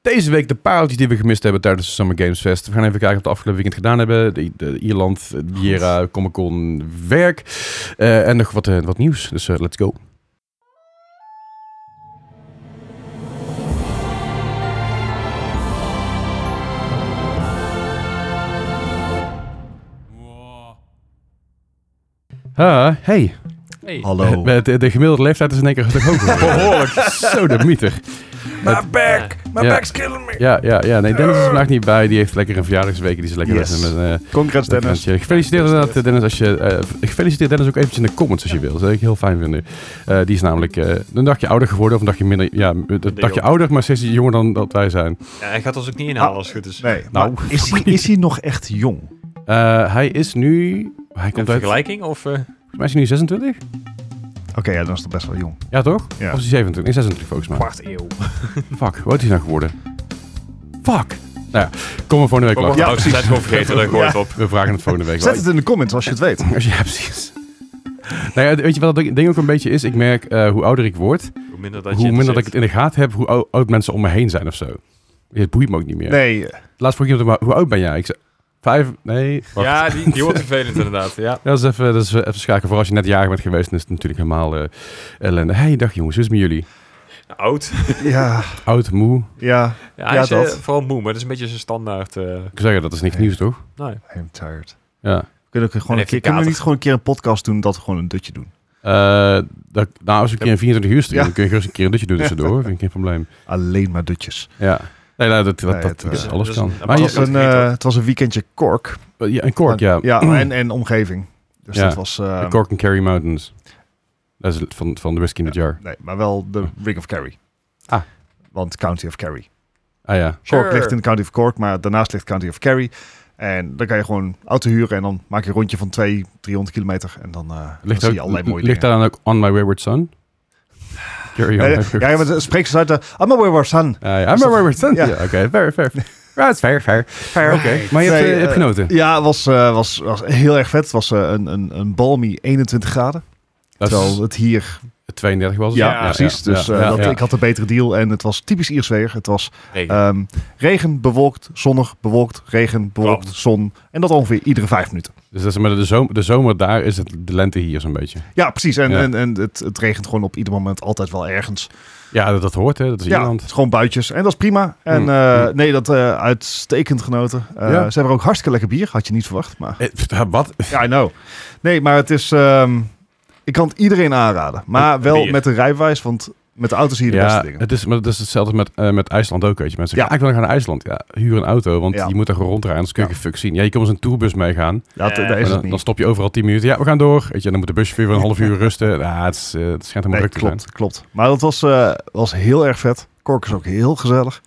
Deze week de pareltjes die we gemist hebben tijdens de Summer Games Fest. We gaan even kijken wat we afgelopen weekend gedaan hebben. De, de Ierland, Jera, Comic Con, werk. Eh, en nog wat, eh, wat nieuws. Dus eh, let's go. Ah, hey. Hey. Hallo. Eh, De, de gemiddelde leeftijd is in één keer toch hoger. Behoorlijk. Zo de mieter. My back! My Ja. back's killing me! Ja, ja, ja. Nee, Dennis is vandaag niet bij. Die heeft lekker een verjaardagsweek. Die is lekker Yes. met, eh, Congrats Dennis. Dankjewel. Gefeliciteerd inderdaad, Dennis. Als je, eh, gefeliciteerd Dennis ook eventjes in de comments als je wil. Dat zou ik heel fijn vinden. Eh, die is namelijk eh, een dagje ouder geworden. Of een dagje minder. Ja, een dagje ouder, maar steeds jonger dan dat wij zijn. Ja, hij gaat ons ook niet inhalen als het goed is. Ah, Nee, Nou, nou, is, hij, is hij nog echt jong? Eh, hij is nu... Hij Een komt uit... Volgens vergelijking of... eh, mij is hij nu 26? Oké, ja, dan is dat best wel jong. Ja, toch? Ja. Of is hij 27? Nee, 26 volgens mij. Kwart eeuw. Fuck, wat is hij nou geworden? Fuck! Nou ja, kom er volgende week Kom langs. op, Ja, nou, ze zijn het gewoon vergeten, dat gooit Ja. op. We vragen het volgende week wel. Zet het in de comments als je het weet. Als je, ja, precies. Nou ja, weet je wat dat ding ook een beetje is? Ik merk eh, hoe ouder ik word, Hoe minder dat je hoe het minder dat ik het zegt. in de gaten heb, hoe ou- oud mensen om me heen zijn of zo. Het boeit me ook niet meer. Nee, Laatst vroeg iemand, me, hoe oud ben jij? Ik zei, vijf, nee. wacht. Ja, die, die wordt vervelend inderdaad. Ja. Dat is even, dat is even schakelen. Vooral als je net jarig bent geweest, dan is het natuurlijk helemaal eh, ellende. Hey, dag jongens, hoe is het met jullie? Oud. ja, Oud, moe. ja. Ja, hij Ja, is eh, dat. vooral moe, maar dat is een beetje zijn standaard. eh Ik zou zeggen, dat is niks Nee. nieuws, toch? nou, ja. I'm tired. Ja. We Kunnen, ook gewoon een keer, heeft hij kunnen we kater. niet gewoon een keer een podcast doen dat we gewoon een dutje doen? Eh, dat, nou, als we een keer een 24 uur streamen, Ja. kun je gerust een keer een dutje doen tussendoor. Vind ik geen probleem. Alleen maar dutjes. Ja. Nee, nou, dat, dat, Nee, dat, het, eh, dat- alles dat is kan. een- dat maar Het je- was, een, eh, het was een weekendje Kork. je, ja, een kork, ja. Mm. en, en omgeving. Dus Ja. dat was... eh, De Cork and Carry Mountains. Dat is van, van de Whiskey in the Jar. Nee, maar wel de Ring of Kerry. Ah. Want County of Kerry. Ah ja. Cork Sure. ligt in de County of Cork, maar daarnaast ligt County of Kerry. En dan kan je gewoon auto huren en dan maak je een rondje van 200, 300 kilometer. En dan, eh dan Ligt, zie ook, je allerlei mooie ligt dingen. daar dan ook On My Wayward Son? Carry on. Nee, my nee, wayward ja, maar dan spreekt ze uit eh, de... I'm aware of sun. Ah, ja, I'm Is My dat- Wayward Son. Ja. Ja, oké. fair, fair. Ja, het is fair, fair. Oké, maar je hebt, Nee, eh, hebt eh, genoten. Ja, het was, eh, was, was heel erg vet. Het was eh, een, een, een balmy 21 graden. Dat is terwijl het hier... 32 was het. Ja, ja, precies. ja, dus ja, eh, ja, dat, ja. ik had een betere deal. En het was typisch Iers weer. Het was regen. ehm, regen, bewolkt, zonnig, bewolkt, regen, bewolkt, Klopt. zon. En dat ongeveer iedere vijf minuten. Dus dat is, maar de, zomer, de zomer daar is het de lente hier zo'n beetje. Ja, precies. En, Ja. en, en het, het regent gewoon op ieder moment altijd wel ergens. Ja, dat, dat hoort hè. Dat is ja, het Ierland. is gewoon buitjes. En dat is prima. En Hmm. eh, Hmm. nee, dat eh, uitstekend genoten. Eh, Ja. Ze hebben ook hartstikke lekker bier. Had je niet verwacht, maar... Eh, pff, Wat? Ja, I know. Nee, maar het is... ehm, ik kan het iedereen aanraden. Maar Een wel bier. met de rijwijs, want met de auto zie je de beste Ja, dingen. het is, maar het is hetzelfde met, eh, met IJsland ook, weet je. Mensen Ja. zeggen, ah, ik wil gaan naar IJsland. Ja, huur een auto, want Ja. je moet daar gewoon rondrijden, anders kun je Ja. geen fuck zien. Ja, je kan eens een tourbus meegaan. Dat, eh, daar is Maar het dan, niet. dan stop je overal 10 minuten. Ja, we gaan door. Weet je, dan moet de busje weer een half uur rusten. Ja, het, is, eh, het schijnt helemaal nee, druk te zijn. klopt, klopt. Maar dat was, eh, was heel erg vet. Kork is ook heel gezellig.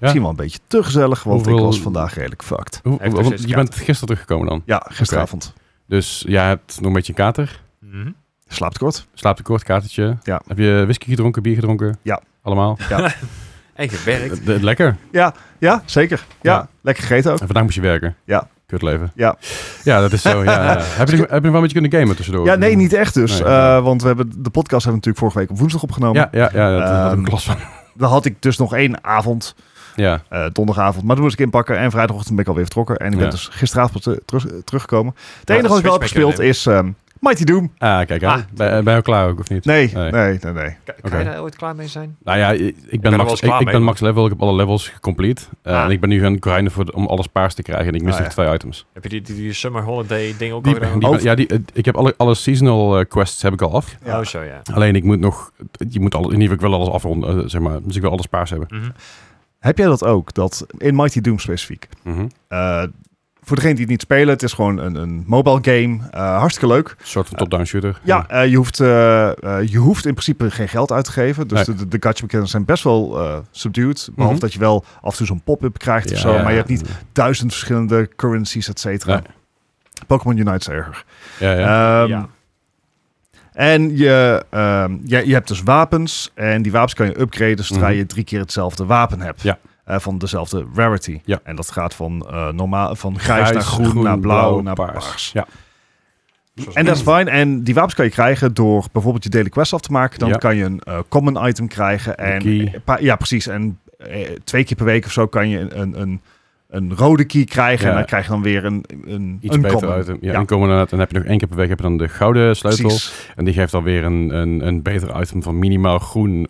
Misschien wel een beetje te gezellig, want ik Hoeveel- was vandaag redelijk fucked. Hoe- Hij heeft hoe- nog want je steeds bent gisteren teruggekomen dan. Ja, gisteravond. Dus jij hebt nog een beetje een kater. Eh, Mhm. Slaaptekort. Slaaptekort, katertje. Ja. Heb je whisky gedronken, bier gedronken? Ja. Allemaal? En gewerkt. Eh, de- lekker. Ja, zeker. Ja. ja. lekker gegeten ook. En vandaag moet je werken. Ja. Kut leven. Ja. Ja, dat is zo. Ja. heb, je, nog- heb je nog wel een beetje kunnen gamen tussendoor? Ja, nee, niet echt dus. Nee. Eh, want we hebben de podcast hebben we natuurlijk vorige week op woensdag opgenomen. Ja, ja, ja. Dat, dat had ik Ehm, last van. Dan had ik dus nog één avond, Ja. eh, donderdagavond. Maar toen moest ik inpakken en vrijdagochtend ben ik alweer vertrokken. En ik ben Ja. dus gisteravond pas, eh, terug, teruggekomen. Het Ja, enige dat wat ik wel heb switchback gespeeld is ehm, Mighty Doom. Ah, kijk aan. Ah. Ben, ben je al klaar ook, of niet? Nee, Nee. nee, nee, nee. Kan, kan Oké. je daar ooit klaar mee zijn? Nou ja, ik- ik ben, er wel max, eens ik, klaar ik mee, ben hoor. max level. Ik heb alle levels gecomplete. Eh, Ah. En ik ben nu gaan grinden voor, de- om alles paars te krijgen. En ik mis Ah, nog ja. twee items. Heb je die, die, die summer holiday ding ook Die, al gedaan? die- Over- ja, die, eh, ik heb alle, alle seasonal eh, quests heb ik al af. Ja. Oh, zo ja. Alleen ik moet nog, je moet alles, in ieder geval ik wil alles afronden, eh, zeg maar. Dus ik wil alles paars hebben. Mhm. Heb jij dat ook? Dat in Mighty Doom specifiek. eh, voor degenen die het niet spelen, het is gewoon een, een mobile game. Eh, hartstikke leuk. Een soort van top-down shooter. Ja, eh, je, hoeft, eh, eh, je hoeft in principe geen geld uit te geven. Dus de, de, de gacha mechanics zijn best wel eh subdued. Behalve Mhm. dat je wel af en toe zo'n pop-up krijgt of zo. ja. Maar je hebt niet duizend verschillende currencies, et cetera. Nee. Pokémon Unite is erger. Ja, ja. Ehm, ja. En je, ehm, je, je hebt dus wapens. En die wapens kan je upgraden zodra Mhm. je drie keer hetzelfde wapen hebt. Ja. Eh, van dezelfde rarity. Ja. En dat gaat van, eh, normaal, van grijs, naar groen, naar blauw, naar paars. Ja. En dat is fijn. En die wapens kan je krijgen door bijvoorbeeld je daily quest af te maken. Dan Ja. kan je een eh, common item krijgen. En Een key. een paar- ja, precies. En eh, twee keer per week of zo kan je een, een, een, een rode key krijgen. Ja. En dan krijg je dan weer een, een Iets beter uncommon. uit. Ja, Ja. inkomen inderdaad. En dan heb je nog één keer per week heb je dan de gouden sleutel. Precies. En die geeft alweer een, een, een beter item van minimaal groen.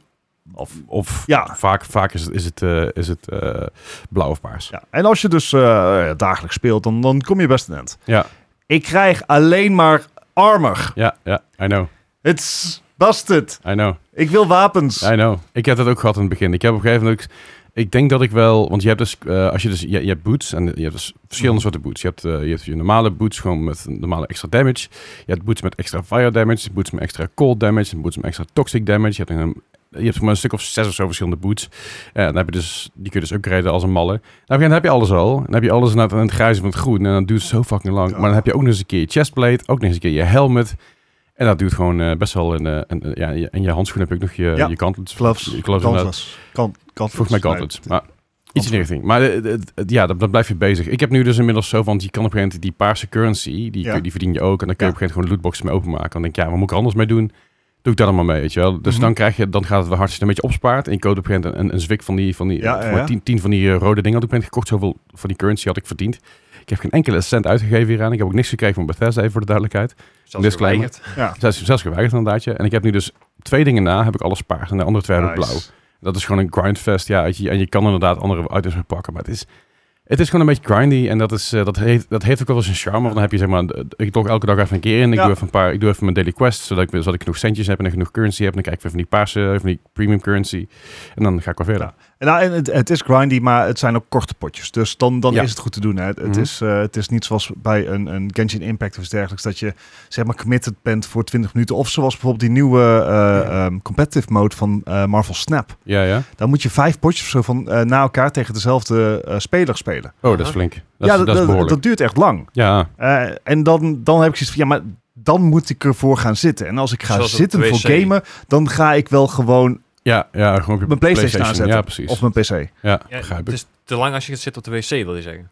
Of, of Ja. vaak, vaak is het, is het, eh, is het eh, blauw of paars. ja. En als je dus eh, dagelijks speelt, dan, dan kom je best een eind. Ja. Ik krijg alleen maar armor. Ja, ja, I know. It's busted. I know. Ik wil wapens. I know. Ik heb dat ook gehad in het begin. Ik heb op een gegeven moment... ook- Ik denk dat ik wel... Want je hebt dus... eh, als je dus... Je, je hebt boots. En je hebt dus verschillende soorten boots. Je hebt, eh, je hebt je normale boots gewoon met een normale extra damage. Je hebt boots met extra fire damage. Boots met extra cold damage. En boots met extra toxic damage. Je hebt een... Je hebt maar een stuk of zes of zo verschillende boots. Ja, dan heb je dus, die kun je dus upgraden als een malle. Nou, op een gegeven moment heb je alles al. Dan heb je alles in het, in het grijs en het groen. En dat duurt zo fucking lang. Maar dan heb je ook nog eens een keer je chestplate. Ook nog eens een keer je helmet. En dat duurt gewoon eh, best wel. In, eh, en, eh, ja, je- en je handschoen heb ik nog je, Ja. je kantlets. Gloves. Je gloves inderdaad. Gauntlets. Kan- gauntlets. Volgens mij Nee, gauntlets. Maar iets in die richting. Maar eh, het- het- ja, dan, dan blijf je bezig. Ik heb nu dus inmiddels zo, want je kan op een gegeven moment die paarse currency, die, Ja. kun- die verdien je ook. En dan kun je Ja. op een gegeven moment gewoon lootboxen mee openmaken. Dan denk ik, ja, wat moet ik er anders mee doen? Doe ik dat allemaal mee, weet je wel. Dus Mhm. dan, krijg je, dan gaat het wel hard als je het een beetje opspaart. En je koopt op een gegeven moment een, een zwik van die, van die Ja, voor ja, mij ja. Tien, tien van die eh, rode dingen had ik ben gekocht. Zoveel van die currency had ik verdiend. Ik heb geen enkele cent uitgegeven hieraan. Ik heb ook niks gekregen van Bethesda, even voor de duidelijkheid. Zelfs Disclaimer. geweigerd. Zelfs, zelfs geweigerd inderdaad. ja. En ik heb nu dus twee dingen na, heb ik alles paars. En de andere twee heb ik nice. blauw. Dat is gewoon een grindfest. Ja, weet je, en je kan inderdaad andere items weer pakken. Maar het is, het is gewoon een beetje grindy. En dat, is, eh, dat, heeft, dat heeft ook wel eens een charme. Want dan heb je zeg maar, eh, ik log elke dag even een keer in. Ik, Ja. doe even een paar, ik doe even mijn daily quest. Zodat ik, weer- zodat ik genoeg centjes heb en genoeg currency heb. En dan kijk ik weer van die paarse, van die premium currency. En dan ga ik weer verder. Ja. Nou, en het, het is grindy, maar het zijn ook korte potjes. Dus dan, dan Ja. is het goed te doen. Hè. Het, het Mhm. is, eh, het is niet zoals bij een, een Genshin Impact of iets dergelijks. Dat je zeg maar committed bent voor 20 minuten. Of zoals bijvoorbeeld die nieuwe eh, ehm, competitive mode van eh, Marvel Snap. Ja, ja. Daar moet je vijf potjes of zo van eh, na elkaar tegen dezelfde eh, speler spelen. Oh, dat is flink. Dat, ja, is, dat- dat is dat, behoorlijk. dat duurt echt lang. ja, Eh, en dan, dan heb ik zoiets van, ja, maar dan moet ik ervoor gaan zitten. En als ik ga Zoals op zitten de voor wc. gamen, dan ga ik wel gewoon ja, ja. Gewoon op je mijn PlayStation, aanzetten. Ja, precies. Of mijn PC. ja, Ja, dus- begrijp het ik. is te lang als je gaat zitten op de wc, wil je zeggen.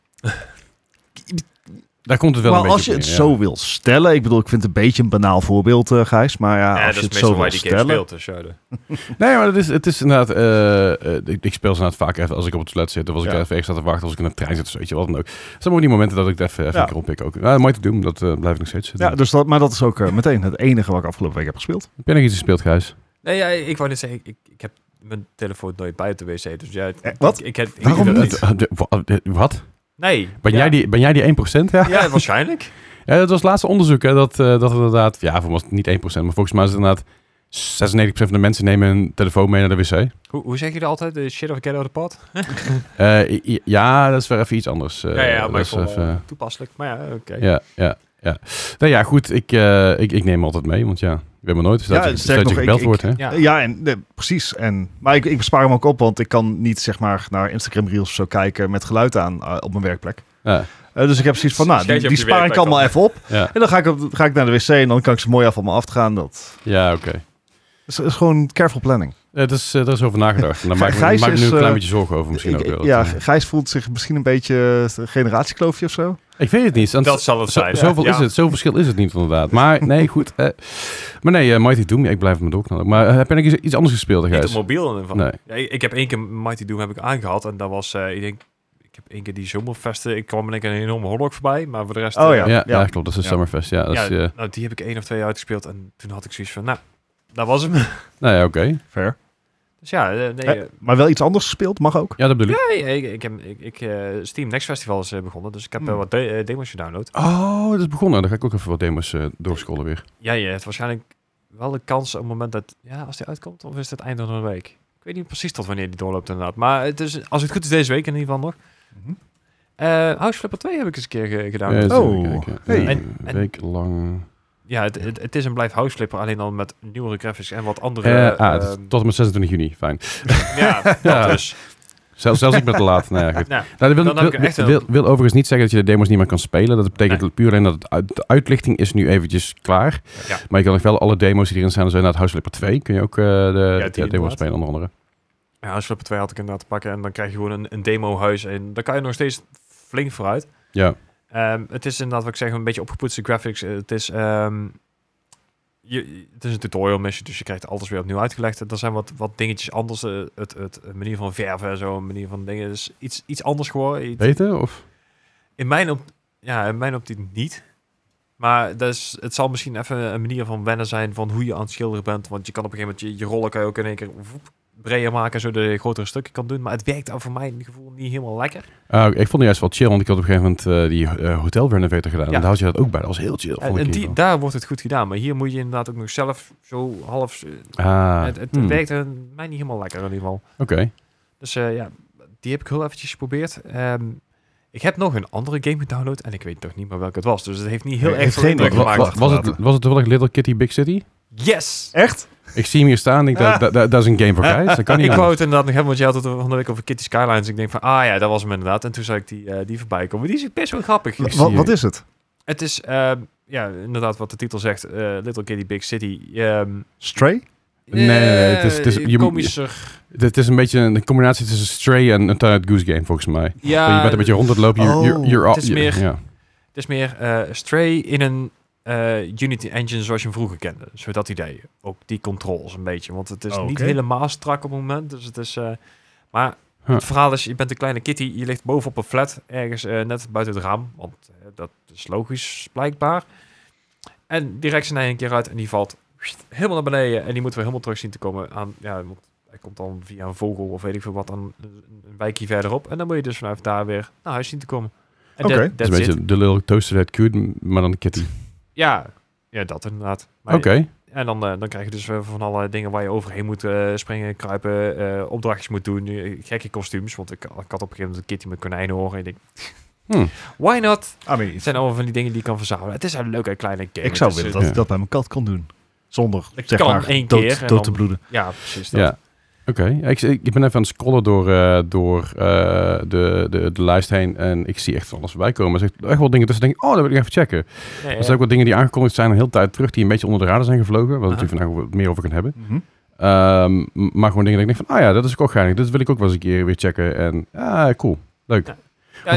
Daar komt het wel Maar een beetje als je op het neer, ja. zo wil stellen, ik bedoel, ik vind het een beetje een banaal voorbeeld, eh, Gijs, maar ja, als ja, dat je is het zo meestal wil waar die game stellen. speelt. Dus ja, de- Nee, maar het is, het is inderdaad... eh, eh, ik, ik speel ze inderdaad vaak even als ik op het toilet zit... of als ik Ja. even extra te wachten, als ik in de trein zit... of zo, weet je wat dan ook. Er zijn ook die momenten dat ik het even, even Ja. een keer oppik ook. Nou, mooi te doen, dat eh, blijf ik nog steeds zitten. Ja, dus dat, maar dat is ook eh, meteen het enige wat ik afgelopen week heb gespeeld. Heb jij nog iets gespeeld, Gijs? Nee, ja, ik wou net zeggen, ik, ik heb mijn telefoon nooit buiten de wc. Dus ja, het- Eh, wat? Ik, ik, heb- ik- Waarom ik- De- niet? eh, de- de- wa- de- Wat? Nee. Ben, ja. jij die, ben jij die 1%? Ja? Ja, waarschijnlijk. ja, dat was het laatste onderzoek, hè. Dat, eh, dat inderdaad... Ja, voor mij was het niet 1%, maar volgens mij is het inderdaad... 96% van de mensen nemen hun telefoon mee naar de wc. Hoe, hoe zeg je dat altijd? De shit of get out of the pot? Eh, i- i- ja, dat is weer even iets anders. Eh, ja, ja, dat maar ik is vond, even- eh, toepasselijk. Maar ja, oké. Ja, ja, ja. Nou ja, goed, ik, eh, ik, ik neem altijd mee, want ja, ik weet maar nooit. Ja, Stel dat je- sterk stel dat je nog, gebeld ik- ik- wordt, hè? Ja. Eh, Ja, en, nee, precies. En, maar ik, ik bespaar hem ook op, want ik kan niet zeg maar naar Instagram Reels of zo kijken met geluid aan eh, op mijn werkplek. Ja, Eh, dus ik heb zoiets van, nou, die, Schijt je op die je spaar ik werkplek allemaal dan. even op. ja, En dan ga ik, op- ga ik naar de wc en dan kan ik ze mooi af van me afgaan. Dat ja oké. is, is gewoon careful planning. Het is, eh, er is over nagedacht. En Daar Gij- maak ik me- Gijs maak ik me nu is, een klein eh, beetje zorgen over misschien Ik- ook wel. ja, Dat, eh, Gijs voelt zich misschien een beetje eh, generatiekloofje of zo. ik weet het niet. want Dat zal het zo- zijn. Zoveel Ja. is het. Zoveel verschil is het niet inderdaad. Maar nee, goed. eh, maar nee, eh, Mighty Doom, ja, ik blijf me doorknallen. Maar eh, heb je nog iets- iets anders gespeeld, Niet op Gijs? mobiel in ieder geval. Nee. Ja, ik, ik heb één keer Mighty Doom heb ik aangehad. En dat was, eh, ik denk, ik heb één keer die zomervesten. Ik kwam in één keer een enorme horlog voorbij. Maar voor de rest... Oh eh, Ja, Ja, ja, ja. klopt. Dat is de Ja. Summerfest. Ja, dat ja, is, eh, nou, die heb ik één of twee uitgespeeld. En toen had ik zoiets van, nou, dat was hem. nou ja, oké. Fair. Dus ja, eh, nee... Eh, eh, maar wel iets anders gespeeld, mag ook. Ja, dat bedoel ik. nee, ik, ik heb ik, ik, eh, Steam Next Festival is eh, begonnen, dus ik heb eh, Hmm. wat de- eh, demos gedownload. Oh, dat is begonnen. Dan ga ik ook even wat demos eh, doorscrollen weer. Ja, je hebt waarschijnlijk wel de kans op het moment dat, ja, als die uitkomt, of is het eind van de week? Ik weet niet precies tot wanneer die doorloopt inderdaad, maar het is, als het goed is deze week in ieder geval nog. Mhm. Eh House Flipper 2 heb ik eens een keer ge- Ja, gedownload. eens Ja, even Oh, kijken. hey. Ja, En- Een en- week lang... het, het, het is een blijf House Flipper, alleen dan met nieuwere graphics en wat andere... Eh, ah, ehm, het is tot en met 26 juni. Fijn. ja, dat Ja. dus. Zelfs, zelfs ik ben te laat. Nou ja, goed. Nou, Nou, dat wil, Dan heb ik wil, echt wil, een- wil- wil overigens niet zeggen dat je de demo's niet meer kan spelen. Dat betekent puur alleen dat het uit- de uitlichting is nu eventjes klaar. Ja. Maar je kan nog wel alle demo's die erin zijn. Dus inderdaad House Flipper 2 kun je ook eh, de, Ja, de die demo's inderdaad. spelen onder andere. ja, House Flipper 2 had ik inderdaad te pakken en dan krijg je gewoon een, een demohuis en daar kan je nog steeds flink vooruit. Ja, Ehm, het is inderdaad, wat ik zeg, een beetje opgepoetste graphics. Eh, het is ehm, je, het is een tutorial missie, dus je krijgt alles weer opnieuw uitgelegd. En Er zijn wat, wat dingetjes anders. eh, het, het, een manier van verven en zo, een manier van dingen. Dus iets, iets anders geworden. Iets- Weten? Of? In mijn, op, ja, in mijn optiek niet. Maar dat is, het zal misschien even een manier van wennen zijn van hoe je aan het schilderen bent. Want je kan op een gegeven moment je, je rollen kan je ook in één keer voep, breder maken, zodat je grotere stukken kan doen. Maar het werkt dan voor mijn gevoel niet helemaal lekker. Ah, ik vond het juist wel chill, want ik had op een gegeven moment eh, die eh, hotel renovator gedaan. Ja. En daar had je dat ook bij. Dat was heel chill. En, vond ik en in die, ieder daar wordt het goed gedaan. Maar hier moet je inderdaad ook nog zelf zo half... eh, geval. ah, het het hmm, werkt eh, mij niet helemaal lekker in ieder geval. Oké. Dus eh, ja, die heb ik heel eventjes geprobeerd. Ehm, ik heb nog een andere game gedownload en ik weet toch niet meer welke het was. Dus het heeft niet heel Nee, erg heeft veel geen indruk idee. Wa- wa- gemaakt. Wa- was, het, was het toevallig Little Kitty Big City? Yes! Echt? Ik zie hem hier staan en ik dacht, Ah. dat- dat dat is een game voor guys. Dat kan niet ik wou anders. het inderdaad nog hebben, want je had het er van de week over Kitty Skylines. Ik denk van, ah ja, dat was hem inderdaad. En toen zag ik die, eh, die voorbij komen. Die is best wel grappig. Wa- Wat, wat is het? Het is, ehm, ja, inderdaad wat de titel zegt. eh, Little Kitty Big City. Ehm Stray? Nee, nee, nee, het is- het is- eh, je moet- komischer. Het is een beetje een combinatie tussen Stray en een Tired Goose game, volgens mij. Ja, je bent een beetje rond het lopen. je- je- Oh, je- Eh, het is je- meer- ja. Het is meer eh, Stray in een eh, Unity Engine zoals je hem vroeger kende. Zo dat idee. Ook die controls een beetje. Want het is Oh, niet oké. helemaal strak op het moment. Dus het is... eh, maar Huh. het verhaal is, je bent een kleine kitty. Je ligt bovenop een flat. Ergens eh, net buiten het raam. Want eh, dat is logisch blijkbaar. En die rekt zijn ei een keer uit en die valt helemaal naar beneden. En die moeten we helemaal terug zien te komen aan... Ja, want hij komt dan via een vogel of weet ik veel wat aan een een wijkje verderop. En dan moet je dus vanuit daar weer naar huis zien te komen. En Oké. dat- Het Het is that's een it. beetje de little toaster that cute, maar dan een kitty. Ja, ja dat inderdaad. Maar- Oké. En dan, eh, dan krijg je dus eh, van alle dingen waar je overheen moet eh, springen, kruipen, eh, opdrachtjes moet doen, eh, gekke kostuums. Want ik, ik had op een gegeven moment een kitty met konijnen horen. En ik Hm. denk, why not? I mean, Het zijn allemaal van die dingen die je kan verzamelen. Het is een leuke kleine game. ik zou Het is, willen eh, dat ik ja. dat bij mijn kat kan doen. Zonder, Dat zeg kan maar, één dood, keer en dood te dan- bloeden. Ja, precies. Dat. Ja. Oké, Ja, ik, ik ben even aan het scrollen door, eh, door eh, de, de, de lijst heen en ik zie echt van alles voorbij komen. Er zijn echt- echt wel dingen tussen denk ik, oh, dat wil ik even checken. Nee, Er zijn ook wat dingen die aangekondigd zijn een hele tijd terug, die een beetje onder de radar zijn gevlogen, waar we Aha. natuurlijk vandaag wat meer over gaan hebben. Mhm. Ehm, m- maar gewoon dingen dat ik denk van, ah ja, dat is ook wel geinig, dat wil ik ook wel eens een keer weer checken. En ah, cool, leuk. Ja. ja,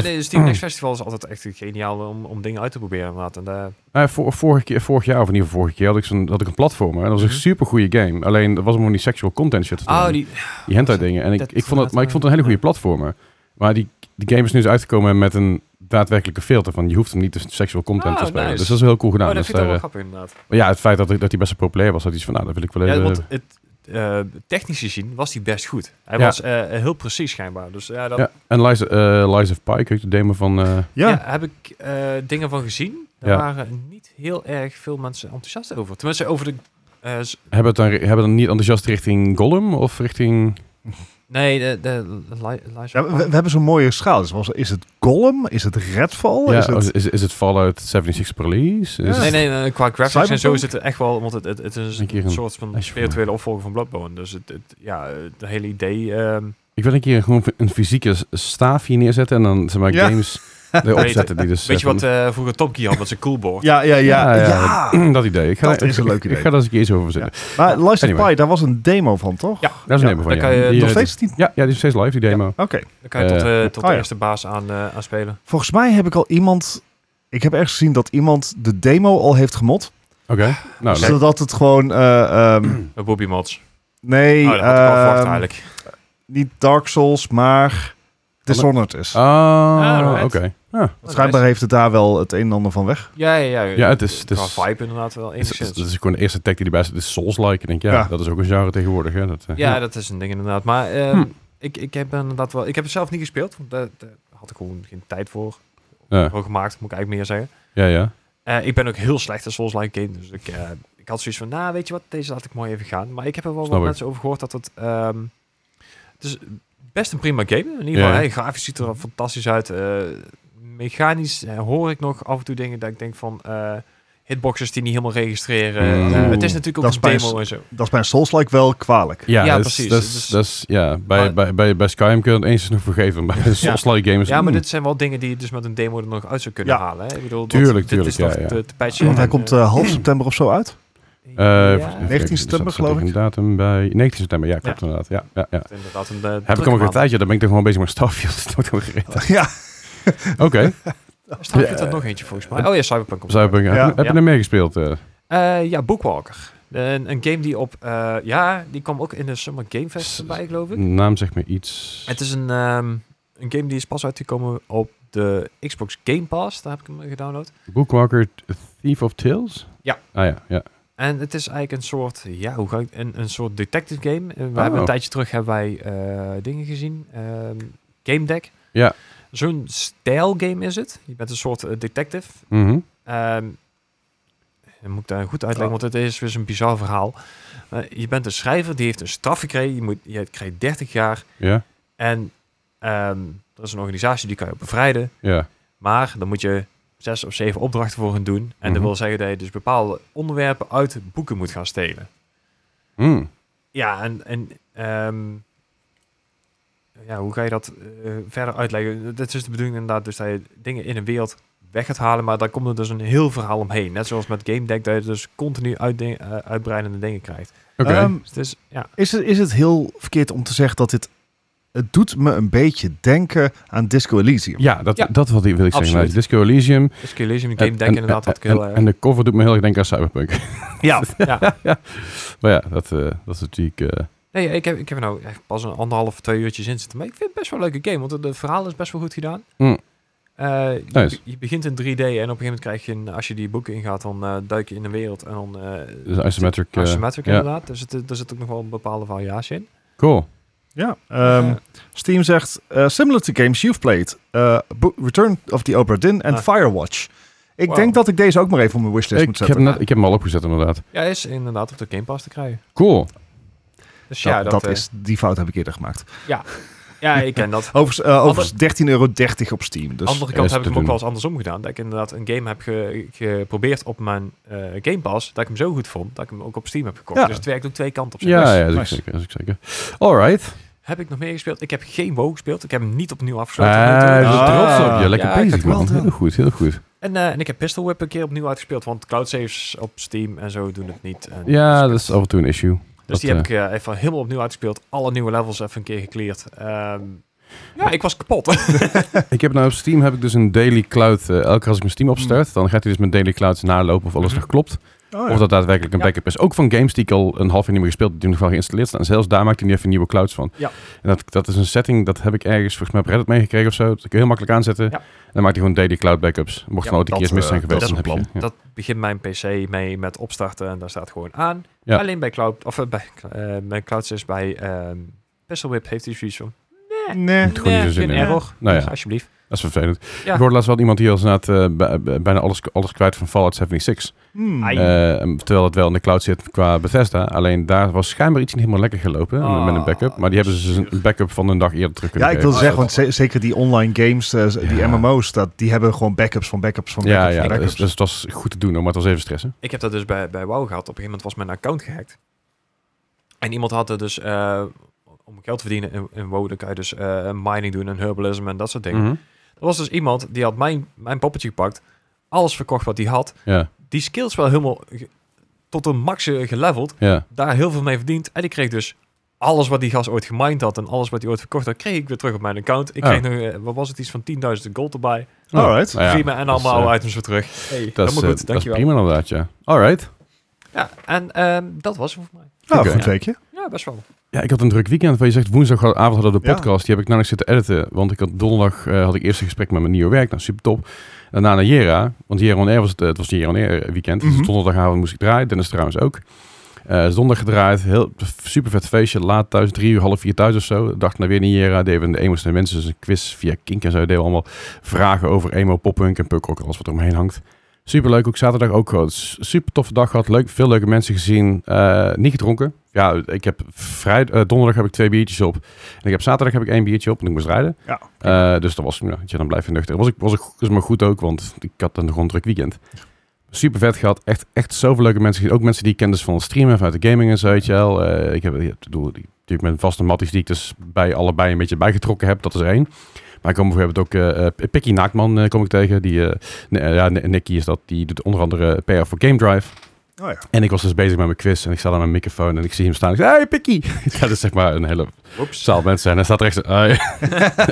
nee, Steam Next Festival is altijd echt geniaal om, om dingen uit te proberen. Inderdaad. En, eh, Eh, voor, vorig, keer, vorig jaar, of in ieder geval vorige keer, had ik, zo'n, had ik een platformer en dat was een Mhm. super goede game. Alleen, dat was allemaal die sexual content shit. te doen. oh, die, Die hentai dingen. En ik, Dat ik vond het, laat maar ik me- vond het een hele goede platformer. Maar die, die game is nu eens uitgekomen met een daadwerkelijke filter. Van je hoeft hem niet de seksueel content Ah, te spelen. nice. Dus dat is heel cool gedaan. oh, dat dus vind ik dan daar, wel eh, grappig inderdaad. ja, het feit dat, dat hij best wel populair was, dat iets van nou, dat wil ik wel Ja, even. want het, eh, technisch gezien was hij best goed. Hij Ja. was eh, heel precies schijnbaar. Dus ja, dat, ja, en Lies, eh Lies of Pike, ook de demo van. eh, Ja, ja. heb ik eh, dingen van gezien. Daar Ja. waren niet heel erg veel mensen enthousiast over. Tenminste, over de... eh, s- hebben, het dan, hebben dan niet enthousiast richting Gollum of richting. nee, de... de, de li- Lies Ja, of we, we hebben zo'n mooie schaal. Dus was, is het Gollum? Is het Redfall? Ja, oh, is het... is, is, het Fallout 76 release? Is Ja. Nee, het- nee, nee, qua graphics en zo Cyberpunk? is het er echt wel... Want het, het, het is Een keer een, een soort van flesje voor spirituele opvolger van Bloodborne. Dus het, het- ja, het hele idee... ehm, Ik wil een keer gewoon een fysieke s- staaf hier neerzetten en dan zeg maar Ja. games erop zetten. Die dus, weet je eh, wat eh, vroeger Top Gear had met zijn coolboard? ja, ja, eh, ja. Ja, ja, ja. dat idee. Ik ga, Dat ik- is een ik- leuk idee. Ik ga daar eens een keer iets over verzinnen. Maar Lies Anyway. Pie, daar was een demo van, toch? Ja. Daar is een Ja, demo van, dan ja. kan je Die, Nog eh, steeds niet? Ja, ja, die is steeds live, die demo. Oké. Dan kan je tot, eh, tot oh de ja. eerste baas aan, eh, aan spelen. Volgens mij heb ik al iemand... Ik heb ergens gezien dat iemand de demo al heeft gemot. Oké. Nou, leuk. Zodat het gewoon... eh, ehm, Met Bobby Mods. nee, oh, dat had ik al verwacht ehm, eigenlijk. niet Dark Souls, maar Dishonored is. Ah, alright. oké. Ah, Want Schijnbaar heeft het daar wel het een en ander van weg. Ja, ja, ja. Ja, het is- het Qua is- vibe inderdaad wel Het is- enigszins. het is gewoon de eerste tag die erbij zit. Het is Souls-like. Ik denk, ja, Ja. dat is ook een genre tegenwoordig. Hè. Dat, eh, Ja, dat is een ding inderdaad. Maar ehm, Hm. ik, ik heb inderdaad wel... Ik heb het zelf niet gespeeld, want daar, daar had ik gewoon geen tijd voor. ja. Voor gemaakt, moet ik eigenlijk meer zeggen. Ja, ja. Eh, ik ben ook heel slecht in Souls-like game, dus ik, eh, ik had zoiets van... Nou, weet je wat, deze laat ik mooi even gaan. Maar ik heb er wel Snap wat ik. mensen over gehoord dat het... ehm, het is best een prima game. In ieder geval, Ja. hè, grafisch ziet er fantastisch uit. Eh, mechanisch eh, hoor ik nog af en toe dingen dat ik denk van... eh, hitboxes die niet helemaal registreren. Mm. Eh, het is natuurlijk Dat ook is een bij demo s- en zo. Dat is bij een Souls-like wel kwalijk. Ja, Ja, dat is- precies. Dat Dus- is, dat is, ja, bij, Maar- bij, bij, bij Skyrim kun je het eens nog vergeven. maar Bij de Souls-like games... Ja, maar mm, dit zijn wel dingen die je dus met een demo er nog uit zou kunnen Ja. halen. Hè? Ik bedoel, dat- Tuurlijk, dit tuurlijk, is nog ja, ja. te- te patchen. Want hij En, komt eh, eh, half september of zo uit. eh, ja, even kijken, 19 er staat- september, staat geloof een datum bij... 19 september, ja, klopt inderdaad. Ja, ja, ja. inderdaad een eh, Heb ik drukke hem ook een maand. tijdje, dan ben ik toch gewoon bezig met Starfield. Dat wordt gewoon gereden. ja. Oké, Daar staat Ja. er nog eentje volgens mij. Oh ja, Cyberpunk komt. Cyberpunk. Heb je- Ja. Heb je er meer gespeeld? eh? Eh, ja, Bookwalker. Een, een game die op... eh, ja, die kwam ook in de Summer Game Fest S- Mm. voorbij, geloof ik. Naam zegt me iets. Het is een, ehm, een game die is pas uitgekomen op de Xbox Game Pass. Daar heb ik hem gedownload. Bookwalker Thief of Tales? Ja. Ah ja, ja. En het is eigenlijk een soort, ja, hoe ga ik, een, een soort detective game. Eh, We Oh. hebben een tijdje terug hebben wij eh, dingen gezien. ehm, game Deck. Ja. Zo'n stijl game is het. Je bent een soort eh, detective. Mhm. Ehm, dan moet ik daar goed uitleggen, Oh. want het is weer zo'n bizar verhaal. Maar je bent een schrijver, die heeft een straf gekregen. Je, moet, je krijgt 30 jaar. Ja, En ehm, er is een organisatie die kan je bevrijden. ja. Maar dan moet je zes of zeven opdrachten voor gaan doen. En dat Mhm. wil zeggen dat je dus bepaalde onderwerpen uit boeken moet gaan stelen. Mm. Ja, en, en ehm, ja, hoe ga je dat eh, verder uitleggen? Dat is de bedoeling inderdaad, dus dat je dingen in een wereld weg gaat halen, maar daar komt er dus een heel verhaal omheen. Net zoals met Game Deck, dat je dus continu uitding- eh, uitbreidende dingen krijgt. Oké. Ehm, Dus het is, ja, is, het, is het heel verkeerd om te zeggen dat dit... Het doet me een beetje denken aan Disco Elysium. ja, dat, ja. dat wat ik wil ik zeggen. Absoluut. Nou, Disco Elysium. dus Elysium, Game Deck inderdaad, en, had ik heel... en, eh, en de cover doet me heel erg denken aan Cyberpunk. ja, ja. maar ja, dat, eh, dat is natuurlijk... eh, Nee, ik heb, ik heb er nou echt pas een anderhalf, twee uurtjes in zitten, maar ik vind het best wel een leuke game, want het, het verhaal is best wel goed gedaan. Mm. Eh, je, Nice. je begint in 3D en op een gegeven moment krijg je, een, als je die boeken ingaat, dan eh, duik je in een wereld en dan eh, dus isometric. eh, Isometric ja. inderdaad. Dus het, er zit ook nog wel een bepaalde variatie in. Eh, Cool. Ja, ehm, Ja. Steam zegt, eh, similar to games you've played, eh, Bo- Return of the Obra Dinn en Ah. Firewatch. Ik Wow. denk dat ik deze ook maar even op mijn wishlist Ik moet heb, zetten. net, ik heb hem al opgezet inderdaad. Ja, is inderdaad op de Game Pass te krijgen. Cool. Dus Dat, ja, dat, dat eh, is, die fout heb ik eerder gemaakt. Ja, ik ken dat. Overigens, eh, overigens 13,30 euro op Steam. Dus Andere dat kant is heb ik te hem ook doen. wel eens andersom gedaan. Dat ik inderdaad een game heb ge- geprobeerd op mijn eh, Game Pass. Dat ik hem zo goed vond dat ik hem ook op Steam heb gekocht. Ja. Dus het werkt ook twee kanten op zich. Ja, Dus ja, dat is nice. zeker. Dat is zeker. Alright. Heb ik nog meer gespeeld? Ik heb geen WoW gespeeld. Ik heb hem niet opnieuw afgesloten. Eh, Ah. dus trots op je. Lekker Ja, ik bezig, heb man. het wel Heel gedaan. goed, heel goed. En, eh, en ik heb Pistol Whip een keer opnieuw uitgespeeld. Want cloud saves op Steam en zo doen het niet. En Ja, dat is af en toe een issue. Dus Dat, die heb ik eh, even helemaal opnieuw uitgespeeld. Alle nieuwe levels even een keer gecleared. Ehm, ja, ik was kapot. Ik heb nou op Steam heb ik dus een daily cloud. eh, elke keer als ik mijn Steam opstart, dan gaat hij dus mijn daily clouds nalopen of alles Mhm. nog klopt. Oh, ja. Of dat daadwerkelijk een Ja. backup is. Ook van games die ik al een half jaar niet meer gespeeld heb, die nog wel geïnstalleerd staan. Zelfs daar maakt hij nu even nieuwe clouds van. Ja. En dat, dat is een setting, dat heb ik ergens volgens mij op Reddit meegekregen of zo. Dat kun je heel makkelijk aanzetten. Ja. En dan maakt hij gewoon daily cloud backups. Mocht Ja, er nou ooit een dat, keer eens mis eh, zijn geweest, dat is dan een heb je- ja. Dat begint mijn PC mee met opstarten en daar staat gewoon aan. Ja. Alleen bij Cloud, of eh, bij, eh, bij Cloud is bij ehm Pistol Whip heeft hij zoiets van. Nee. gewoon niet zo zin geen in. error. Nou ja. Dus Alsjeblieft. Dat is vervelend. Ja. Ik hoorde laatst wel iemand die als inderdaad eh, bij- bij- bijna alles, alles kwijt van Fallout 76. Hmm. Ai. Eh, en terwijl het wel in de cloud zit qua Bethesda. Alleen daar was schijnbaar iets niet helemaal lekker gelopen Ah, met een backup. Maar die hebben ze dus een backup van een dag eerder terug Ja, kunnen ik wil geven. zeggen, Oh, want ze- zeker die online games, eh, die Ja. MMO's, dat, die hebben gewoon backups van backups van backups Ja, van ja backups. dus, dus het was goed te doen, maar het was even stressen. Ik heb dat dus bij, bij WoW gehad. Op een gegeven moment was mijn account gehackt. En iemand had er dus, eh, om geld te verdienen in, in WoW, dan kan je dus eh, mining doen en herbalism en dat soort dingen. Mhm. Er was dus iemand die had mijn, mijn poppetje gepakt, alles verkocht wat hij had, Ja, die skills wel helemaal ge- tot een max eh, geleveld. ja. daar heel veel mee verdiend. En ik kreeg dus alles wat die gas ooit gemined had en alles wat hij ooit verkocht had, kreeg ik weer terug op mijn account. Ik Oh. kreeg nog, eh, wat was het, iets van 10.000 gold erbij. Oh, Alright. nou ja, Prima, en dat is, allemaal eh, items weer terug. Hey, Dat is, helemaal eh, goed, dat is dankjewel. prima inderdaad, ja. Alright. Ja, en ehm, dat was het voor mij. Nou, dus- Oké. goed weekje. Ja, best wel. Ja, ik had een druk weekend. Van je zegt woensdagavond hadden we de Ja. podcast. Die heb ik namelijk zitten editen. Want ik had donderdag eh, had ik eerst een gesprek met mijn nieuwe werk. Nou, super top. Daarna naar Jera. Want Jera on Air was het, eh, het was Jera on Air weekend. Mhm. Dus donderdagavond moest ik draaien. Dennis trouwens ook. Eh zondag gedraaid. Heel super vet feestje. Laat thuis. Drie uur, half vier thuis of zo. Dacht naar weer naar Jera. Deden we in de emo's en mensen. Dus een quiz via Kink en zo. Deden we allemaal vragen over emo, poppunk en pukrock. Alles wat er omheen hangt. Super leuk, ook zaterdag ook gewoon. S- Super toffe dag gehad, leuk, veel leuke mensen gezien. Eh, niet gedronken. Ja, ik heb vrijdag, eh, donderdag heb ik twee biertjes op. En ik heb zaterdag heb ik één biertje op en ik moest rijden. Ja. Eh, dus dat was, nou, weet je, dan blijf je nuchter. Was ik, was ik was maar goed ook, want ik had een gewoon druk weekend. Super vet gehad, echt, echt zoveel leuke mensen gezien. Ook mensen die ik kende van het streamen, vanuit de gaming en zo, weet je wel. Eh, ik heb, ik bedoel, die, natuurlijk mijn vaste matties die ik dus bij allebei een beetje bijgetrokken heb, dat is één. Maar ik kom bijvoorbeeld ook eh eh, Pikkie Naaktman eh, kom ik tegen. Die, eh, nee, eh, ja, Nicky is dat. Die doet onder andere PR voor Game Drive. Oh ja. En ik was dus bezig met mijn quiz en ik sta aan mijn microfoon en ik zie hem staan. Ik zeg, hey Pikkie! ja, dat is zeg maar een hele zaal mensen. En hij staat er echt zo, "Hoi."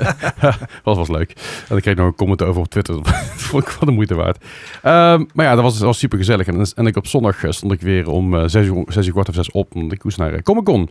dat was leuk. En ik kreeg nog een comment over op Twitter. dat vond ik wel de moeite waard. Ehm, maar ja, dat was, dat was super gezellig. En, en ik op zondag eh, stond ik weer om eh, zes uur, zes uur kwart of zes op. Omdat ik moest naar eh, Comic Con.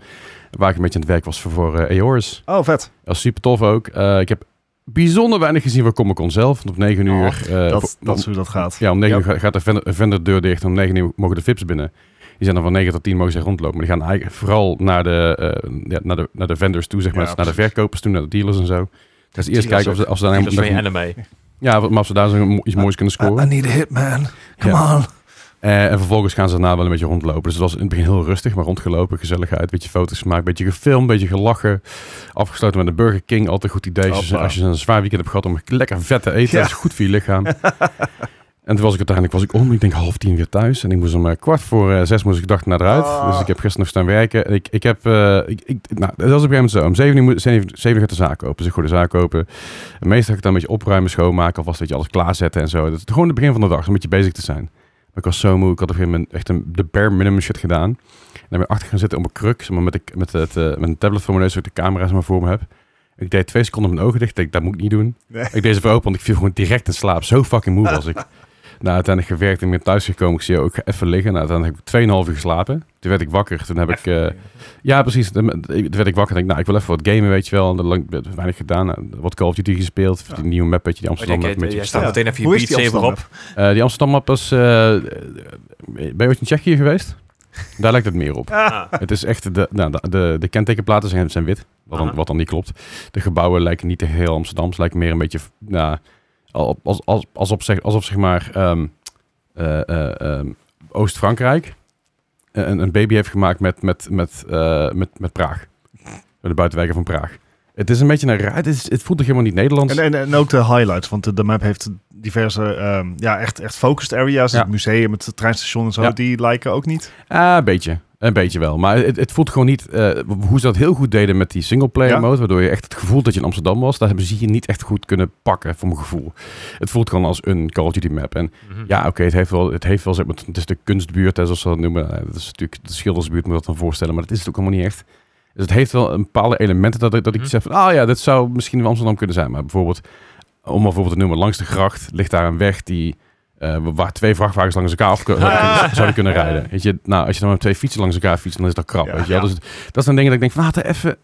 Waar ik een beetje aan het werk was voor, voor eh, Eoris. Oh, vet. Dat was super tof ook. Eh, ik heb bijzonder weinig gezien van Comic Con zelf. Want op negen Oh, uur... eh, dat, voor- dat is hoe dat gaat. ja, om 9 Ja. uur ga- gaat de vendor, vendor deur dicht. Om 9 uur mogen de VIP's binnen. Die zijn dan van 9 tot 10 mogen ze rondlopen. Maar die gaan eigenlijk vooral naar de, eh, ja, naar de, naar de vendors toe, zeg maar. Ja, Dus naar de precies. verkopers toe, naar de dealers en zo. Gaan ze eerst Dealers kijken of ze, of ze daar Dat is van je helemaal- E. anime. ja, maar of ze daar zo iets moois kunnen scoren. I, I need a hit, man. Come Ja. on. Eh, en vervolgens gaan ze daarna wel een beetje rondlopen. Dus het was in het begin heel rustig, maar rondgelopen, gezelligheid, een beetje foto's gemaakt, een beetje gefilmd, een beetje gelachen. Afgesloten met de Burger King, altijd een goed idee. Als je- Hoppa. als je een zwaar weekend hebt gehad om lekker vet te eten, Ja. dat is goed voor je lichaam. en toen was ik uiteindelijk was ik om, ik denk half tien weer thuis. En ik moest om eh, kwart voor eh, zes moest ik dag naar eruit. Ah. Dus ik heb gisteren nog staan werken. En Ik, ik heb, eh, ik, ik, nou, dat was op een gegeven moment zo. Om zeven uur, moet- zeven, zeven uur gaat de zaak open. Dus ik gooi de zaak open. En meestal ga ik dan een beetje opruimen, schoonmaken, alvast weet je, alles klaarzetten en zo. Dat is gewoon het begin van de dag, om een beetje bezig te zijn. Maar ik was zo moe. Ik had op een gegeven moment echt een, de bare minimum shit gedaan. En dan ben ik achter gaan zitten op mijn kruk. Zeg maar, met, de, met, het, eh, met een tablet voor mijn neus, zodat ik de camera zeg maar, voor me heb. Ik deed twee seconden mijn ogen dicht. Ik denk, dat moet ik niet doen. Nee. Ik deed ze weer open, want ik viel gewoon direct in slaap. Zo fucking moe was ik. Nou, uiteindelijk gewerkt en weer thuis gekomen. Ik zie ook, ik ga even liggen. Nou, uiteindelijk heb ik 2,5 uur geslapen. Toen werd ik wakker. Toen heb ik... eh, ja, precies. Toen eh, toen werd ik wakker en denk, nou, ik wil even wat gamen, weet je wel. En dat lang, weinig gedaan. Nou, wat Call of Duty gespeeld. Ja. Die nieuwe map, weet je, die Oh, Amsterdam jij- map. eh, een beetje jij- jij staat Ja. meteen even je Hoe is Beat die Saber op. eh, die Amsterdam-map is... eh, eh, ben je ooit in Tsjechië geweest? Daar lijkt het meer op. Ah. Het is echt... De, nou, de, de, de kentekenplaten zijn, zijn wit, wat dan, Aha. wat dan niet klopt. De gebouwen lijken niet heel Amsterdams. Lijken meer een beetje... Nou, al- als, als, alsof, zeg, alsof zeg maar... ehm, eh, eh, ehm, Oost-Frankrijk eh, een, een baby heeft gemaakt met, met, met, eh, met, met Praag. De buitenwijken van Praag. Het is een beetje een raar... Het, is, het voelt toch helemaal niet Nederlands? En, en, en ook de highlights, want de, de map heeft diverse, ehm, ja, echt, echt focused areas. Ja. Het museum, het treinstation en zo, Ja. die lijken ook niet. Ah, een beetje. Een beetje wel. Maar het, het voelt gewoon niet... eh, hoe ze dat heel goed deden met die singleplayer Ja. mode... waardoor je echt het gevoel dat je in Amsterdam was... daar hebben ze hier niet echt goed kunnen pakken, voor mijn gevoel. Het voelt gewoon als een Call of Duty map. En Mhm. ja, oké, het heeft wel... Het, heeft wel zeg maar, het is de kunstbuurt, hè, zoals ze dat noemen. Eh, Dat is natuurlijk de schildersbuurt, moet je dat dan voorstellen. Maar dat is het ook allemaal niet echt. Dus het heeft wel een bepaalde elementen dat ik, dat ik Mhm. zeg van... Ah ja, dat zou misschien wel Amsterdam kunnen zijn. Maar bijvoorbeeld, om maar bijvoorbeeld te noemen... langs de gracht ligt daar een weg die... eh, waar twee vrachtwagens langs elkaar af kun- Ah. zouden kunnen rijden. Weet je, nou, als je dan met twee fietsen langs elkaar fietst, dan is dat krap. Ja. weet je wel. Ja. Dus dat zijn dingen dat ik denk van, laten we even,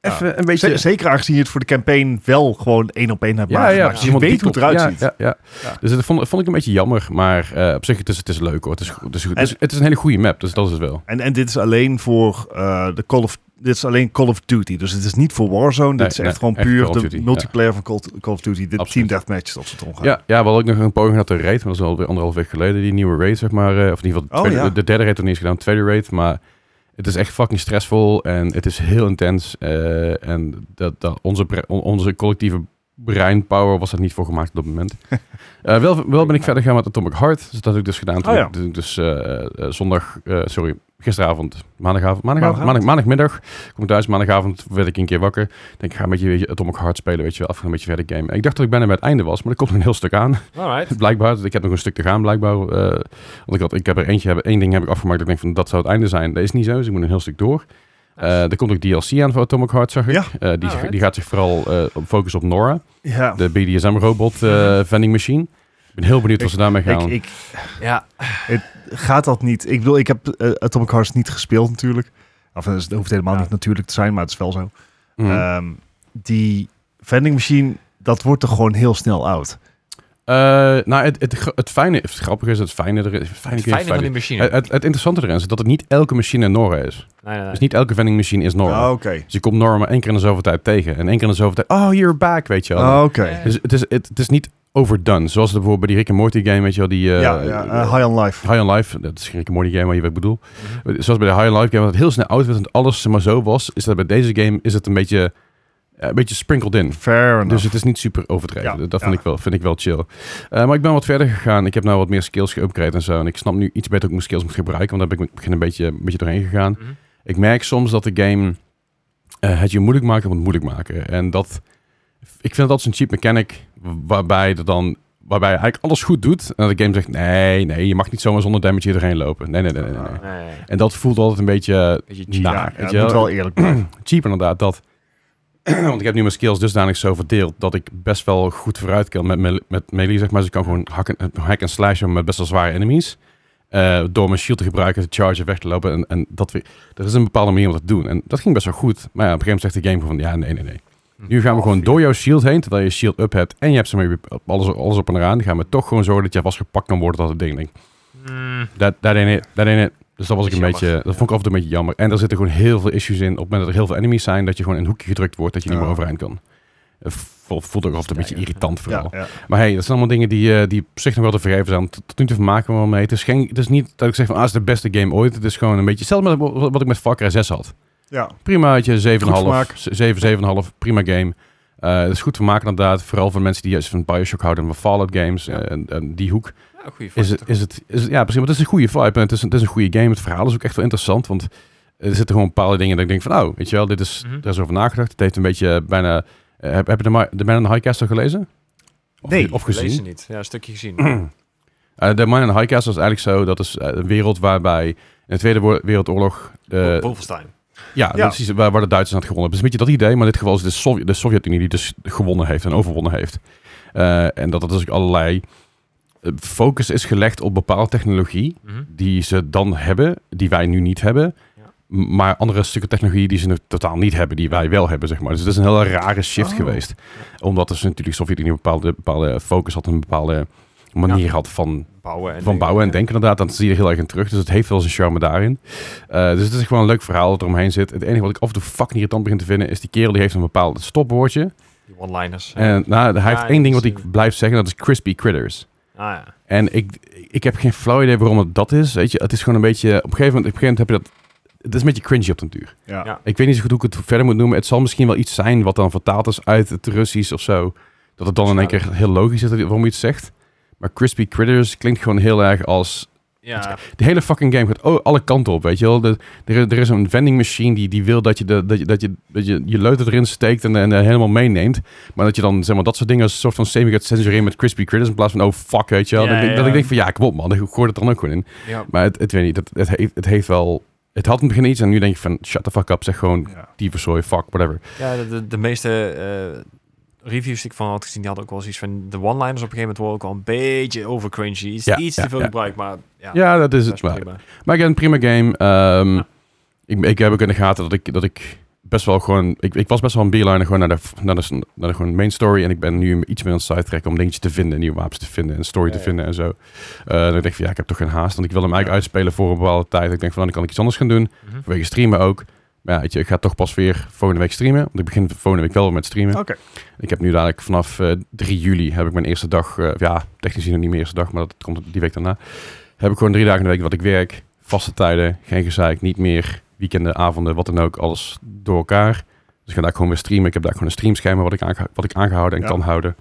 even een beetje... Z- zeker aangezien je het voor de campaign wel gewoon één op één hebt Ja, ja, nagemaakt. als Dus je iemand die weet hoe het klopt. eruit Ja, ziet. Ja, ja, Ja. Dus dat vond, dat vond ik een beetje jammer, maar eh, op zich het is het is leuk hoor. Het is, goed- het is, goed. het is, het is een hele goede map, dus dat is het wel. En, en dit is alleen voor eh, de Call of dit is alleen Call of Duty. Dus dit is niet voor Warzone. Nee, dit is nee, echt gewoon echt puur Call of de Duty, ja. multiplayer van Call, Call of Duty. De team Absoluut. deathmatches of ze het omgaan. Ja, ja, we hadden ook nog een poging gehad de raid, maar dat is alweer anderhalf week geleden, die nieuwe raid zeg maar. eh, of in ieder geval, de, Oh, tweede- ja. de, de derde raid nog niet eens gedaan, de tweede raid, maar het is echt fucking stressvol en het is heel intens. eh, en dat, dat onze, bre- on- onze collectieve breinpower was er niet voor gemaakt op dat moment. Eh, wel, wel ben ik verder gaan met Atomic Heart, dus dat heb ik dus gedaan. Toen Oh, ja. ik- toen ik dus eh, eh, zondag, eh, sorry, gisteravond, maandagavond, maandagavond, Maandagavond. maandag, maandagmiddag, kom ik thuis, maandagavond werd ik een keer wakker. Ik denk, ik ga een beetje, beetje Atomic Heart spelen, weet je wel, af en een beetje verder game. En ik dacht dat ik bijna bij het einde was, maar er komt nog een heel stuk aan. Alright. Blijkbaar, dus ik heb nog een stuk te gaan blijkbaar. eh, want ik, had, ik heb er eentje, heb, één ding heb ik afgemaakt. dat Ik denk van dat zou het einde zijn. Dat is niet zo, dus ik moet een heel stuk door. Eh, er komt ook DLC aan voor Atomic Heart, zag ik. Ja. Eh, die, Alright. die gaat zich vooral eh, op focussen op Nora, Ja. de BDSM-robot eh, vending machine. Ik ben heel benieuwd wat ze daarmee Ik, gaan. ik, Ja, gaat dat niet. Ik bedoel, ik heb eh, Atomic Hearts niet gespeeld natuurlijk. Of eh, het hoeft helemaal Ja. niet natuurlijk te zijn, maar het is wel zo. Mhm. Ehm, die vending machine, dat wordt er gewoon heel snel oud. Eh, nou, het, het, gra- het fijne, het grappige is, het fijne, er, het fijne, het kun je fijne van die fijn- machine. het, het, het interessante erin is dat het niet elke machine Nora is. nee, nee, nee. Dus niet elke vending machine is Nora. Ah, Oké. Dus je komt Nora maar één keer in de zoveel tijd tegen. En één keer in de zoveel tijd, oh, you're back, weet je wel. Ah, Oké. Ja. Dus het is, het, het is niet overdone. Zoals het bijvoorbeeld bij die Rick and Morty game, weet je wel, die... eh, ja, ja, eh, eh, High on Life. High on Life, dat is geen Rick and Morty game, maar je weet wat ik bedoel. Mhm. Zoals bij de High on Life game, wat het heel snel oud werd en alles maar zo was, is dat bij deze game is het een beetje, eh, een beetje sprinkled in. Fair enough. Dus het is niet super overdreven. Ja, dat vind, ja. ik wel, vind ik wel chill. Eh, maar ik ben wat verder gegaan. Ik heb nou wat meer skills geüpgrade en zo. En ik snap nu iets beter hoe ik mijn skills moet gebruiken. Want daar ben ik in het begin een beetje, een beetje doorheen gegaan. Mhm. Ik merk soms dat de game eh, het je moeilijk maakt om het moeilijk maken. En dat, ik vind dat altijd een cheap mechanic, waarbij er dan waarbij hij eigenlijk alles goed doet. En dat de game zegt, nee, nee, je mag niet zomaar zonder damage hierheen lopen. Nee, nee, nee, nee. nee. Nee, En dat voelt altijd een beetje eh, beetje cheap. naar. ja, Nou, weet ja, je dat moet wel eerlijk blijven. cheap inderdaad dat. Want ik heb nu mijn skills dusdanig zo verdeeld dat ik best wel goed vooruit kan met, me- met melee, zeg maar. Dus ik kan gewoon hack en, hack en slash doen met best wel zware enemies. Eh, door mijn shield te gebruiken, te chargen, weg te lopen. En, en dat weer, er is een bepaalde manier om dat te doen. En dat ging best wel goed. Maar ja, op een gegeven moment zegt de game gewoon van, ja, nee, nee, nee. Nu Oh, Oh, gaan we gewoon door jouw shield heen, terwijl je shield up hebt en je hebt zeg maar, je- alles, alles op en eraan. Dan gaan we toch gewoon zorgen dat je vastgepakt kan worden dat het ding. Mm, Dat that ain't it. That ain't it. Dus dat was ik Dat een is beetje, jammer. dat vond ik altijd een beetje jammer. En er zitten gewoon heel veel issues in. Op het moment dat er heel veel enemies zijn, dat je gewoon in een hoekje gedrukt wordt, dat je niet Ja. meer overeind kan. Het vo- voelt ook altijd een beetje Ja, ja. irritant vooral. Ja, ja. Maar hey, dat zijn allemaal dingen die, eh, die op zich nog wel te vergeven zijn. Tot, tot nu toe vermaken we wel mee. Het is, geen, het is niet dat ik zeg van, ah, het is de beste game ooit. Het is gewoon een beetje, hetzelfde met wat wat ik met Far Cry 6 had. ja. Prima, had je 7,5. vermaak. 7, 7,5, prima game. Eh, het is goed vermaak inderdaad. Vooral voor mensen die juist van Bioshock houden, van Fallout games Ja. eh, en, en die hoek ja, goeie is vraag. het, is het, is het- ja, precies. Maar het is een goede vibe. En het is, een- het is een goede game. Het verhaal is ook echt wel interessant. Want er zitten gewoon bepaalde dingen dat ik denk van, oh, weet je wel, dit is, Mhm. daar is over nagedacht. Het heeft een beetje bijna... eh, heb, heb je de, Ma- de Man in the High Castle gelezen? Of, Nee. Of Lezen gezien? niet. Ja, een stukje gezien. Eh, de Man in the High Castle is eigenlijk zo, dat is eh, een wereld waarbij in de Tweede Wo- Wereldoorlog... eh, Wo- Wolfenstein. ja, Ja. precies, waar, waar de Duitsers aan het gewonnen hebben. Dus een beetje dat idee, maar in dit geval is het de, Sovjet, de Sovjet-Unie die dus gewonnen heeft en overwonnen heeft. Eh, en dat er dus ook allerlei eh, focus is gelegd op bepaalde technologie Mhm. die ze dan hebben, die wij nu niet hebben. Ja. M- Maar andere stukken technologie die ze nog totaal niet hebben, die wij wel hebben, zeg maar. Dus het is een hele rare shift Oh. geweest. Omdat dus natuurlijk de Sovjet-Unie een bepaalde, bepaalde focus had, een bepaalde manier had van, Bouwen en van bouwen en denken inderdaad. Dat zie je er heel erg in terug. Dus het heeft wel zijn charme daarin. Eh, dus het is gewoon een leuk verhaal dat er omheen zit. Het enige wat ik af en toe fucking irritant begin te vinden, is die kerel die heeft een bepaald stopwoordje. Die one-liners. En nou, hij heeft Ja, één ding dat wat is, ik blijf zeggen, dat is crispy critters. Ah ja. En ik, ik heb geen flauw idee waarom het dat is. Weet je, het is gewoon een beetje. Op een gegeven moment, op een gegeven moment heb je dat. Het is een beetje cringy op den duur. Ja. Ja. Ik weet niet zo goed hoe ik het verder moet noemen. Het zal misschien wel iets zijn wat dan vertaald is uit het Russisch of zo. Dat het dan in één keer heel logisch is dat- waarom je het zegt. Maar Crispy Critters klinkt gewoon heel erg als... Ja, De hele fucking game gaat oh, alle kanten op, weet je wel. De, er, er is een vending machine die, die wil dat je, de, dat je, dat je, dat je je leuter erin steekt en, en eh, helemaal meeneemt. Maar dat je dan zeg maar, dat soort dingen als een soort van semi gaat censureren met Crispy Critters in plaats van oh fuck, weet je wel. Ja, dat, ik, dat ja. ik denk van ja, kom op man, ik gooi het dan ook gewoon in. ja. Maar het, het, weet niet, het, het, heeft, het heeft wel... Het had in het begin iets en nu denk je van shut the fuck up, zeg gewoon Ja. dieverzooi, fuck, whatever. Ja, de, de, de meeste eh, reviews die ik van had gezien, die hadden ook wel zoiets van... De one-liners op een gegeven moment worden ook wel een beetje over cringy. Iets, Ja, iets ja, te veel ja. gebruikt, maar ja. Ja, dat is dat het. is Maar, prima. maar again, prima game. Ehm, Ja. ik, ik heb ook in de gaten dat ik, dat ik best wel gewoon... Ik, ik was best wel een beeline gewoon naar de, naar, de, naar de gewoon main story. En ik ben nu iets meer aan het sidetracken om dingetjes te vinden. Nieuwe wapens te vinden en story Ja, te ja. vinden en zo. Eh, dan denk ik van ja, ik heb toch geen haast. Want ik wil hem eigenlijk uitspelen voor een bepaalde tijd. Ik denk van dan kan ik iets anders gaan doen. Mhm. Vanwege streamen ook. Maar ja, weet je, ik ga toch pas weer volgende week streamen. Want ik begin volgende week wel weer met streamen. Oké. Ik heb nu dadelijk vanaf eh, 3 juli heb ik mijn eerste dag, eh, ja, technisch gezien nog niet mijn eerste dag, maar dat komt die week daarna. Heb ik gewoon drie dagen in de week wat ik werk, vaste tijden, geen gezeik, niet meer weekenden, avonden, wat dan ook, alles door elkaar. Dus ik ga daar gewoon weer streamen. Ik heb daar gewoon een streamschema wat ik, aange- wat ik aangehouden en Ja. kan houden.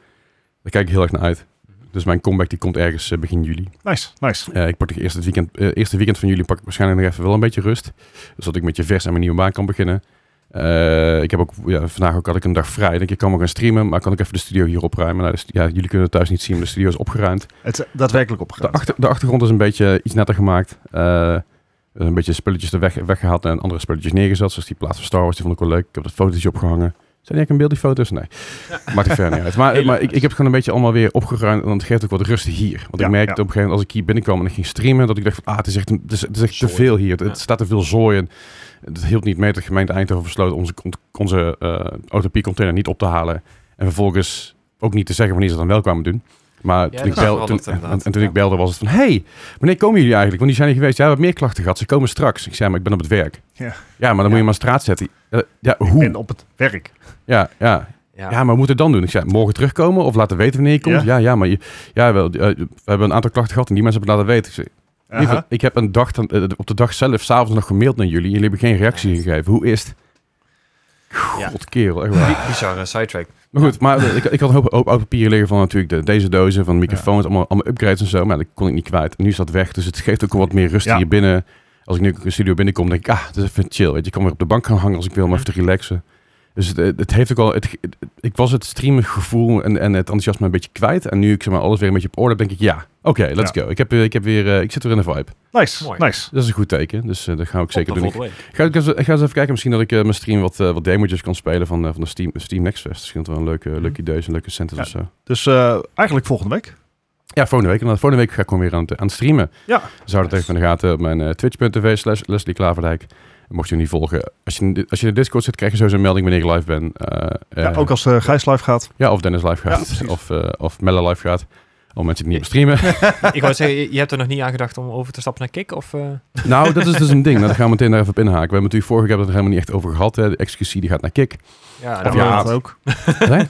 Daar kijk ik heel erg naar uit. Dus mijn comeback die komt ergens eh, begin juli. Nice, nice. Eh, ik pak het eerste weekend, eh, eerste weekend van jullie pak ik waarschijnlijk nog even wel een beetje rust. Zodat ik met je vers aan mijn nieuwe baan kan beginnen. Eh, ik heb ook, ja, vandaag ook had ik een dag vrij. Ik denk, ik kan wel gaan streamen, maar kan ik even de studio hier opruimen? Nou, dus, ja, jullie kunnen het thuis niet zien, maar de studio is opgeruimd. Het is daadwerkelijk De, opgegaan. achter, de achtergrond is een beetje iets netter gemaakt. Eh, er is een beetje spulletjes er weg, weggehaald en andere spulletjes neergezet. Zoals die plaats van Star Wars, die vond ik wel leuk. Ik heb dat fotootje opgehangen. Zijn die eigenlijk in beeld, die foto's? Nee. Maakt er verder niet uit. Maar, Hele maar ik, nice. ik heb gewoon een beetje allemaal weer opgeruimd. En dat geeft ook wat rust hier. Want Ja, ik merkte ja. op een gegeven moment, als ik hier binnenkwam en ik ging streamen, dat ik dacht van, ah, het is echt, een- het is, het is echt te Zooi. veel hier. Het, Ja. het staat te veel zooi. En het hield niet mee dat de gemeente Eindhoven besloot onze, ont- onze eh autopiecontainer niet op te halen. En vervolgens ook niet te zeggen wanneer ze het dan wel kwamen doen. Maar Ja, toen, ik, dat is bel, toen, veranderd inderdaad. en- en toen Ja. ik belde was het van... hey, wanneer komen jullie eigenlijk? Want die zijn er geweest. Ja, we hebben meer klachten gehad. Ze komen straks. Ik zei, maar ik ben op het werk. Ja. ja maar dan moet je maar straat zetten. Eh, Ja, Ik hoe? ben op het werk. Ja, ja. Ja, Ja. maar we moeten het dan doen. Ik zei, morgen terugkomen of laten weten wanneer je komt. Ja, Ja. ja, maar je, ja, wel, eh, we hebben een aantal klachten gehad en die mensen hebben het laten weten. Ik, zei, in ieder Aha. geval, ik heb een dag, dan- eh, op de dag zelf, s'avonds nog gemaild naar jullie. Jullie hebben geen reactie gegeven. Hoe is het? Ja. God, kerel, echt waar. Bi- Bizarre sidetrack. Maar goed, maar eh, ik, ik had een hoop, hoop oud papieren liggen van natuurlijk de, deze dozen, van microfoons, allemaal, allemaal upgrades en zo. Maar dat kon ik niet kwijt. En nu is dat weg, dus het geeft ook wel wat meer rust Ja. hier binnen. Als ik nu de studio binnenkom, denk ik, ah, het is even chill. Weet je, ik kan weer op de bank gaan hangen als ik wil, om even te relaxen. Dus het, het heeft ook al. Het, het- ik was het streamen gevoel en, en het enthousiasme een beetje kwijt. En nu ik zeg maar alles weer een beetje op orde heb, denk ik ja. Oké, let's go. Ik, heb, weer- ik, heb weer, eh, ik zit weer in de vibe. Nice, Mooi. nice. Dat is een goed teken. Dus eh, dat ga ik zeker Op doen. naar Ik volgende week. ga, ik eens- ik ga eens even kijken. Misschien dat ik eh, mijn stream wat, eh, wat demo'tjes kan spelen van, eh, van de Steam, Steam Next Fest. Misschien dat wel een leuke, leuke idee is, een leuke sentence Mhm. Ja. of zo. Dus eh, eigenlijk volgende week. Ja, volgende week. En dan volgende week ga ik gewoon weer aan het, aan het streamen. Ja. Dus hou dat even in de gaten op mijn eh, twitch.tv slash Leslie Klaverdijk. En mocht je niet volgen, als je, in de- als je in de Discord zit, krijg je sowieso een melding wanneer ik live ben. Eh, Ja, eh, ook als eh Gijs live gaat. ja, of Dennis live Ja, gaat. precies. of eh of Melle live gaat. Al mensen die niet op streamen. Ik wou zeggen, je- je hebt er nog niet aan gedacht om over te stappen naar Kik? Of, eh? nou, dat is dus een ding. Nou, Daar gaan we meteen daar even op inhaken. We hebben natuurlijk vorige keer het er helemaal niet echt over gehad. Hè. De executie die gaat naar Kik. Ja, Of dan- ja. Amaranth ook. Nee?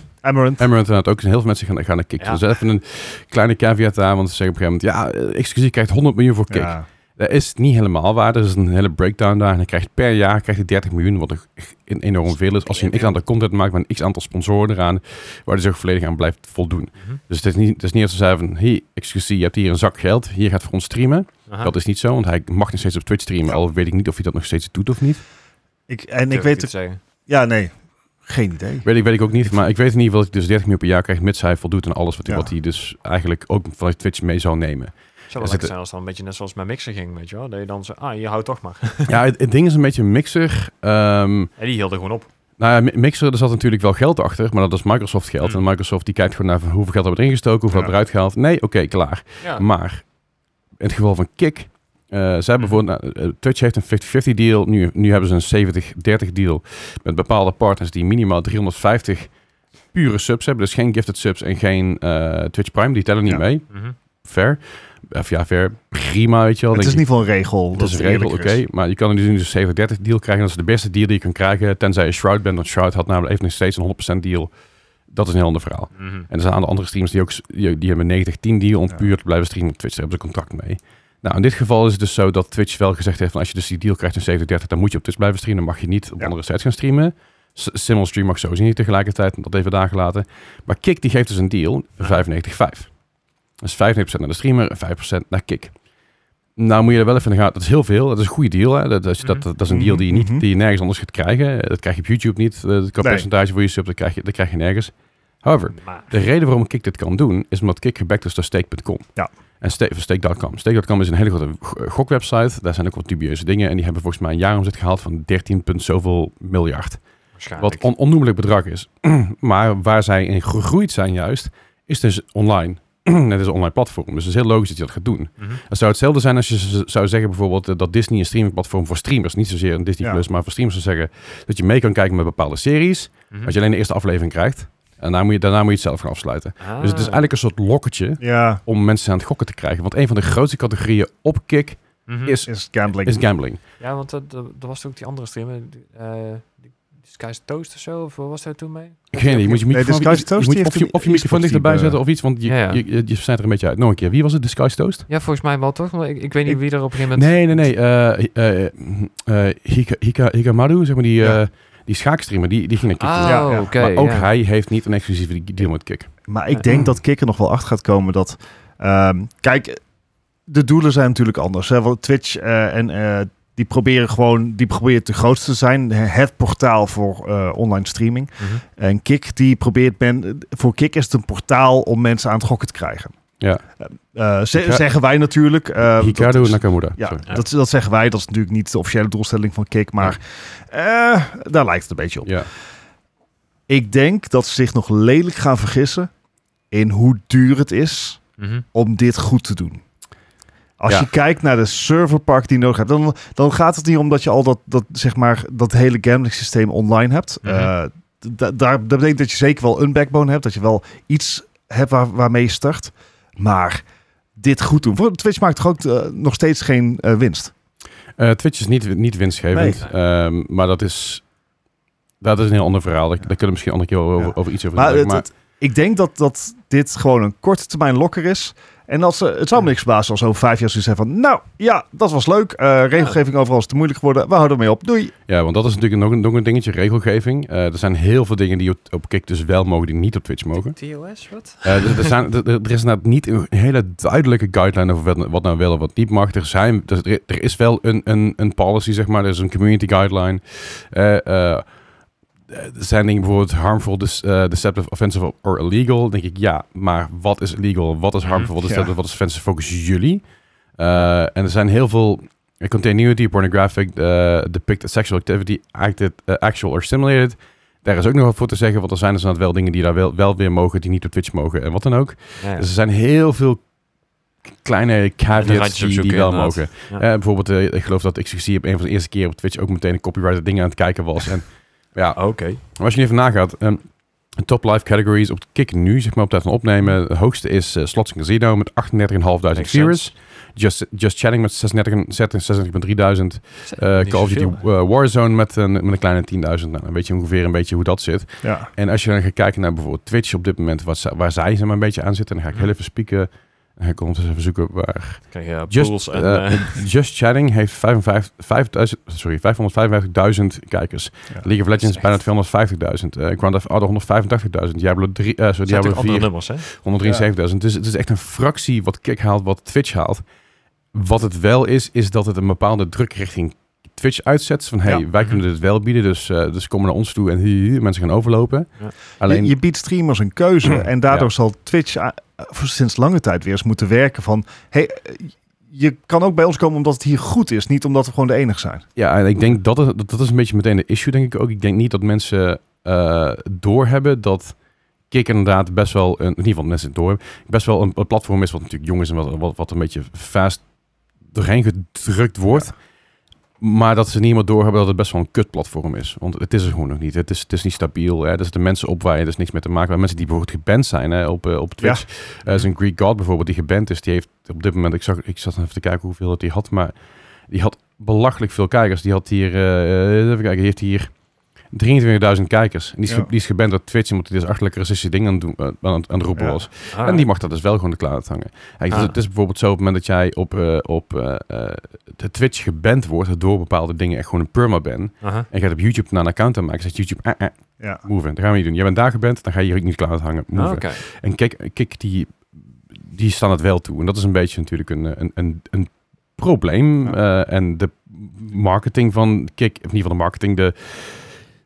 Amaranth Amaranth. inderdaad ook. En heel veel mensen gaan, gaan naar Kik. Ja. Dus even een kleine caveat daar. Want ze zeggen op een gegeven moment... Ja, eh, executie krijgt 100 miljoen voor Kik. Ja. Dat is niet helemaal waar. Er is een hele breakdown daar. En hij krijgt per jaar krijgt hij 30 miljoen, wat er echt een- enorm veel is. Als hij een x aantal content maakt met een x aantal sponsoren eraan, waar hij zich volledig aan blijft voldoen. Mhm. Dus het is niet, het is niet als ze zeggen van, hey, excuseer, je hebt hier een zak geld, hier gaat voor ons streamen. Aha. Dat is niet zo, want hij mag nog steeds op Twitch streamen, al weet ik niet of hij dat nog steeds doet of niet. Ik, en Durf ik weet... het- zeggen. Ja, nee. Geen idee. Weet ik, weet ik ook niet, maar ik weet in ieder geval dat hij dus 30 miljoen per jaar krijgt, mits hij voldoet aan alles wat, hij- Ja. wat hij dus eigenlijk ook vanuit Twitch mee zou nemen. Zou Er zitten- wel lekker zijn als dan een beetje net zoals mijn mixer ging, weet je wel. Dat je dan zo, ah, je houdt toch maar. ja, het, het ding is een beetje een mixer. Ehm, En die hield er gewoon op. Nou ja, Mi- Mixer, er zat natuurlijk wel geld achter, maar dat is Microsoft geld. Hmm. En Microsoft die kijkt gewoon naar van hoeveel geld hebben we erin gestoken, hoeveel Ja. hebben we eruit gehaald. Nee, oké, klaar. Ja. Maar in het geval van Kik, eh zij Mhm. hebben bijvoorbeeld, nou, eh, Twitch heeft een 50-50 deal, nu, nu hebben ze een 70-30 deal met bepaalde partners die minimaal 350 pure subs hebben. Dus geen gifted subs en geen eh, Twitch Prime, die tellen niet Ja. mee. Mhm. Fair. Of ja, fair. Prima, weet je wel. Denk Het is in ik. ieder geval een regel. Dat is een regel, oké. eerlijker is. Maar je kan nu dus een 70-30 deal krijgen. Dat is de beste deal die je kan krijgen. Tenzij je Shroud bent. Want Shroud had namelijk even nog steeds een 100% deal. Dat is een heel ander verhaal. Mhm. En er zijn andere streamers die ook s- die, die hebben een 90-10 deal om Ja. puur te blijven streamen op Twitch. Daar hebben ze contract mee. Nou, in dit geval is het dus zo dat Twitch wel gezegd heeft van als je dus die deal krijgt in 70-30, dan moet je op Twitch blijven streamen. Dan mag je niet op Ja. andere sites gaan streamen. S- Simul Stream mag sowieso niet tegelijkertijd, want dat even daar gelaten. Maar Kik die geeft dus een deal, 95-5. Dus 95% naar de streamer en 5% naar Kik. Nou moet je er wel even in de gaten, dat is heel veel, dat is een goede deal. Hè? Dat, dat, dat, dat is een deal die je, niet, Mhm. die je nergens anders gaat krijgen. Dat krijg je op YouTube niet, Eh, dat kan Nee. percentage voor je sub, dat krijg je, dat krijg je nergens. However, Maar, de reden waarom Kik dit kan doen, is omdat Kik gebacked is door Stake.com. Ja. En Sta- of Stake.com. Stake.com is een hele grote go- eh, gokwebsite. Daar zijn ook wat dubieuze dingen. En die hebben volgens mij een jaaromzet gehaald van 13 punt zoveel miljard. waarschijnlijk. Wat on onnoemelijk bedrag is. maar waar zij in gegroeid zijn juist, is dus online. Het is een online platform. Dus het is heel logisch dat je dat gaat doen. Mhm. Het zou hetzelfde zijn als je z- zou zeggen bijvoorbeeld eh, dat Disney een streamingplatform voor streamers, niet zozeer een Disney Ja. Plus, maar voor streamers zou zeggen dat je mee kan kijken met bepaalde series, Hm. Mhm. dat je alleen de eerste aflevering krijgt. En daarna moet je, daarna moet je het zelf gaan afsluiten. Ah. Dus het is eigenlijk een soort lokketje Ja, om mensen aan het gokken te krijgen. Want een van de grootste categorieën op kick Mhm. is, is gambling. is gambling. Ja, want dat, dat, dat was ook die andere streamer. die, eh, die Sky's Toast of zo, of wat was daar toen mee? Geen idee, je moet je Nee, microfoon- Disguised je- Toast, je moet- die of je, heeft een eh. of je microfoon e-sportieve- dichterbij zetten of iets, want je, Ja, ja. je, je, je snijdt er een beetje uit. Nog een keer, wie was het? Disguised Toast? Ja, volgens mij wel toch? Maar ik, ik weet niet Ik- wie er op een gegeven moment... Nee, nee, nee. eh eh, eh, Hika, Hika, Hikamaru, zeg maar, die, eh, Ja. die schaakstreamer, die, die ging naar kick. toe. Ah, Ja, ja. oké. maar ook ja. hij heeft niet een exclusieve deal met kick. Maar ik denk dat Kikker nog wel achter gaat komen dat... ehm, kijk, de doelen zijn natuurlijk anders. Hè? Want Twitch eh, en eh, die proberen gewoon... Die proberen de grootste te zijn. Het portaal voor eh, online streaming. Mhm. En Kik die probeert men... Voor Kik is het een portaal om mensen aan het gokken te krijgen. Ja. Eh, ze- Hika- zeggen wij natuurlijk. eh, Hikaru dat is- Nakamura. ja, sorry. dat, dat zeggen wij. Dat is natuurlijk niet de officiële doelstelling van Kik. Maar eh, daar lijkt het een beetje op. Ja. Ik denk dat ze zich nog lelijk gaan vergissen in hoe duur het is Mhm. om dit goed te doen. Als Ja. je kijkt naar de serverpark die je nodig hebt, dan, dan gaat het niet om dat je al dat, dat, zeg maar, dat hele gambling systeem online hebt. Mhm. Eh, d- da- daar, dat betekent dat je zeker wel een backbone hebt, dat je wel iets hebt waar, waarmee je start. Maar dit goed doen. Voor Twitch maakt toch ook eh, nog steeds geen eh, winst. Eh, Twitch is niet, niet winstgevend, Ehm, maar dat is, dat is een heel ander verhaal. Daar, daar kunnen we misschien een andere keer over, Ja. over iets over Maar, nadenken, het, het- ik denk dat, dat dit gewoon een korte termijn lokker is. En als, ze- het zou me niks verbazen als over vijf jaar zoiets zijn van... Nou, ja, dat was leuk. Eh, regelgeving overal is te moeilijk geworden. We houden ermee op. Doei. Ja, want dat is natuurlijk nog een, nog een dingetje, regelgeving. Eh, er zijn heel veel dingen die op, op Kik dus wel mogen, die niet op Twitch mogen. TOS, wat? Eh, er- er, zijn, er, er is inderdaad niet een hele duidelijke guideline over wat, wat nou wel en wat niet mag. Er, zijn, dus er, er is wel een, een, een policy, zeg maar. Er is een community guideline. Eh, eh, eh, zijn dingen bijvoorbeeld harmful, dis- eh, deceptive, offensive or illegal? Dan denk ik ja, maar wat is illegal? Wat is harmful? Wat is Ja. deceptive? Wat is offensive? Focus jullie. Eh, en er zijn heel veel eh, continuity, pornographic, eh, depict sexual activity, acted, eh, actual or simulated. Daar is ook nog wat voor te zeggen, want er zijn dus inderdaad wel dingen die daar wel, wel weer mogen, die niet op Twitch mogen en wat dan ook. Ja, Dus er zijn heel veel k- kleine caveats randjes die, die opzoeken, wel inderdaad. mogen. Ja. Eh, bijvoorbeeld, eh, ik geloof dat XQC op een van de eerste keer op Twitch ook meteen een copyrighted ding aan het kijken was. En ja, Ah, Oké. maar als je niet even nagaat, ehm, de top live categories op de kick nu, zeg maar op tijd van opnemen. De hoogste is eh, Slots Casino met 38.500 Makes viewers. Just, Just Chatting met 36.300. Eh Niet Call of Duty zoveel. eh, Warzone met een, met een kleine 10.000. Nou, dan weet je ongeveer een beetje hoe dat zit. Ja. En als je dan gaat kijken naar bijvoorbeeld Twitch op dit moment, wat, ze- waar zij ze maar een beetje aan zitten, dan ga Mhm. ik heel even spieken. En ga ik ondertussen even zoeken waar. Krijg je eh, Just, pools en... eh, eh, Just Chatting heeft 55 5000 sorry, 555.000 kijkers. Ja. League of Legends echt- bijna 250.000. eh Grand Theft Auto 185.000. Diablo 3, eh sorry, zijn Diablo natuurlijk andere 4 nummers, hè? 173.000. Dus het is echt een fractie wat Kick haalt, wat Twitch haalt. Wat het wel is, is dat het een bepaalde druk richting Twitch uitzet. Van hey, Ja. Mhm. wij kunnen dit wel bieden, dus, eh dus komen naar ons toe en hi, hi, hi, mensen gaan overlopen. Ja. Alleen Je, je biedt streamers een keuze en daardoor Ja. zal Twitch eh, voor sinds lange tijd weer eens moeten werken van... Hey, eh, je kan ook bij ons komen omdat het hier goed is, niet omdat we gewoon de enige zijn. Ja, en ik denk dat, het- dat dat is een beetje meteen de issue, denk ik ook. Ik denk niet dat mensen eh, doorhebben dat Kik inderdaad best wel, een, in ieder geval mensen het doorhebben, best wel een, een platform is wat natuurlijk jong is en wat, wat, wat een beetje fast doorheen gedrukt wordt. Maar dat ze niet meer doorhebben dat het best wel een kutplatform is. Want het is er gewoon nog niet. Het is, het is niet stabiel. Hè. Er zitten mensen op waar je dus niks mee te maken hebt. Mensen die bijvoorbeeld geband zijn hè, op, eh, op Twitch. Eh, Er is een Greek God bijvoorbeeld die geband is. Die heeft op dit moment, ik, zag, ik zat even te kijken hoeveel dat die had. Maar die had belachelijk veel kijkers. Die had hier, eh, even kijken, die heeft hier 23.000 kijkers. En die is, Ja. ge- die is geband door Twitch omdat hij dus achterlijk racistische dingen aan, het doen, eh, aan, het- aan het roepen Ja. was. Ah, En die mag dat dus wel gewoon de klaar hangen. Kijk, het, is, Ah. het is bijvoorbeeld zo op het moment dat jij op, eh, op eh, eh, de Twitch geband wordt door bepaalde dingen echt gewoon een perma ben. aha. En je gaat op YouTube naar een account aanmaken, zegt YouTube, eh, eh, Ja. move in. Dat gaan we niet doen. Jij bent daar geband, dan ga je hier ook niet klaar aan hangen. Move Ah, in. Oké. En kijk, kijk die, die staan het wel toe. En dat is een beetje natuurlijk een, eh, een, een, een probleem. Eh, en de marketing van Kik, of in ieder geval de marketing, de,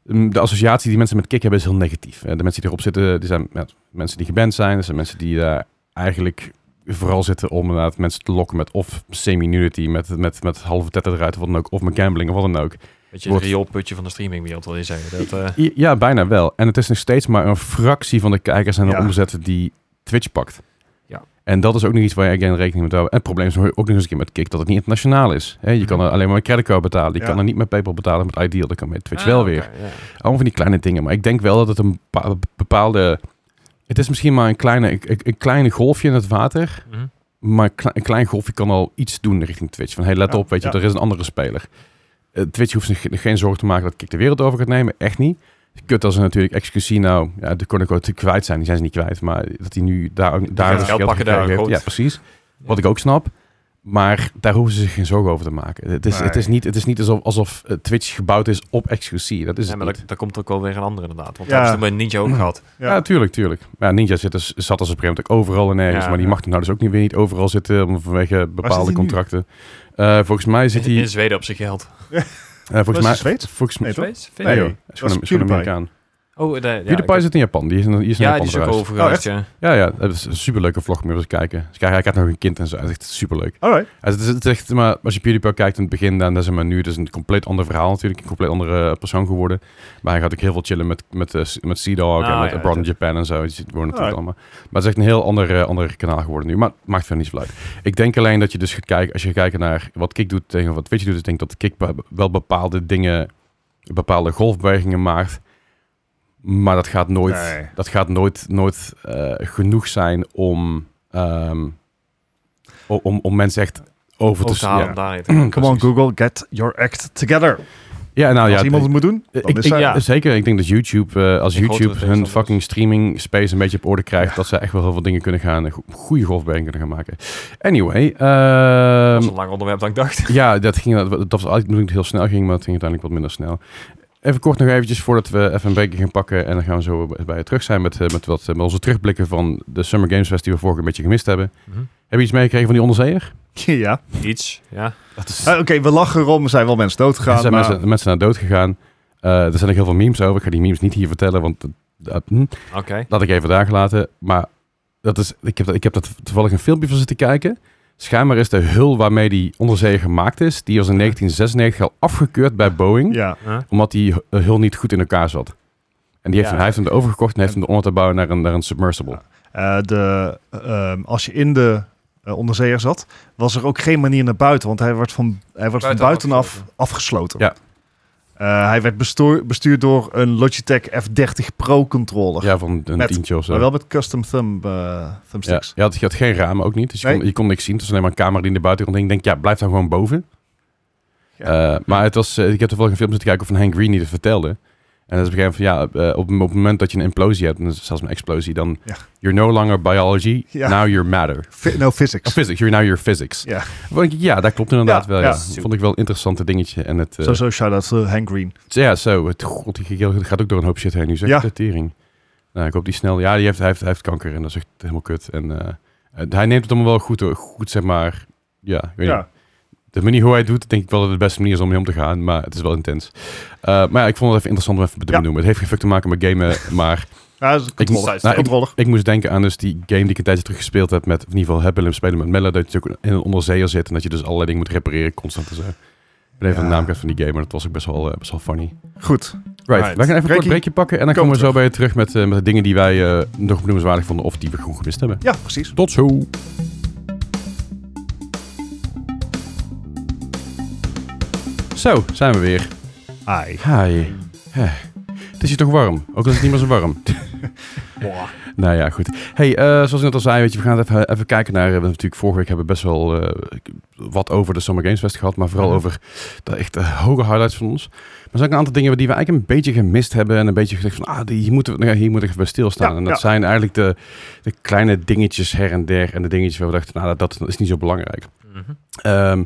mm, de associatie die mensen met Kik hebben is heel negatief. Eh, de mensen die erop zitten, die zijn ja, mensen die geband zijn. Dat zijn mensen die daar eigenlijk vooral zitten om inderdaad mensen te lokken met of semi-nudity, met, met, met halve tetten eruit of wat dan ook, of met gambling of wat dan ook. Beetje het Wordt- rioolputje van de streamingwereld, wil je zeggen. Dat, eh, I- Ja, bijna wel. En het is nog steeds maar een fractie van de kijkers en de Ja. omzetten die Twitch pakt. Ja. En dat is ook nog iets waar je again rekening mee moet houden. En het probleem is ook nog eens een keer met Kik dat het niet internationaal is. Hè, je kan Mhm. er alleen maar met creditcard betalen. Je Ja. kan er niet met PayPal betalen. Met Ideal, dat kan met Twitch ah, wel oké, weer. ja. Allemaal van die kleine dingen. Maar ik denk wel dat het een bepa- bepaalde... Het is misschien maar een kleine, een, een kleine golfje in het water. Mhm. Maar een kle- een klein golfje kan al iets doen richting Twitch. Van hey, let Ja, op, weet je, ja. er is een andere speler. Eh, Twitch hoeft zich ge- geen zorgen te maken dat Kik de wereld over gaat nemen. Echt niet. Kut als ze natuurlijk excusie nou, ja, de Cornico te kwijt zijn. Die zijn ze niet kwijt. Maar dat die nu daar, daar het dus geld pakken, daar gekregen heeft. goed. Ja, precies. Wat ik ook snap. Maar daar hoeven ze zich geen zorgen over te maken. Het is, Nee. het is niet, het is niet alsof, alsof eh, Twitch gebouwd is op excusie. Dat is Ja, Dus het maar niet. dat, daar komt ook wel weer een andere inderdaad. Want Ja. dat is toen bij Ninja ook gehad. Ja, tuurlijk, tuurlijk. Maar ja, Ninja zit dus, zat als een moment ook overal en nergens. Ja. maar die mag er nou dus ook niet weer niet overal zitten om- vanwege zit bepaalde hij nu? contracten. Eh, volgens mij zit hij... In Zweden op zijn geld. eh, volgens Was mij... hij Zweeds? Volgens mij... Nee, toch? Zweeds? Nee, joh. Nee, Hij is dat gewoon is een- is gewoon een PewDiePie. Amerikaan. Oh, nee, ja, PewDiePie ik- zit in Japan. Die is, in- die is naar Ja, die Japan is ook verhuisd. overgeweest, ja. Ja, ja. Dat is een superleuke vlog om even te kijken. Dus kijk, hij krijgt nog een kind en zo. Dat is echt superleuk. Alright. Ja, Het is, het is echt, maar als je PewDiePie kijkt in het begin, dan is hij maar nu. Het is een compleet ander verhaal natuurlijk. Een compleet andere eh, persoon geworden. Maar hij gaat ook heel veel chillen met, met, eh, s- met Sea Dog en Ah, met ja, Ah. Abroad in dat- Japan en zo. Die zit- worden natuurlijk Alright. allemaal. Maar het is echt een heel ander, eh, ander kanaal geworden nu. Maar het maakt verder niet zoveel uit. Ik denk alleen dat je dus gaat kijken, als je gaat kijken naar wat Kik doet tegen wat Twitch doet, is denk ik dat Kik be- wel bepaalde dingen, bepaalde golfbewegingen maakt. Maar dat gaat nooit, Nee. dat gaat nooit, nooit eh, genoeg zijn om, ehm, o- om, om mensen echt over te Over te slaan. halen om Ja. daarheen te gaan. Come on Precies. Google, get your act together. Ja, nou Als ja, iemand het moet doen, ik, dan is ik- hij. ja. zeker. Ik denk dat YouTube, eh, als Ik hoop dat YouTube het hun anders is. fucking streaming space een beetje op orde krijgt, dat ze echt wel heel veel dingen kunnen gaan, goede golfbewegingen kunnen gaan maken. Anyway, Dat ehm, is een lang onderwerp dan ik dacht. Ja, dat ging dat was eigenlijk toen het heel snel ging, maar het ging uiteindelijk wat minder snel. Even kort nog eventjes voordat we even een breakje gaan pakken en dan gaan we zo bij- bij je terug zijn met, eh, met, wat, eh, met onze terugblikken van de Summer Games Fest die we vorige keer een beetje gemist Mhm. hebben. Heb je iets meegekregen van die onderzeeër? ja. Iets, ja. Dat is, eh. Ah, Oké, we Eh, lachen erom, er zijn wel mensen doodgegaan. zijn maar... mensen, mensen naar dood gegaan. Eh, er zijn ook heel veel memes over. Ik ga die memes niet hier vertellen, want dat- dat- hm. Oké. laat ik even daar laten. Maar dat is, ik, heb, dat- ik heb dat toevallig een filmpje van zitten kijken. Schijnbaar is de hul waarmee die onderzeeër gemaakt is, die was in 1996 al afgekeurd bij Boeing, Ja. Huh? omdat die hu- hul niet goed in elkaar zat. En die heeft, Ja. hij heeft hem overgekocht en heeft hem om te bouwen naar een, naar een submersible. Ja. Eh, de, ehm, als je in de eh, onderzeeër zat, was er ook geen manier naar buiten. Want hij werd van, hij werd Buiten van buitenaf afgesloten. afgesloten. afgesloten. Ja. Eh, hij werd bestoor- bestuurd door een Logitech F30 Pro controller. Ja, van een Met- tientje of zo. Maar wel met custom thumb, eh, ja, thumbsticks. je, had, je had geen ramen ook niet, dus je, Nee. kon, je kon niks zien. Het was alleen maar een camera die naar buiten kon. Ik denk, ja, blijf dan gewoon boven. Ja. Eh, maar het was, eh, ik heb toevallig een film zitten kijken van Hank Green die het vertelde. En dat is begrepen van ja, eh, op, op het moment dat je een implosie hebt, en dat is zelfs een explosie, dan Ja. you're no longer biology, Ja. now you're matter. Fi- no physics. Of physics, you're now your physics. Ja. Vond ik, ja, dat klopt inderdaad Ja, wel. Ja. ja. Vond ik wel een interessante dingetje. En het, eh, Zo, zo, shout-out to Hank Green. ja, zo. Het, god, die geel gaat ook door een hoop shit heen. Nu zegt Ja. de tering. Nou, ik hoop die snel. Ja, die heeft, hij, heeft, hij heeft kanker en dat is echt helemaal kut. En eh, eh, hij neemt het allemaal wel goed, hoor. goed zeg maar. Ja, ik weet niet. Ja. De manier hoe hij het doet, denk ik wel dat het de beste manier is om mee om te gaan. Maar het is wel intens. Eh, maar ja, ik vond het even interessant om even te Ja. benoemen. Het heeft geen fuck te maken met gamen, maar Ja, dat is een controller. nou, ik- Controller. ik moest denken aan dus die game die ik een tijdje terug gespeeld heb met, of in ieder geval heb willen spelen met Mella, dat je ook in een onderzeeër zit en dat je dus allerlei dingen moet repareren constant en zo. Ik ben even Ja. de naam kwijt van die game, maar dat was ook best wel, eh, best wel funny. Goed. Right, Right. we gaan even een kort Breakie. breakje pakken en dan Komen komen we zo bij je terug met, eh, met de dingen die wij eh, nog benoemenswaardig vonden of die we gewoon gemist hebben. Ja, precies. Tot zo! Zo, zijn we weer. Hi. Hi. Hè. Het is hier toch warm, ook al is het niet meer zo warm. Nou ja, goed. Hey, eh, zoals ik net al zei, weet je, we gaan even, even kijken naar. eh, We hebben natuurlijk vorige week hebben we best wel eh, wat over de Summer Games Fest gehad, maar vooral Mhm. over de echt eh, hoge highlights van ons. Maar er zijn ook een aantal dingen die we eigenlijk een beetje gemist hebben en een beetje gezegd van, ah, die, hier moeten we, nou ja, hier moet ik even bij stilstaan. Ja, en dat ja. zijn eigenlijk de, de kleine dingetjes her en der en de dingetjes waar we dachten, nou, dat, dat is niet zo belangrijk. Mhm. Ehm,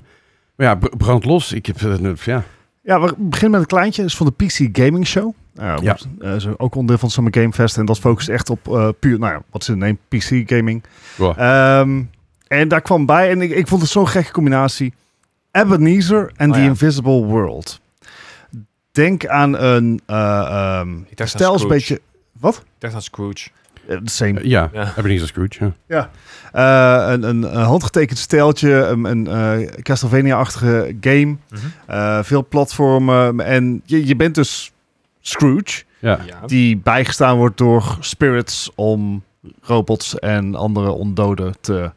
maar ja, br- brand los. Ik heb, eh, ja, Ja, we beginnen met een kleintje. Dat is van de PC Gaming Show. Eh, Ja. eh, zo- ook onderdeel van Summer Game Fest. En dat focust echt op eh, puur, nou ja, wat is het neem? PC gaming. Wow. Ehm, en daar kwam bij, en ik, ik vond het zo'n gekke combinatie. Ebenezer en Oh The ja. Invisible World. Denk aan een eh ehm Ik dacht aan stel is een Scrooge. beetje... Wat? Ik dacht aan Scrooge. Eh, same. ja, Ja. Ebenezer Scrooge. Ja. Eh, een, een, een handgetekend steltje, een, een eh, Castlevania-achtige game. Mhm. Eh, veel platformen. En je, je bent dus Scrooge, Ja. Ja. die bijgestaan wordt door spirits om robots en andere ondoden te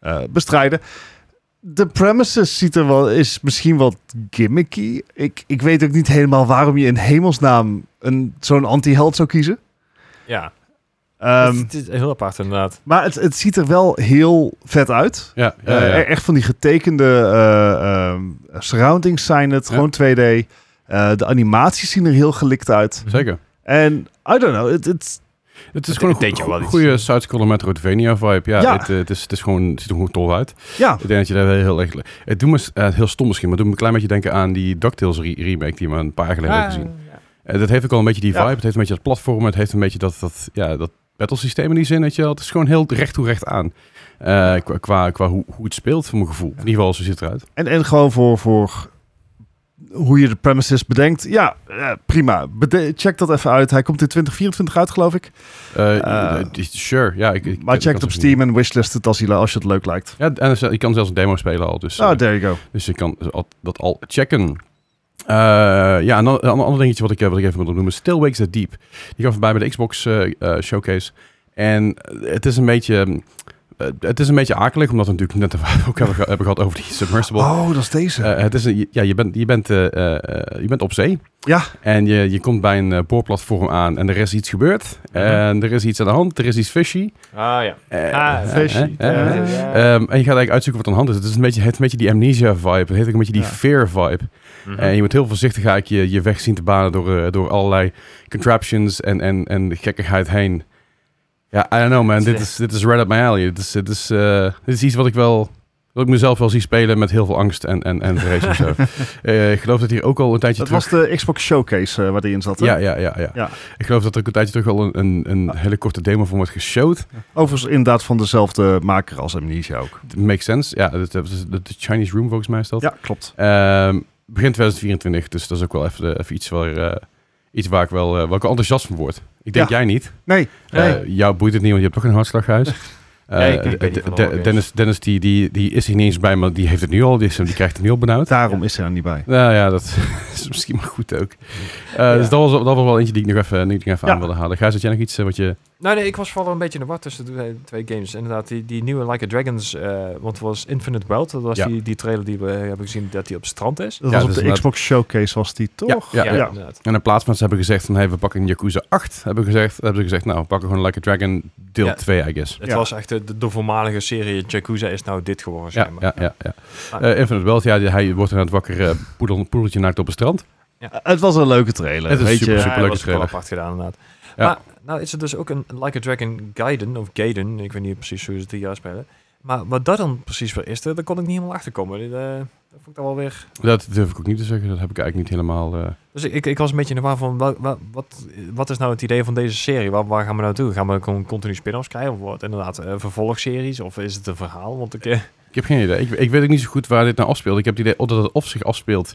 eh, bestrijden. De premises ziet er wel, is misschien wat gimmicky. Ik, ik weet ook niet helemaal waarom je in hemelsnaam een, zo'n anti-held zou kiezen. ja. Ehm, het, is heel apart inderdaad. maar het, het ziet er wel heel vet uit. Ja, ja, Eh, ja. e- Echt van die getekende eh, ehm, surroundings zijn het. Ja. Gewoon 2D. Eh, de animaties zien er heel gelikt uit. zeker. En I don't know. Het het- Het is Het- gewoon het een deed je wel goe- iets. goede side-scroller Metroidvania vibe. Ja, Ja. Het, eh, het, is, het, is gewoon, het ziet er gewoon tof uit. ja, Ik denk dat je daar wel heel erg... Het doet me s- eh, heel stom misschien, maar het doet me een klein beetje denken aan die DuckTales re- remake die we een paar jaar geleden hebben gezien. Mhm. Ja. Eh, dat heeft ook al een beetje die Ah. Ja. vibe. Het heeft een beetje dat platform. Het heeft een beetje dat, dat, ja, dat battlesysteem in die zin. Weet je wel. Het is gewoon heel recht toe recht aan. Eh, qua qua, qua hoe, hoe het speelt, voor mijn gevoel. In ieder geval, zo ziet het eruit. en, en gewoon voor, voor hoe je de premises bedenkt. Ja, eh, prima. Bede- check dat even uit. Hij komt in 2024 uit, geloof ik. Eh, eh, sure, ja. Ik, ik- Ah. maar ik check kan het op zelfs niet- Steam en wishlist het als je, als je het leuk lijkt. Ja, en ik kan zelfs een demo spelen al. Dus, eh, Oh, there you go. Dus je kan al- dat al checken. Eh, ja, en dan een ander dingetje wat ik, eh, wat ik even wil noemen. Still Wakes the Deep. Die kwam voorbij bij de Xbox eh, eh, Showcase. En het is een beetje... mm, eh, het is een beetje akelig, omdat we natuurlijk net ook hebben, ge- hebben gehad over die submersible. Oh, dat is deze. Eh, het is een, ja, je bent, je, bent, eh, eh, eh, je bent op zee. Ja. En je, je komt bij een eh, boorplatform aan en er is iets gebeurd. Mhm. En er is iets aan de hand, er is iets fishy. Ah ja. Eh, Ah, eh, fishy. eh, eh, Ja. Ehm, en je gaat eigenlijk uitzoeken wat aan de hand is. Het is een beetje, het, een beetje die amnesia-vibe. Het heeft ook een beetje die Ja. fear-vibe. Mhm. En je moet heel voorzichtig eigenlijk je, je weg zien te banen door, eh, door allerlei contraptions en, en, en gekkigheid heen. Ja, I don't know man. Dit is, dit is right up my alley. Dit is, dit is, eh, dit is iets wat ik wel... Wat ik mezelf wel zie spelen met heel veel angst en, en, en vrees en zo. Eh, ik geloof dat hier ook al een tijdje dat terug... was de Xbox Showcase eh, waar die in zat. hè? Ja, ja, ja, ja, Ja. Ah. Ik geloof dat er ook een tijdje terug al een, een, een hele korte demo van wordt geshowd. Overigens inderdaad van dezelfde maker als Amnesia ook. Makes sense. Ja, dat dat is de Chinese Room volgens mij is dat. Ja, klopt. Ehm, begin 2024, dus dat is ook wel even, even iets, waar, eh, iets waar ik wel eh, waar ik wel enthousiast van word. Ik denk Ja. jij niet. Nee, nee. Eh, jou boeit het niet, want je hebt toch een hartslaghuis. Eh, Ja, ik- ik weet niet de- van de- alles. Dennis, Dennis die, die, die is hier niet eens bij, maar die heeft het nu al. Die, is, die krijgt het nu al benauwd. daarom is hij er niet bij. Nou ja, dat is misschien maar goed ook. Eh, Ja. Dus dat was, dat was wel eentje die ik nog even, die ik nog even Ja. aan wilde halen. Gijs, had jij nog iets eh, wat je... Nou nee, ik was vooral een beetje in de war tussen de twee- twee games. Inderdaad, die, die nieuwe Like a Dragons, eh, want het was Infinite Wealth. Dat was Ja. die, die trailer die we hebben gezien dat die op het strand is. Dat Ja, was dus op de laat- Xbox Showcase was die toch? Ja, ja. inderdaad. En in plaats van ze hebben gezegd van, hey, we pakken Yakuza 8, hebben, gezegd, hebben ze gezegd, nou, we pakken gewoon Like a Dragon deel Ja. 2, I guess. Het Ja. was echt de, de, de voormalige serie Yakuza is nou dit geworden, Ja, schijnbaar. ja, ja. ja. Ah. Eh, Infinite Wealth, ja, die- hij wordt inderdaad wakker, eh, poedel, poedeltje naakt op het strand. Eh, Het was een leuke trailer. Het is weet super, je. super. dat Superleuke was wel trailer. apart gedaan inderdaad. Ja. Maar nou is er dus ook een Like a Dragon Gaiden, of Gaiden, ik weet niet precies hoe ze het hier spelen. Maar wat dat dan precies weer is, daar daar kon ik niet helemaal achter komen. Dit, eh, dat vond ik dan wel weer... Dat durf ik ook niet te zeggen, dat heb ik eigenlijk niet helemaal... eh, Dus ik, ik, ik was een beetje in de war van, wa- wa- wat, wat is nou het idee van deze serie? Waar, waar gaan we naartoe? Gaan we gewoon continu spin-offs krijgen? Of wat? Inderdaad, eh, vervolgseries? Of is het een verhaal? Want ik, eh, Ik heb geen idee. Ik, ik weet ook niet zo goed waar dit nou afspeelt. Ik heb het idee of dat het of zich afspeelt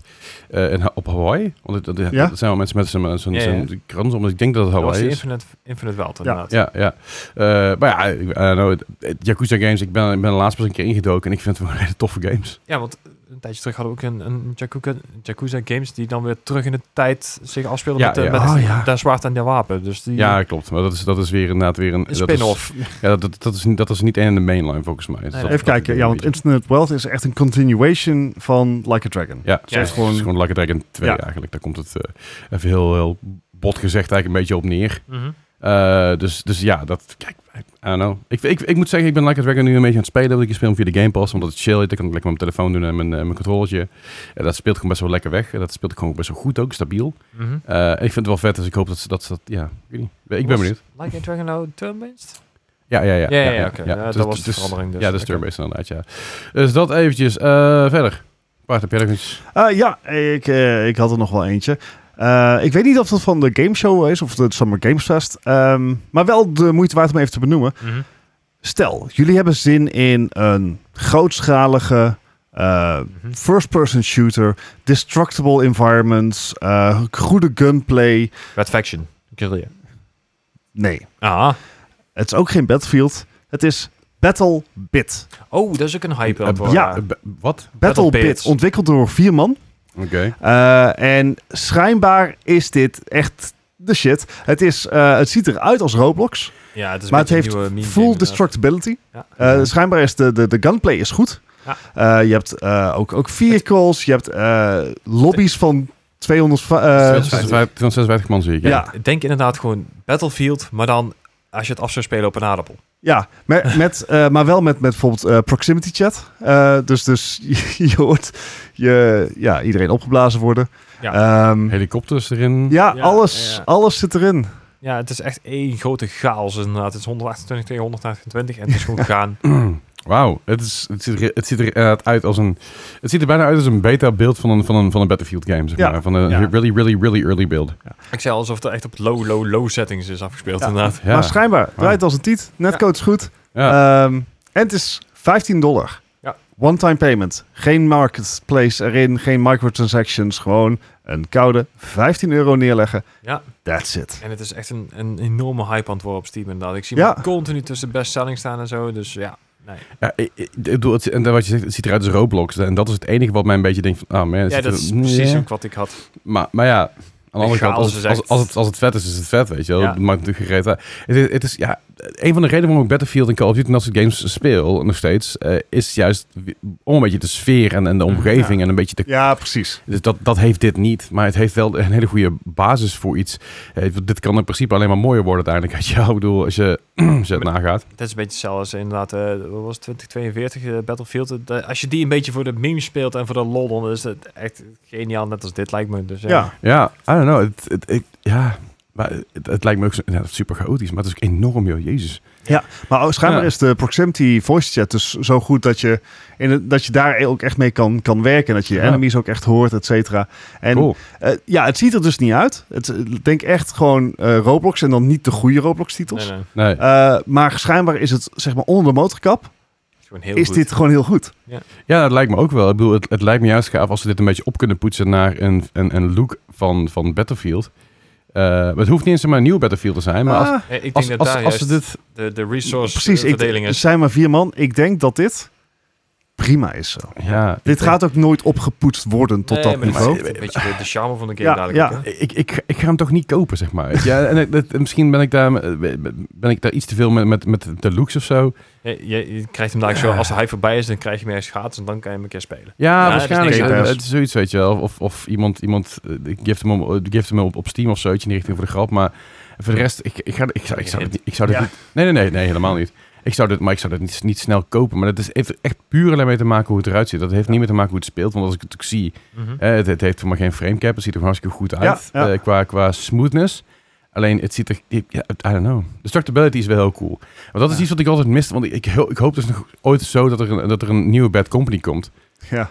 eh, in, Ha- op Hawaii. Want het- dat, dat, Ja? dat zijn wel mensen met zo'n zo'n Ja, ja. zo'n krans om. Dus ik denk dat het dat was Hawaii die is. Infinite, Infinite Wealth Ja. inderdaad. Ja, ja. Eh, maar ja, ik- I don't know, het- het Yakuza Games, ik ben, ik ben er laatst pas een keer ingedoken en ik vind het wel hele toffe games. Ja, want een tijdje terug hadden we ook een, een Yakuza, Yakuza Games die dan weer terug in de tijd zich afspeelde Ja, met, eh, ja. met Oh, ja. daar zwaard en der wapen. Dus die, Ja, klopt. Maar dat is, dat is weer inderdaad weer een... een dat is- spin-off. Ja, dat, dat, dat is, niet- dat is niet één in de mainline volgens mij. Dus Nee, dat- nee. Even dat- kijken, ja, want Infinite Wealth is echt een continuation van Like a Dragon. Ja, Ja, het is gewoon, het is gewoon Like a Dragon 2 Ja. eigenlijk. Daar komt het eh, even heel, heel bot gezegd eigenlijk een beetje op neer. Mhm. Eh, dus, dus ja, dat... Kijk, I don't know. Ik, ik, ik moet zeggen, ik ben Like a Dragon nu een beetje aan het spelen. Want ik speel hem via de Game Pass, omdat het chill is. Ik kan het lekker met mijn telefoon doen en mijn, eh, mijn controllertje. En dat speelt gewoon best wel lekker weg. En dat speelt gewoon best wel goed ook, stabiel. Mhm. Eh, ik vind het wel vet, dus ik hoop dat ze dat... ze dat ja, ik, weet niet. ik ben Was benieuwd. Like a Dragon nou turn-based? Ja, ja, ja. Ja, ja, ja, oké. Ja, dat Dus- was de dus- verandering dus. Ja, dat is Oké. turn-based inderdaad, ja. Dus dat eventjes. Eh, verder. Bart, heb jij nog iets? Eh, ja, ik, eh, ik had er nog wel eentje. Eh, ik weet niet of dat van de game show is of de Summer Games Fest. ehm, maar wel de moeite waard om even te benoemen. Mhm. Stel, jullie hebben zin in een grootschalige eh, Mhm. first-person shooter, destructible environments, eh, goede gunplay. Red Faction. Guerrilla. Nee, Ah. het is ook geen Battlefield. Het is Battle Bit. Oh, dat is ook een hype. aan het Eh, worden. ja. Eh, b- wat? Battle Bit, Bits. ontwikkeld door vier man. Oké. Eh, en schijnbaar is dit echt de shit. Het, is, eh, het ziet eruit als Roblox, ja, het is maar een het beetje heeft een nieuwe meme game, full inderdaad. destructibility. Ja. Eh, schijnbaar is de, de, de gunplay is goed. Ja. Eh, je hebt eh, ook, ook vehicles, je hebt eh, lobby's van 200... eh, 256 256 man zie ik. ja, Ik Denk inderdaad gewoon Battlefield, maar dan als je het af zou spelen op een aardappel. Ja, met, met, eh, maar wel met, met bijvoorbeeld eh, proximity chat. Eh, dus dus je, hoort je, ja, iedereen opgeblazen worden. Ja, Helikopters erin. ja, Ja, alles, ja. alles zit erin. Ja, het is echt één grote chaos inderdaad. Het is 128 tegen 128 en het is gewoon gaan. Wauw, het, is- het ziet er, het ziet er inderdaad uit als een... Het ziet er bijna uit als een beta-beeld van een, van, een, van een Battlefield game, zeg Ja. maar. Van een Ja. really, really, really early build. Ik zei alsof het echt op low, low, low settings is afgespeeld Ja. inderdaad. Ja. Maar schijnbaar, het draait als een tiet. Netcode is goed. Ja. Ehm, en het is 15 dollar. Ja. One-time payment. Geen marketplace erin, geen microtransactions. Gewoon een koude 15 euro neerleggen. Ja. That's it. En het is echt een, een enorme hype aan het worden op Steam inderdaad. Ik zie Ja. hem continu tussen bestselling staan en zo. Dus ja, nee. Ja, ik, ik- ik bedoel, het, en wat je zegt, het ziet eruit als Roblox. En dat is het enige wat mij een beetje denkt van... Ah man, het Ja, ziet er- dat is precies Ja. ook wat ik had. Maar, maar ja, aan de andere kant, als, het- chaos is als, echt- als, het, als het vet is, is het vet, weet je wel. Ja. Dat maakt natuurlijk gereed uit. Het, is- het is, ja, een van de redenen waarom ik Battlefield en Call of Duty en dat soort games speel, nog steeds, eh, is juist om een beetje de sfeer en, en Mm. de omgeving en een beetje de... Ja, precies. Dus dat, dat heeft dit niet, maar het heeft wel een hele goede basis voor iets. Eh, dit kan in principe alleen maar mooier worden uiteindelijk, weet je wel. Ik bedoel, als je, als je het nagaat. Dat is een beetje hetzelfde als inderdaad, eh, wat was het, 2042 eh, Battlefield. Eh, de- als je die een beetje voor de meme speelt en voor de lol, dan is het echt geniaal. Net als dit lijkt me. Dus, Ja. ja. Ja, I don't know. Het, het, ik- ja, maar het, het lijkt me ook zo, ja, super chaotisch, maar het is ook enorm, joh, jezus. Maar ook schijnbaar Ja. is de proximity voice chat dus zo goed dat je, in het- dat je daar ook echt mee kan, kan werken. En dat je je Ja. enemies ook echt hoort, et cetera. En cool. eh, ja, het ziet er dus niet uit. Het, ik denk echt gewoon eh, Roblox en dan niet de goede Roblox-titels. Nee, nee. Nee. Eh, maar schijnbaar is het zeg maar onder de motorkap. gewoon heel is goed. dit gewoon heel goed. Ja, dat lijkt me ook wel. Ik bedoel, het, het lijkt me juist gaaf als ze dit een beetje op kunnen poetsen naar een, een, een look van, van Battlefield. Eh, maar het hoeft niet eens maar een nieuw Battlefield te zijn, maar als, Ah, Nee, ik denk als, dat als, daar als, juist ze dit... de, de resource precies, eh, ik, dus verdeling er is. zijn maar vier man. Ik denk dat dit prima is zo. Ja, Dit ik- gaat ook nooit opgepoetst worden tot Nee, dat maar is niveau. maar- Een beetje de, de charme van de game Ja, dadelijk. ja. ook, hè? Ik, ik, ik ga hem toch niet kopen, zeg maar. Ja, en, het- het- misschien ben ik daar, eh, ben ik daar iets te veel met, met, met de looks of zo. Je, je- je krijgt hem dadelijk zo, als hij voorbij is, dan krijg je hem ergens gratis en dan kan je hem een keer spelen. Ja, Ja, waarschijnlijk. dat is niks Eh, anders. het is zoiets, weet je wel. Of, of iemand, iemand eh, die geeft hem, om- die geeft hem op, op Steam of zoiets in die richting voor de grap. Maar voor de rest, ik, ik, ga, ik zou, ik zou, dit niet- ik zou dit Ja. niet... Nee, nee, nee, nee, helemaal niet. Ik zou dit, maar ik zou dit niet, niet snel kopen. Maar dat is, heeft er echt puur alleen mee te maken hoe het eruit ziet. Dat heeft niet meer te maken hoe het speelt. Want als ik het ook zie, hè, het, het heeft voor mij geen framecap. Het ziet er gewoon hartstikke goed uit Ja, ja. eh, qua, qua smoothness. Alleen, het ziet er... ik- ja, I don't know. De structurability is wel heel cool. Maar dat is Ja. iets wat ik altijd miste. Want ik, ik, ho- ik hoop dus nog ooit zo dat er een, dat er een nieuwe Bad Company komt. Ja.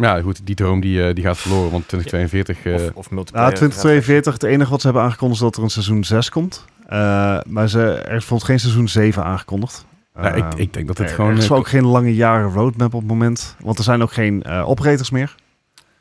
Ja, goed, die droom die, eh, die gaat verloren, want 2042... eh, Of, of multiplayer. Nou, 2042, het enige wat ze hebben aangekondigd is dat er een seizoen 6 komt. Eh, maar ze, er is bijvoorbeeld geen seizoen 7 aangekondigd. nou, ik, Eh, ik denk dat het er- gewoon... Er is eh, ook geen lange jaren roadmap op het moment. Want er zijn ook geen eh, operators meer.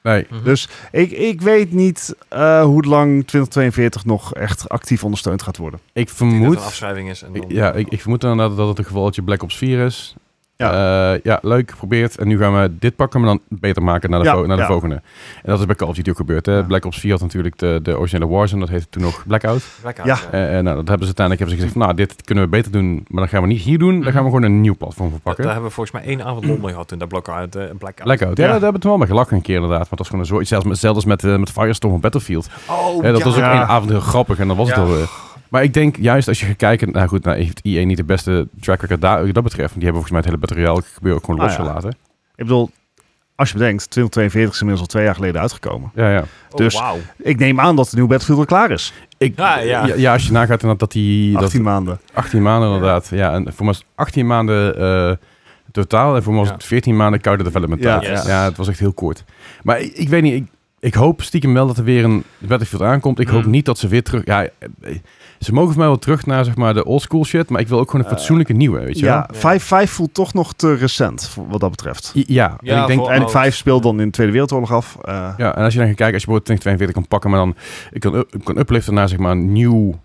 nee, Mhm. Dus ik, ik weet niet eh, hoe lang 2042 nog echt actief ondersteund gaat worden. ik Ik denk dat het vermoed... een afschrijving is. En ik- dan, ja, ik, ik vermoed inderdaad dat het een gevaltje Black Ops 4 is. Ja. Eh, ja, leuk, geprobeerd. En nu gaan we dit pakken, maar dan beter maken naar de, Ja, vo- naar de ja. volgende. En dat is bij Call of Duty ook gebeurd. Hè? Ja. Black Ops 4 had natuurlijk de, de originele Warzone, dat heette toen nog Blackout. Blackout, Ja. ja. En, en nou, dat hebben ze uiteindelijk hebben ze gezegd van, nou, dit kunnen we beter doen, maar dat gaan we niet hier doen. Mhm. Dan gaan we gewoon een nieuw platform voor Daar pakken. hebben we volgens mij één avond lol mee gehad toen dat Blackout. eh, Blackout. Blackout. Ja, daar Ja. hebben we het wel mee gelachen een keer inderdaad. Want dat is gewoon een zooi. Zelfs met, zelfs met, eh, met Firestorm op Battlefield. Oh, Hè, dat ja. was ook Ja. één avond heel grappig en dan was Ja. het alweer. Maar ik denk juist als je gaat kijken, nou goed, nou heeft IE niet de beste track record daar, wat dat betreft. Want die hebben volgens mij het hele materiaal gebeuren ook gewoon Ah, ja. losgelaten. Ik bedoel, als je bedenkt, 2042 is inmiddels al twee jaar geleden uitgekomen. Ja, ja. Oh, dus- wauw. Ik neem aan dat de nieuwe Battlefield al klaar is. Ik, Ah, ja. ja, ja, als je nagaat inderdaad dat die dat 18 maanden. 18 maanden inderdaad. Ja, en voor mij is het 18 maanden eh, totaal. En voor mij was Ja. het 14 maanden koude development Ja, time. yes. ja, het was echt heel kort. Maar ik, ik weet niet, ik, ik hoop stiekem wel dat er weer een Battlefield aankomt. Ik hoop Mm. niet dat ze weer terug... Ja, eh, ze mogen voor mij wel terug naar zeg maar, de oldschool shit. Maar ik wil ook gewoon een Eh, fatsoenlijke nieuwe, weet je wel? Ja, wel? 5, 5 voelt toch nog te recent voor- wat dat betreft. I- Ja, Ja, en ik denk... voor- En Oh. 5 speelt dan in de Tweede Wereldoorlog af. Eh, Ja, en als je dan gaat kijken, als je bijvoorbeeld 2042 kan pakken, maar dan ik kan, u- kan upliften naar zeg maar een nieuw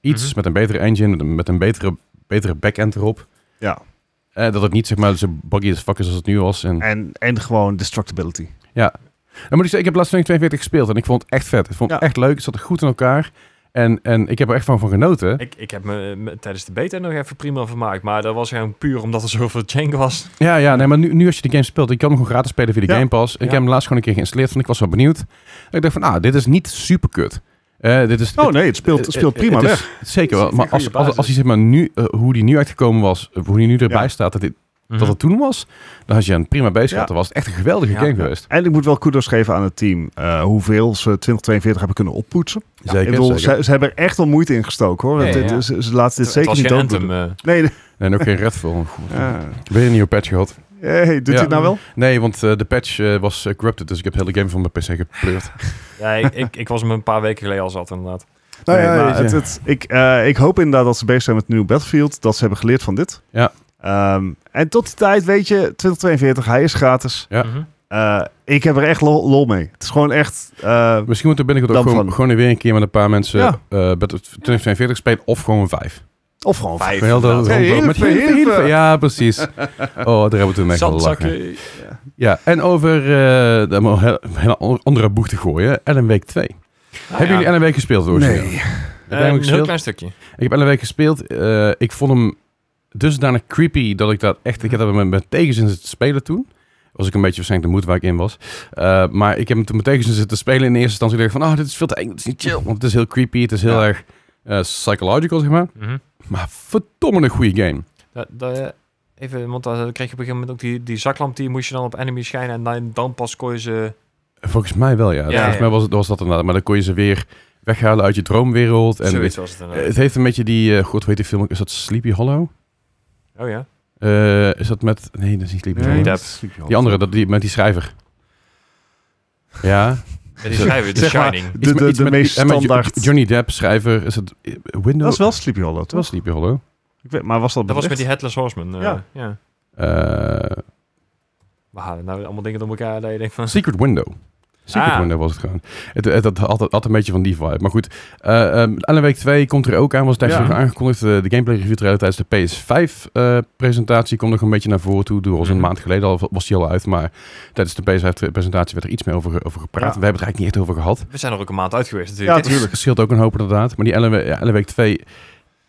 iets Mhm. met een betere engine, met een, met een betere, betere backend erop. ja. Eh, dat het niet zeg maar zo buggy as fuck is als het nu was. En En, en gewoon destructibility. Dan moet ik zeggen, ik heb laatst 2042 gespeeld en ik vond het echt vet. Ik vond het Ja. echt leuk. Het zat er goed in elkaar. En, en ik heb er echt van, van genoten. Ik, ik heb me, me tijdens de beta nog even prima vermaakt, maar dat was gewoon puur omdat er zoveel jank was. Ja, ja, nee, maar nu, nu als je die game speelt, ik kan hem gewoon gratis spelen via de Ja. Game Pass. Ik Ja. heb hem laatst gewoon een keer geïnstalleerd, want ik was wel benieuwd. En ik dacht van, ah, dit is niet super kut. Eh, dit is, Oh nee, het speelt, het- speelt het- prima het is- weg. Zeker wel. Het is Maar een als, goede als, als basis. hij zeg maar nu, eh, hoe die nu uitgekomen was, eh, hoe die nu erbij Ja. Mhm. staat, dat, dit, dat het toen was, dan had je een prima bezig gehad. Ja. Dan was het echt een geweldige Ja. game geweest. En ik moet wel kudos geven aan het team. eh, hoeveel ze 2042 hebben kunnen oppoetsen. Ja, Zeker, ik bedoel, zeker. ze, ze hebben er echt wel moeite in gestoken hoor. Ja, Want ja, dit- ja. Ze, ze laten dit Het zeker was niet geen dood Anthem, doen. eh. Nee, nee. En ook geen Redfall. Goed, Ja. Weer een nieuwe patch gehad. hey, doet Ja. dit nou wel? Nee, want eh, de patch eh, was eh, corrupted, dus ik heb de hele game van mijn PC gepleurd. Ja, ik, ik, ik was hem een paar weken geleden al zat, inderdaad. Nou ja, Nee, maar weet je. het, het- ik, eh, ik hoop inderdaad dat ze bezig zijn met het nieuwe Battlefield. Dat ze hebben geleerd van dit. Ja. Ehm, en tot die tijd, weet je, 2042, hij is gratis. Ja. Mhm. Eh, ik heb er echt lol, lol mee. Het is gewoon echt... eh, Misschien moeten we binnenkort ook Dan gewoon, van. gewoon weer een keer met een paar mensen Ja. eh Battle- 2042 spelen of gewoon vijf. of gewoon... Vijf, Gewoon heel de- inderdaad. Hey, gewoon- heel met- veel, heel veel. Ja, precies. Oh, daar hebben we toen echt wel lachen. Zandzakje. Ja, en over eh om een heel- heel andere boeg te gooien, Ellen Week 2. Nou Ah, hebben ja. jullie Ellen Week gespeeld? origineel? Heb jij hem Eh, een heel gespeeld? klein stukje. Ik heb Ellen Week gespeeld. Eh, ik vond hem dusdanig creepy dat ik dat echt... Ik heb dat met mijn tegenzin zitten spelen toen. Was ik een beetje waarschijnlijk de moed waar ik in was. Eh, maar ik heb hem toen met tegenzin zitten spelen. In de eerste instantie dacht ik van... Oh, dit is veel te eng. Dit is niet chill. Want het is heel creepy. Het is heel Ja. erg eh, psychological, zeg maar. Maar verdomme een goede game. Dat- dat, eh, even, want dan kreeg je op een gegeven moment ook die, die zaklamp, die moest je dan op enemy schijnen en dan, dan pas kon je ze... Volgens mij wel, ja. Ja, Volgens ja. mij was, het- was dat inderdaad. Maar dan kon je ze weer weghalen uit je droomwereld. En Zoiets was het Eh, inderdaad. het heeft een beetje die... eh, god, weet die film? ook? Is dat Sleepy Hollow? oh ja. Eh, is dat met... Nee, dat is niet Sleepy Nee, Hollow. dat- Die andere, dat, die, met die schrijver. Ja. Met die schrijver, The Zeg maar- Shining. De, de, de meest en met Jo- standaard... Johnny Depp, schrijver. Is het eh, Windows? Dat is wel Sleepy Hollow, Het was toch? Sleepy Hollow. Ik weet, maar was dat Dat was met belicht? die Headless Horseman. eh, Ja. ja. Eh, Eh, We halen nou allemaal dingen door elkaar dat je denkt van... Secret Window. Secret Ah. Window was het gewoon. Het, het, het had, had een beetje van die vibe. Maar goed, eh ehm Alan Wake 2 komt er ook aan. Was daar Ja. nog aangekondigd. Eh, de gameplay review trailer tijdens de PS5-presentatie komt eh, nog een beetje naar voren toe. Dat was een Mhm. maand geleden al, was die al uit. Maar tijdens de PS5-presentatie werd er iets meer over, ge- over gepraat. Ja. We hebben het er eigenlijk niet echt over gehad. We zijn er ook een maand uit geweest Ja, natuurlijk. hè? natuurlijk. Het scheelt ook een hoop inderdaad. Maar die Alan, Wa- ja, Alan Wake 2...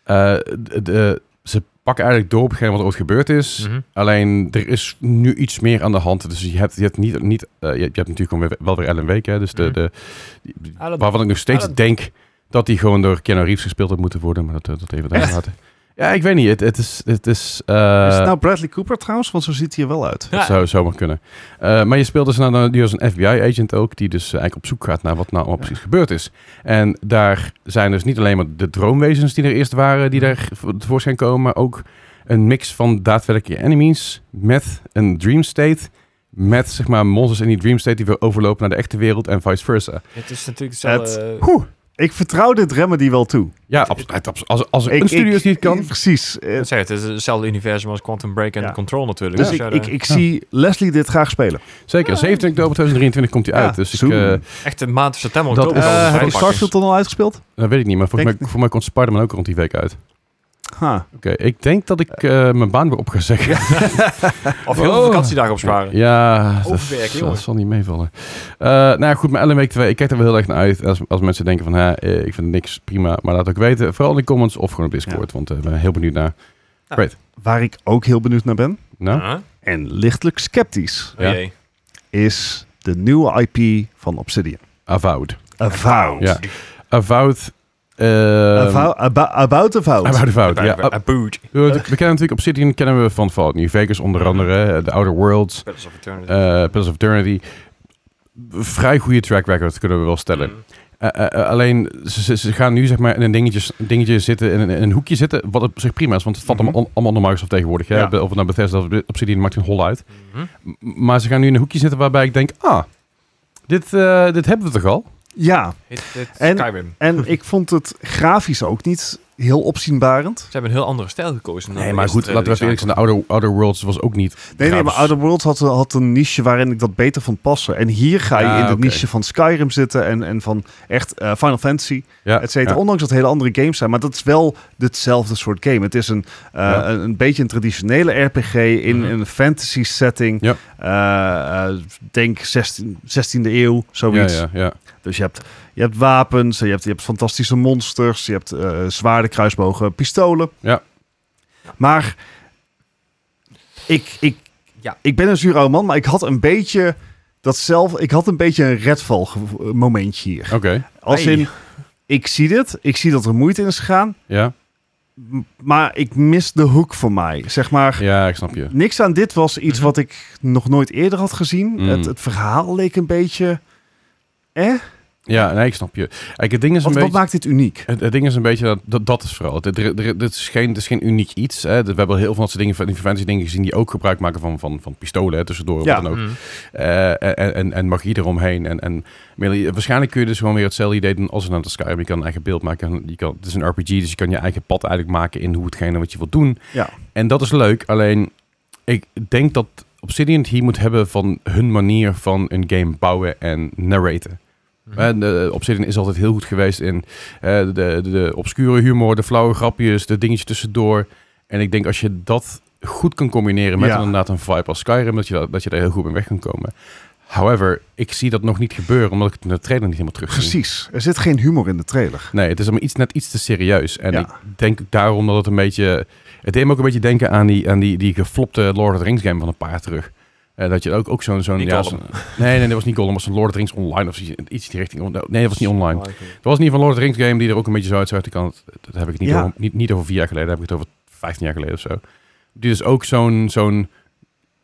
eh, de- de- ze pakken eigenlijk door op hetgeen wat er ooit gebeurd is. Mhm. Alleen, er is nu iets meer aan de hand. Dus je hebt, je hebt, niet, niet, eh, je, hebt, je hebt natuurlijk gewoon weer, wel weer Ellen Wake. Hè? Dus de, Mhm. de, die- Ah, dat- waarvan ik nog steeds ah, dat- denk dat die gewoon door Keanu Reeves gespeeld had moeten worden. Maar dat, eh, dat even daar Echt? laten. Ja, ik weet niet. Het, het is... Het is, eh, is het nou Bradley Cooper trouwens? Want zo ziet hij er wel uit. het zou zomaar kunnen. Eh, maar je speelt dus nou, nou, die was een FBI-agent ook, die dus eh, eigenlijk op zoek gaat naar wat nou allemaal Ja. precies gebeurd is. En daar zijn dus niet alleen maar de droomwezens die er eerst waren, die daar vo- tevoorschijn komen, maar ook een mix van daadwerkelijke enemies met een dream state, met zeg maar monsters in die dream state die weer overlopen naar de echte wereld en vice versa. Het is natuurlijk hetzelfde... eh, Oeh, ik vertrouw dit remedy wel toe. Ja, absoluut. Abso als, als er Ik- een studio is ik- die het kan. Precies. Eh, ik zeg het, het is hetzelfde universum als Quantum Break en Ja. Control natuurlijk. Dus Dus ik, ja, ik, de- ik zie Leslie dit graag spelen. Zeker, 27 oktober 2023 komt hij Ah. Ja, uit. Dus ik, soon. eh, echt een maand september, Dat oktober. is- kan Eh, het heb heb je je uitpakken. Starfield al uitgespeeld? dat nou, weet ik niet, maar volgens Denk- mij, voor mij komt Spider-Man ook rond die week uit. Ha. Oké, ik denk dat ik eh, mijn baan weer op ga zeggen. Of heel veel Oh. vakantiedagen opsparen. Ja, dat, Overwerken, dat jongen. zal niet meevallen. Eh, nou ja, goed, maar Ellen Week 2, ik kijk er wel heel erg naar uit. Als, als mensen denken van, hè, eh, ik vind niks prima, maar laat ook weten. Vooral in de comments of gewoon op Discord, want eh, ik ben heel benieuwd naar. Waar ik ook heel benieuwd naar ben, Nou, Huh? en lichtelijk sceptisch, Oh Ja. jee. is de nieuwe IP van Obsidian. Avowed. Avowed. Ja. Avowed. eh, Avou- abo- about Avowed. Avowed, Avowed, Oh, ja. Een boot. Eh, we kennen natuurlijk Obsidian kennen we van Fallout New Vegas onder andere, eh, The Outer Worlds, Pillars of Eternity. eh Pillars of Eternity. Vrij goede track record kunnen we wel stellen. Mm. Eh, eh, eh, alleen, ze, ze- ze gaan nu zeg maar in een dingetje, dingetje zitten, in een, in een hoekje zitten, wat op zich prima is, want het valt Mhm. allemaal, allemaal onder Microsoft tegenwoordig. Hè? Ja. Be- Of het nou Bethesda of Be- Obsidian, maakt geen hol uit. Mhm. M- Maar ze gaan nu in een hoekje zitten waarbij ik denk, ah, dit, eh, dit hebben we toch al? Ja, Hit, hit, En- Skyrim. en ik vond het grafisch ook niet heel opzienbarend. Ze hebben een heel andere stijl gekozen. dan Nee, de maar eerste goed, laten we even trailer eerlijk die zijn, de Outer, Outer Worlds was ook niet... eh, Nee, nee, grafisch. maar Outer Worlds had, had een niche waarin ik dat beter vond passen. En hier ga je Ja, in de Ah, oké. niche van Skyrim zitten en, en van echt eh, Final Fantasy, ja, et cetera. ja. Ondanks dat het hele andere games zijn, maar dat is wel hetzelfde soort game. Het is een, eh, Ja. een, een beetje een traditionele RPG in, Mhm. een fantasy setting. Ja. Eh, eh, denk 16, 16e eeuw, Ja, zoiets. ja, ja. Dus je hebt, je hebt wapens, je hebt, je hebt fantastische monsters, je hebt eh, zwaarden, kruisbogen, pistolen. Ja. Maar ik, ik, Ja. ik ben een zuur oude man, maar ik had een beetje dat zelf, ik had een beetje een Redfall gevo- momentje hier. Oké, Als Hey. in, ik zie dit, ik zie dat er moeite in is gegaan, ja. m- maar ik mis de hoek voor mij. Zeg maar, Ja, ik snap je. niks aan dit was iets Mhm. wat ik nog nooit eerder had gezien. Mm. Het, het verhaal leek een beetje, eh? Ja, nee, ik snap je. Kijk, het ding is Wat, een wat beetje... maakt dit uniek? Het, het ding is een beetje dat dat, dat is vooral. Het, er- er- dit is geen, dit is geen uniek iets. Hè. We hebben heel veel van dat soort dingen van inventie dingen gezien die ook gebruik maken van, van, van pistolen hè, tussendoor. of Ja. wat dan ook. aankomt. Eh, en, en, en magie eromheen. En, en, maar je- waarschijnlijk kun je dus gewoon weer hetzelfde idee doen als een aantal Skyrim. Je kan een eigen beeld maken. Je kan, het is een RPG, dus je kan je eigen pad eigenlijk maken in hoe hetgene wat je wilt doen. Ja. En dat is leuk. Alleen, ik denk dat Obsidian het hier moet hebben van hun manier van een game bouwen en narraten. Mhm. En, eh, Obsidian is altijd heel goed geweest in eh, de, de, de obscure humor, de flauwe grapjes, de dingetjes tussendoor. En ik denk als je dat goed kan combineren met Ja. inderdaad een vibe als Skyrim, dat je, da- dat je daar heel goed mee weg kan komen. However, ik zie dat nog niet gebeuren, omdat ik het in de trailer niet helemaal terug zie. Precies. Er zit geen humor in de trailer. Nee, het is allemaal iets, net iets te serieus. En Ja. ik denk daarom dat het een beetje... Het deed me ook een beetje denken aan die, aan die, die geflopte Lord of the Rings game van een paar jaar terug. Eh, dat je ook, ook zo'n... zo'n Niet ja, Gollum. zo'n- nee, nee, dat was niet Gollum. Dat was een Lord of the Rings online of iets iets in die richting. Nee, dat was niet online. Het was in ieder geval Lord of the Rings game die er ook een beetje zo uitzag. Die kan, dat heb ik niet, Ja. over, niet, niet over vier jaar geleden, daar heb ik het over 15 jaar geleden of zo. Die dus ook zo'n zo'n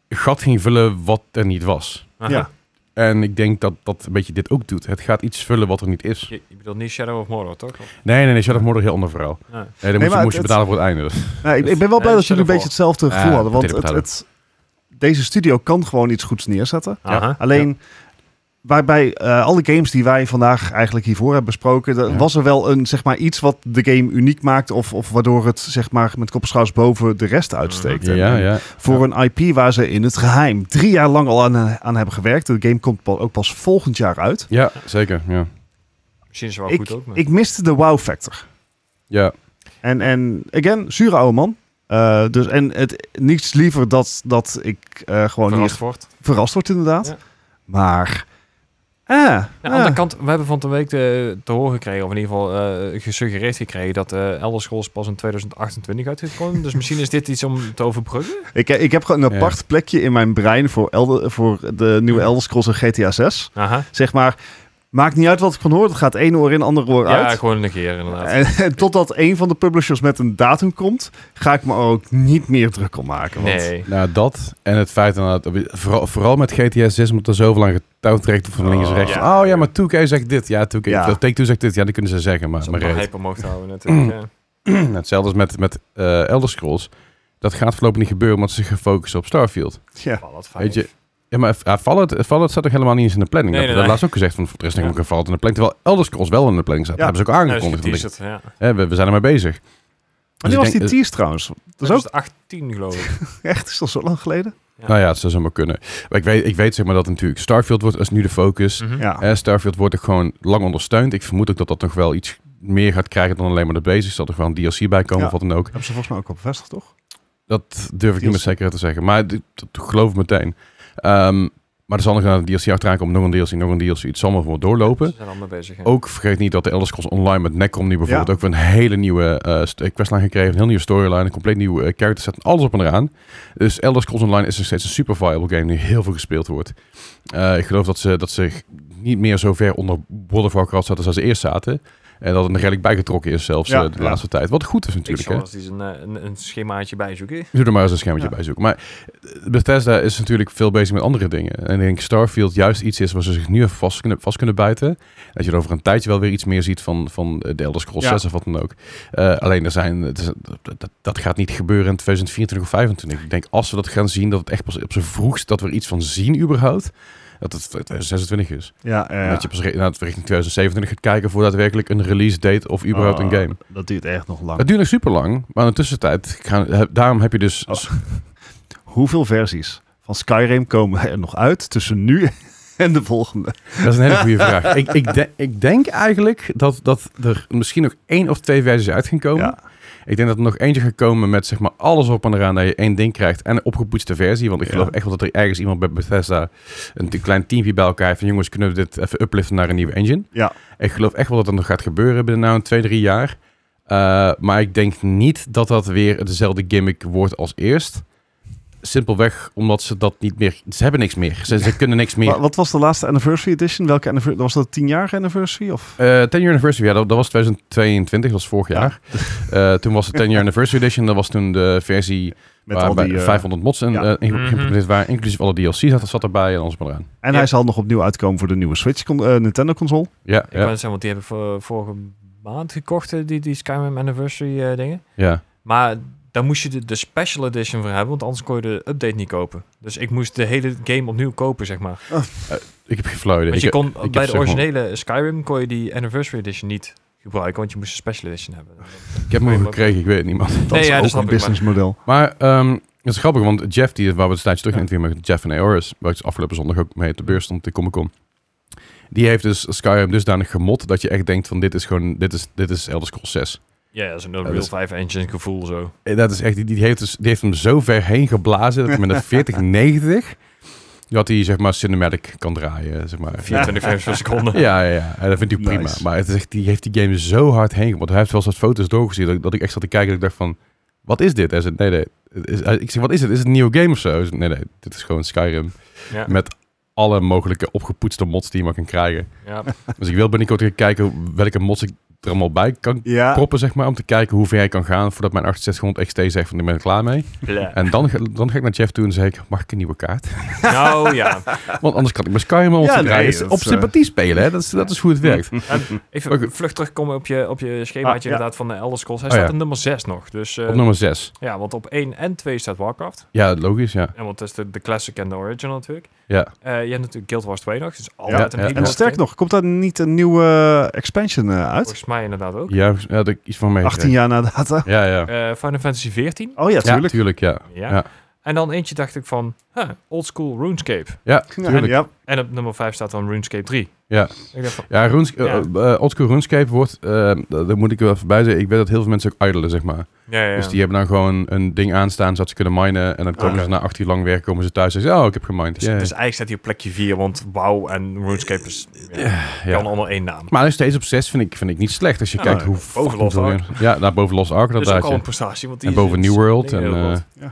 gat ging vullen wat er niet was. Aha. Ja. En ik denk dat dat een beetje dit ook doet. Het gaat iets vullen wat er niet is. Je, je bedoelt niet Shadow of Mordor, toch? Of- Nee, nee, nee, Shadow of Mordor heel ander verhaal. Ja. Nee, dan maar moest, je, het- moest je het- betalen voor het einde. Dus- Nou, ik, ik ben wel blij Ja, dat dat jullie een stel beetje je hetzelfde gevoel Ja, hadden. Want meteen het, betalen. het, deze studio kan gewoon iets goeds neerzetten. Ja. Aha. Alleen waarbij eh, alle games die wij vandaag eigenlijk hiervoor hebben besproken, dat Ja. was er wel een, zeg maar, iets wat de game uniek maakt of, of waardoor het zeg maar, met kop en schouders boven de rest uitsteekt. Ja, ja. En Voor een IP waar ze in het geheim drie jaar lang al aan, eh, aan hebben gewerkt. De game komt pa- ook pas volgend jaar uit. Ja, zeker. Ja. Misschien is het wel Ik, goed ook. maar- ik miste de wow factor. Ja. En, en again, zure oude man. Eh, dus, en het, niets liever dat, dat ik eh, gewoon verrast verrast. wordt. hier verrast word, inderdaad. Ja. Maar, eh, Ja, Aan de eh, andere kant, we hebben van de week eh, te, te horen gekregen, of in ieder geval eh, gesuggereerd gekregen, dat eh Elder Scrolls pas in 2028 uitgekomen. dus misschien is dit iets om te overbruggen. ik, eh, ik heb gewoon een Ja. apart plekje in mijn brein voor, Elder, voor de nieuwe Elder Scrolls en GTA 6. Aha. Zeg maar, maakt niet uit wat ik van hoor. Het gaat één oor in, ander oor Ja, uit. gewoon negeren inderdaad. En, en totdat één van de publishers met een datum komt, ga ik me er ook niet meer druk om maken. Want nee. Nou, dat en het feit inderdaad, vooral, vooral met GTA 6 moet er zoveel aan getouwtrekt van links en Oh, rechts. ja. Oh ja, maar 2K zegt dit. Ja, 2K. Ja. dat Take-Two zegt dit. Ja, dat kunnen ze zeggen, maar, Ze maar maar reet. hyper mogen houden natuurlijk. ja. Nou, Hetzelfde als met, met eh, Elder Scrolls. Dat gaat voorlopig niet gebeuren, omdat ze zich gaan focussen op Starfield. ja. Fallout Weet 5. je, ja, maar ja, Fallout, Fallout staat toch helemaal niet eens in de planning? Nee, dat nee, dat nee. laatst ook gezegd, van er is nog Ja. een Fallout in de planning. Terwijl Elder Scrolls wel in de planning staat. Ja. Dat hebben ze ook Nou, aangekondigd. is die want ik- teaser, ja. hè, we, we zijn ermee bezig. Dus Wanneer ik was die denk- dus- tease trouwens? Dat is ook 2018 geloof ik. echt, is dat zo lang geleden? Ja. Nou ja, het zou zomaar kunnen. Maar ik weet, ik weet zeg maar dat natuurlijk Starfield wordt als nu de focus. Mhm. Ja. Eh, Starfield wordt ook gewoon lang ondersteund. Ik vermoed ook dat dat nog wel iets meer gaat krijgen dan alleen maar de basis. Dat er gewoon DLC bij komen Ja. of wat dan ook. Hebben ze volgens mij ook al bevestigd, toch? Dat durf ik niet DLC. met zekerheid te zeggen. Maar dit- dat geloof ik meteen. Ehm, maar er zal nog een DLC achteraan komen. Nog een DLC, nog een DLC. Het zal maar voor doorlopen. Ze zijn allemaal bezig. ja. Ook vergeet niet dat de Elder Scrolls Online met Necrom nu bijvoorbeeld Ja. ook weer een hele nieuwe eh, st- questline gekregen. Een heel nieuwe storyline. Een compleet nieuwe eh, character set. Alles op en eraan. Dus Elder Scrolls Online is nog steeds een super viable game die heel veel gespeeld wordt. Eh, ik geloof dat ze, dat ze niet meer zo ver onder World of Warcraft zaten als ze eerst zaten. En dat het nog redelijk bijgetrokken is zelfs Ja, eh, de ja. laatste tijd. Wat goed is Ik natuurlijk. zal Hè? als die zijn, eh, een, een schemaatje bijzoeken. Doe er maar eens een schermetje Ja. bij zoeken. Maar eh, Bethesda is natuurlijk veel bezig met andere dingen. En ik denk Starfield juist iets is waar ze zich nu even vast kunnen, vast kunnen bijten. Dat je er over een tijdje wel weer iets meer ziet van, van eh, de Elder Scrolls Ja. 6 of wat dan ook. Eh, alleen er zijn, het is- dat, dat, dat gaat niet gebeuren in 2024 of 2025. Ik denk als we dat gaan zien, dat het echt pas op zijn vroegst dat we er iets van zien überhaupt. Dat het 2026 is. Ja, En Dat je pas re- nou, richting 2027 gaat kijken voor daadwerkelijk een release date of überhaupt Ah. een game. Oh, Dat duurt echt nog lang. Het duurt nog super lang, maar in de tussentijd, gaan, he- daarom heb je dus Oh. Hoeveel versies van Skyrim komen er nog uit tussen nu en de volgende? Dat is een hele goede vraag. Ik, ik, de- ik denk eigenlijk dat, dat er misschien nog één of twee versies uit gaan komen. Ja. Ik denk dat er nog eentje gaat komen met zeg maar alles op en eraan dat je één ding krijgt en een opgepoetste versie. Want ik geloof Ja. echt wel dat er ergens iemand bij Bethesda een te- klein teampje bij elkaar heeft van jongens, kunnen we dit even upliften naar een nieuwe engine? Ja. Ik geloof echt wel dat dat nog gaat gebeuren binnen nou een twee, drie jaar. Eh, maar ik denk niet dat dat weer dezelfde gimmick wordt als eerst. Simpelweg omdat ze dat niet meer... Ze hebben niks meer. Ze, ze kunnen niks meer. Wa- Wat was de laatste anniversary edition? Welke anniversary? Was dat 10 jaar anniversary? Of? Eh 10 year anniversary, ja, dat, dat was 2022, dat was vorig Ja. jaar. Eh, toen was de 10 year anniversary edition, dat was toen de versie Met waar al bij die, eh, 500 mods in, ja. eh, in- Mhm. geïmplementeerd waren, inclusief alle DLC zat, zat erbij en alles maar eraan. en Ja. hij zal nog opnieuw uitkomen voor de nieuwe Switch con- eh, Nintendo console. Ja, Ik ja, wou net zeggen, want die hebben voor, vorige maand gekocht, eh, die, die Skyrim Anniversary eh, dingen. ja. Maar daar moest je de, de Special Edition voor hebben, want anders kon je de update niet kopen. Dus ik moest de hele game opnieuw kopen, zeg maar. Ik heb gefluiden. Want Ik, je kon heb bij zeg de maar- originele Skyrim kon je die Anniversary Edition niet gebruiken, want je moest een Special Edition hebben. ik heb hem Nee, ook maar- gekregen, ik weet het niet, man. Dat Nee, is ja, dat ook snap een ik, maar- businessmodel. Maar ehm, dat is grappig, want Jeff, die, waar we het tijdje terug in interview met Jeff en Aoris, waar ik afgelopen zondag ook mee op de beurs stond, de Comic Con. Die heeft dus Skyrim dusdanig gemot dat je echt denkt van dit is gewoon, dit is, dit is Elder Scrolls 6. Ja, dat is een dat Unreal is- 5 Engine gevoel zo. Eh, Dat is echt, die, die, heeft dus, die heeft hem zo ver heen geblazen dat hij met een 4090 dat hij zeg maar cinematic kan draaien. Zeg maar. 24 frames per seconde. Ja, ja, ja. En dat vind ik prima. Nice. Maar het is echt, die heeft die game zo hard heen geblazen. Hij heeft wel eens wat foto's doorgezien dat, ik- dat ik echt zat te kijken en ik dacht van, wat is dit? Hij zei, nee, nee. Het is- hij- ik zeg, wat is het? Is het een nieuwe game of zo? Hij zei, nee, nee. Dit is gewoon Skyrim Ja. met alle mogelijke opgepoetste mods die je maar kan krijgen. Ja. Dus ik wil binnenkort weer kijken welke mods ik er allemaal bij kan Ja. proppen, zeg maar, om te kijken hoe ver ik kan gaan voordat mijn 6800 XT zegt van, ik ben er klaar mee. En dan, ga- dan ga ik naar Jeff toe en zeg ik, mag ik een nieuwe kaart? Nou ja. Want anders kan ik mijn Skyrim of Ja, ja, nee, dat op is, eh, sympathie spelen, hè? Dat is, dat is hoe het werkt. En Maar even goed. vlug terugkomen op je, op je schemaatje Ah, ja. inderdaad van de Elder Scrolls. Hij Oh, staat ja. op nummer 6 nog. Dus eh, Op nummer 6. ja, want op 1 en 2 staat Warcraft. Ja, logisch, ja. En want dat is de, de classic en de original natuurlijk. ja. Eh, je hebt natuurlijk Guild Wars 2 nog. Dus Ja, altijd ja. een En En Wat, sterk nog, komt daar niet een nieuwe eh, expansion eh, uit? Volgens mij inderdaad ook. Ja, volgens- ja, dat ik iets van mee. 18 jaar na data. Ja, ja. Eh, Final Fantasy 14. Oh ja, Ja, tuurlijk. tuurlijk, ja. Ja. Ja. En dan eentje dacht ik van, huh, old school RuneScape. Ja, Ja, tuurlijk. ja. En op nummer 5 staat dan RuneScape 3. Ja. Ik dacht van, Ja, Runes, eh, Ja. eh, eh, Old School RuneScape wordt, eh, dat- daar moet ik er wel voorbij zeggen, ik weet dat heel veel mensen ook idelen, zeg maar. ja, ja, ja. Dus die hebben dan gewoon een ding aanstaan, zodat ze kunnen minen. En dan komen Ah. Oké. ze na acht uur lang werken, komen ze thuis en zeggen, oh, ik heb gemined. Dus, Ja, ja. dus eigenlijk staat hij op plekje 4, want WoW en RuneScape is, ja, ja. kan allemaal één naam. Maar nog steeds op zes vind ik, vind ik niet slecht, als je Ja, kijkt hoe... boven fucking Lost veel Ark. dingen- Ja, daar boven Lost Ark, Dat is Dus inderdaad. ook al ja. een prestatie. Want die En is- boven is- New World. Nee, en, New World. eh,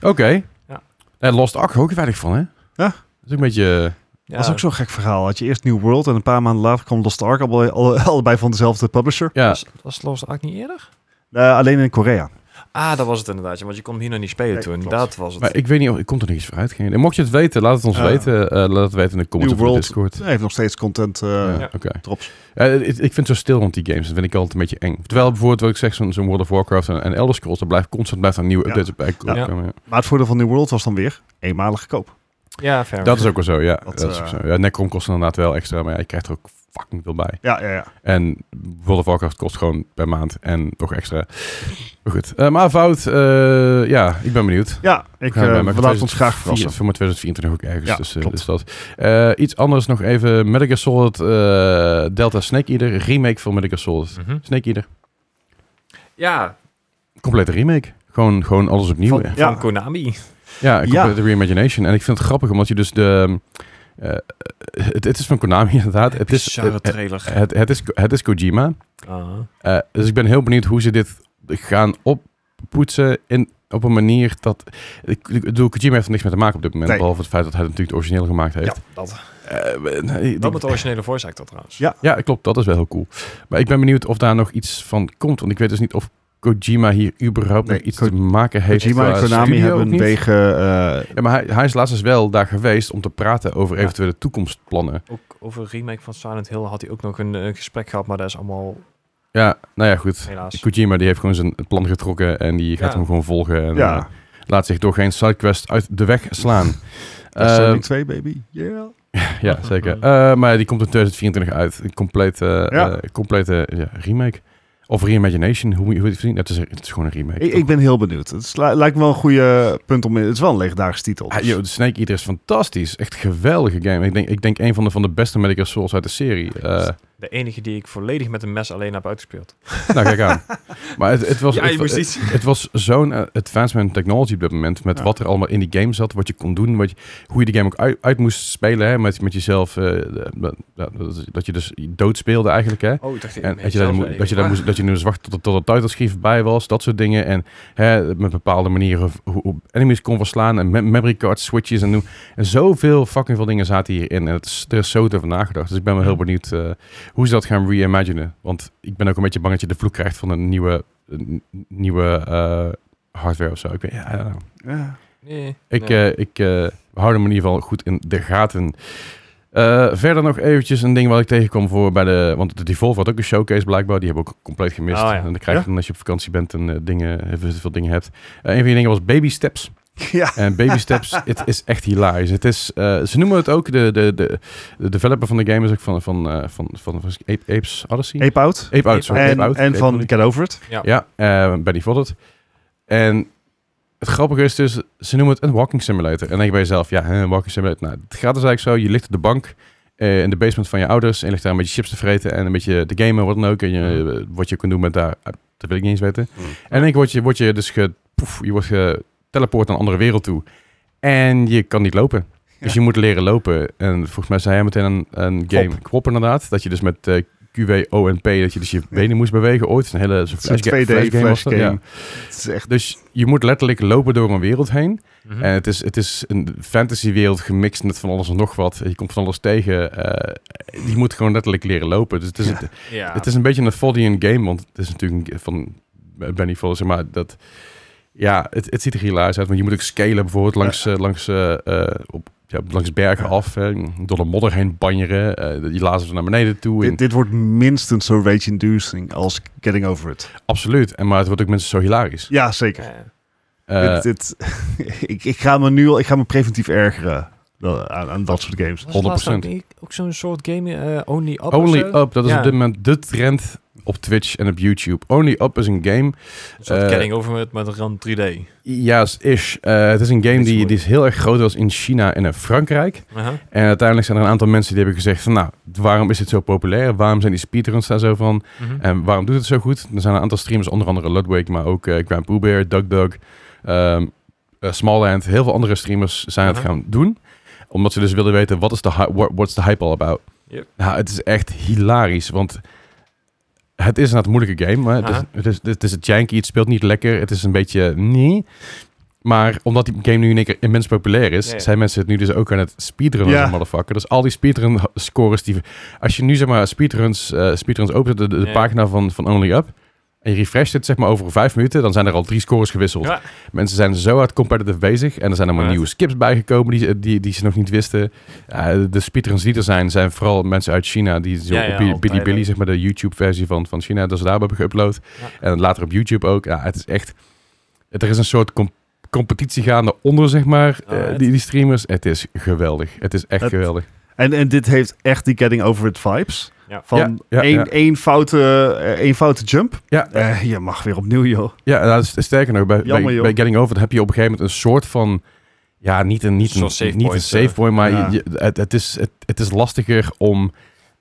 Oké. Ja. Ja, Lost Ark hou ik er weinig van, hè? Dat is ook een beetje... eh, Ja. Dat is ook zo'n gek verhaal. Had je eerst New World en een paar maanden later kwam Lost Ark, alle- alle- allebei van dezelfde publisher. Ja, Was, was Lost Ark niet eerder? Eh, alleen in Korea. Ah, dat was het inderdaad. ja, Want je kon hem hier nog niet spelen Nee, toen. klopt. Dat was het. maar ik weet niet of... Ik kom er nog iets vooruit. Geen idee. Mocht je het weten, laat het ons Ja. weten. Eh, laat het weten in de comments New op de World. Discord. Hij heeft nog steeds content. eh, Ja, Ja. oké. Drops. Ja, het- ik vind het zo stil rond die games. Dat vind ik altijd een beetje eng. Terwijl bijvoorbeeld wat ik zeg, zo'n zo'n World of Warcraft en, en Elder Scrolls, daar blijft constant blijft een nieuwe Ja. updates bij komen. Ja. ja. Maar het voordeel van New World was dan weer eenmalig koop. ja, fair. Dat is ook wel zo, ja. Dat, Dat, is ook eh, zo. Ja, Necrom kost inderdaad wel extra, maar ja, je krijgt er ook fucking veel bij. Ja, ja, ja. En World of Warcraft kost gewoon per maand en nog extra. Maar goed. Eh, maar fout, eh, ja, ik ben benieuwd. Ja, ik Gaan we bij eh, elkaar we laten 2024 ons graag verrassen. Voor mijn 2024 ook ergens. Ja, dus, eh, klopt. dus dat. Eh, iets anders nog even. Metal Gear Solid eh, Delta Snake Eater. Remake van Metal Gear Solid. Mhm. Snake Eater. Ja, Complete remake. Gewoon, gewoon alles opnieuw. van, hè. van Ja. Konami. Ja, een Ja. complete reimagination. En ik vind het grappig, omdat je dus de... eh, het, het is van Konami inderdaad. Het is, Bizarre het, het, trailer. het, is, het is Kojima. Ah. Dus, Eh, dus ik ben heel benieuwd hoe ze dit gaan oppoetsen in, op een manier dat... Ik, ik bedoel, Kojima heeft er niks mee te maken op dit moment. Nee. Behalve het feit dat hij het natuurlijk het origineel gemaakt heeft. Ja, dat. Eh, we- nee, Dat die- met de originele voice actor trouwens. Ja. ja, klopt. Dat is wel heel cool. Maar ik ben benieuwd of daar nog iets van komt. Want ik weet dus niet of Kojima hier überhaupt Nee, nog iets Ko- te maken heeft. Kojima en qua Konami studio of hebben niet. wegen... eh, Ja, maar hij, hij is laatst dus wel daar geweest om te praten over Ja. eventuele toekomstplannen. Ook over een remake van Silent Hill had hij ook nog een, eh, gesprek gehad, maar dat is allemaal Ja, nou ja, goed. helaas. Kojima die heeft gewoon zijn plan getrokken en die gaat Ja. hem gewoon volgen. En eh, ja, laat zich door geen sidequest uit de weg slaan. Death Eh, Stranding 2, baby. Yeah. ja, zeker. Eh, maar die komt in 2024 uit. Een complete, eh, Ja. eh, complete eh, ja, remake. Of reimagination, hoe moet je hoe je het zien? Het is, het is gewoon een remake. Ik, toch? ik ben heel benieuwd. Het is- lijkt me wel een goede punt om... in- Het is wel een legendarische titel. Ah, yo, de Snake Eater is fantastisch. Echt een geweldige game. Ik denk, ik denk een van de, van de beste Metal Gear Souls uit de serie. Eh, De enige die ik volledig met een mes alleen heb uitgespeeld. nou, kijk aan. Maar het, het eh, was, Ja, je het, moest het- iets. het was zo'n eh, advancement in technology op dat moment. Met Ja. wat er allemaal in die game zat. Wat je kon doen. Wat je, hoe je die game ook uit, uit moest spelen. Hè, met, met jezelf. eh, de- de- dat- dat je dus dood speelde eigenlijk. Hè. Oh, ik dacht En dat je, daar moe- dat, je daar moest, dat je nu zwart tot, tot het titleschief bij was, dat soort dingen. En hè, met bepaalde manieren hoe, hoe enemies kon verslaan en me- memory card switches en, noem- en zoveel fucking veel dingen zaten hierin. En het is, er is zo over nagedacht. Dus ik ben wel heel benieuwd eh, hoe ze dat gaan reimaginen. Want ik ben ook een beetje bang dat je de vloek krijgt van een nieuwe, een nieuwe eh, hardware of zo. Ik, weet, ja, I don't know. Ja. Nee, ik, nee. eh, ik eh, hou hem in ieder geval goed in de gaten. Eh, verder nog eventjes een ding wat ik tegenkwam voor bij de... Want de Devolve had ook een showcase blijkbaar. Die hebben we ook compleet gemist. Oh, ja. En dan krijg je Ja? dan als je op vakantie bent en eh, dingen, heel veel- veel dingen hebt. Eh, een van die dingen was Baby Steps. ja. En Baby Steps, het is echt hilarisch. Het is, eh, ze noemen het ook, de, de, de, de developer van de game is ook van, van, eh, van, van, van Ape- Apes Odyssey? Ape Out. Ape Out, sorry. En, Ape Out. en Ape van Out. Get Over It. Ja, eh Benny Voddert. En het grappige is dus, ze noemen het een walking simulator. En dan denk je bij jezelf, ja, hè, een walking simulator. Nou, het gaat dus eigenlijk zo, je ligt op de bank eh, in de basement van je ouders en je ligt daar een beetje chips te vreten en een beetje te gamen, wat dan ook. En je, eh, wat je kunt doen met daar, eh, dat wil ik niet eens weten. Mm. En in één keer word je, word je dus ge, poef, je wordt geteleport naar een andere wereld toe. En je kan niet lopen. Dus Ja. je moet leren lopen. En volgens mij zei hij meteen een, een game, Kwop inderdaad, dat je dus met eh, QWONP, dat je dus je benen moest bewegen ooit. Een hele zo'n Het is flash, een 2D flash game. was dat, flash ja. game. Het is echt Dus je moet letterlijk lopen door een wereld heen. Mhm. En het is, het is een fantasywereld gemixt met van alles en nog wat. Je komt van alles tegen. eh, je moet gewoon letterlijk leren lopen. Dus het is, Ja. het, ja. het is een beetje een Foddian game, want het is natuurlijk een- van eh, Benny Foll, zeg maar, dat... Ja, het, het ziet er hilarisch uit, want je moet ook scalen bijvoorbeeld langs, eh, langs, eh, eh, op, ja, langs bergen af, hè, door de modder heen banjeren, eh die lazen ze naar beneden toe. en- Dit, dit wordt minstens zo rage-inducing als Getting Over It. absoluut, en, maar het wordt ook mensen zo hilarisch. Ja, zeker. Ja. Eh, dit, dit- ik, ik ga me nu al, ik ga me preventief ergeren dan- aan, aan dat soort games. Was het laatst 100%. Ook, niet- ook zo'n soort game, eh, Only Up of Only zo? Up, dat is Ja. op dit moment de trend op Twitch en op YouTube. Only Up is een game, Een soort Eh, ketting over met, met een rand 3D. ja, is ish. Eh, het is een game Is die, mooi. die is heel erg groot was in China en in Frankrijk. Aha. En uiteindelijk zijn er een aantal mensen die hebben gezegd van, nou, waarom is dit zo populair? Waarom zijn die speedruns daar zo van? Mhm. En waarom doet het zo goed? Er zijn een aantal streamers, onder andere Ludwig, maar ook eh Grand Pooh Bear, DuckDuck, ehm eh, Smallland. Heel veel andere streamers zijn het Aha. gaan doen. Omdat ze dus wilden weten, wat is de hy- what- what's the hype all about? Yep. Nou, het is echt hilarisch, want het is een moeilijke game. Hè? Het, is, Aha. het, is, het is het janky, het speelt niet lekker, het is een beetje nee. Maar omdat die game nu in één keer immens populair is, Ja, ja. zijn mensen het nu dus ook aan het speedrunnen, Ja. als een motherfucker. Dus al die speedrun scores die als je nu zeg maar speedruns, eh speedruns opent, de, de, de Ja. pagina van, van Only Up, en je refresht het zeg maar over vijf minuten, dan zijn er al drie scores gewisseld. Ja. Mensen zijn zo hard competitive bezig en er zijn allemaal Ja. nieuwe skips bijgekomen die, die, die ze nog niet wisten. Eh, de speedruns die er zijn, zijn vooral mensen uit China die zo Ja, ja, op Bi- altijd, Bilibili, hè. zeg maar de YouTube-versie van, van China, dat ze daar hebben geüpload. En later op YouTube ook. Ja, het is echt, het- er is een soort com- competitie gaande onder, zeg maar, Ah, eh, het- die, die streamers. Het is geweldig. Het is echt Het- geweldig. En, en dit heeft echt die Getting Over It vibes. Ja. Van Ja, ja, één, ja. één foute, eh, één foute jump. Ja, Eh, je mag weer opnieuw, joh. Ja, nou, s- sterker nog, bij, Jammer, bij, joh. bij Getting Over It heb je op een gegeven moment een soort van... Ja, niet een, niet Zo'n een, save niet point, een save eh. point, maar Ja. je- je- het, het, is, het, het is lastiger om,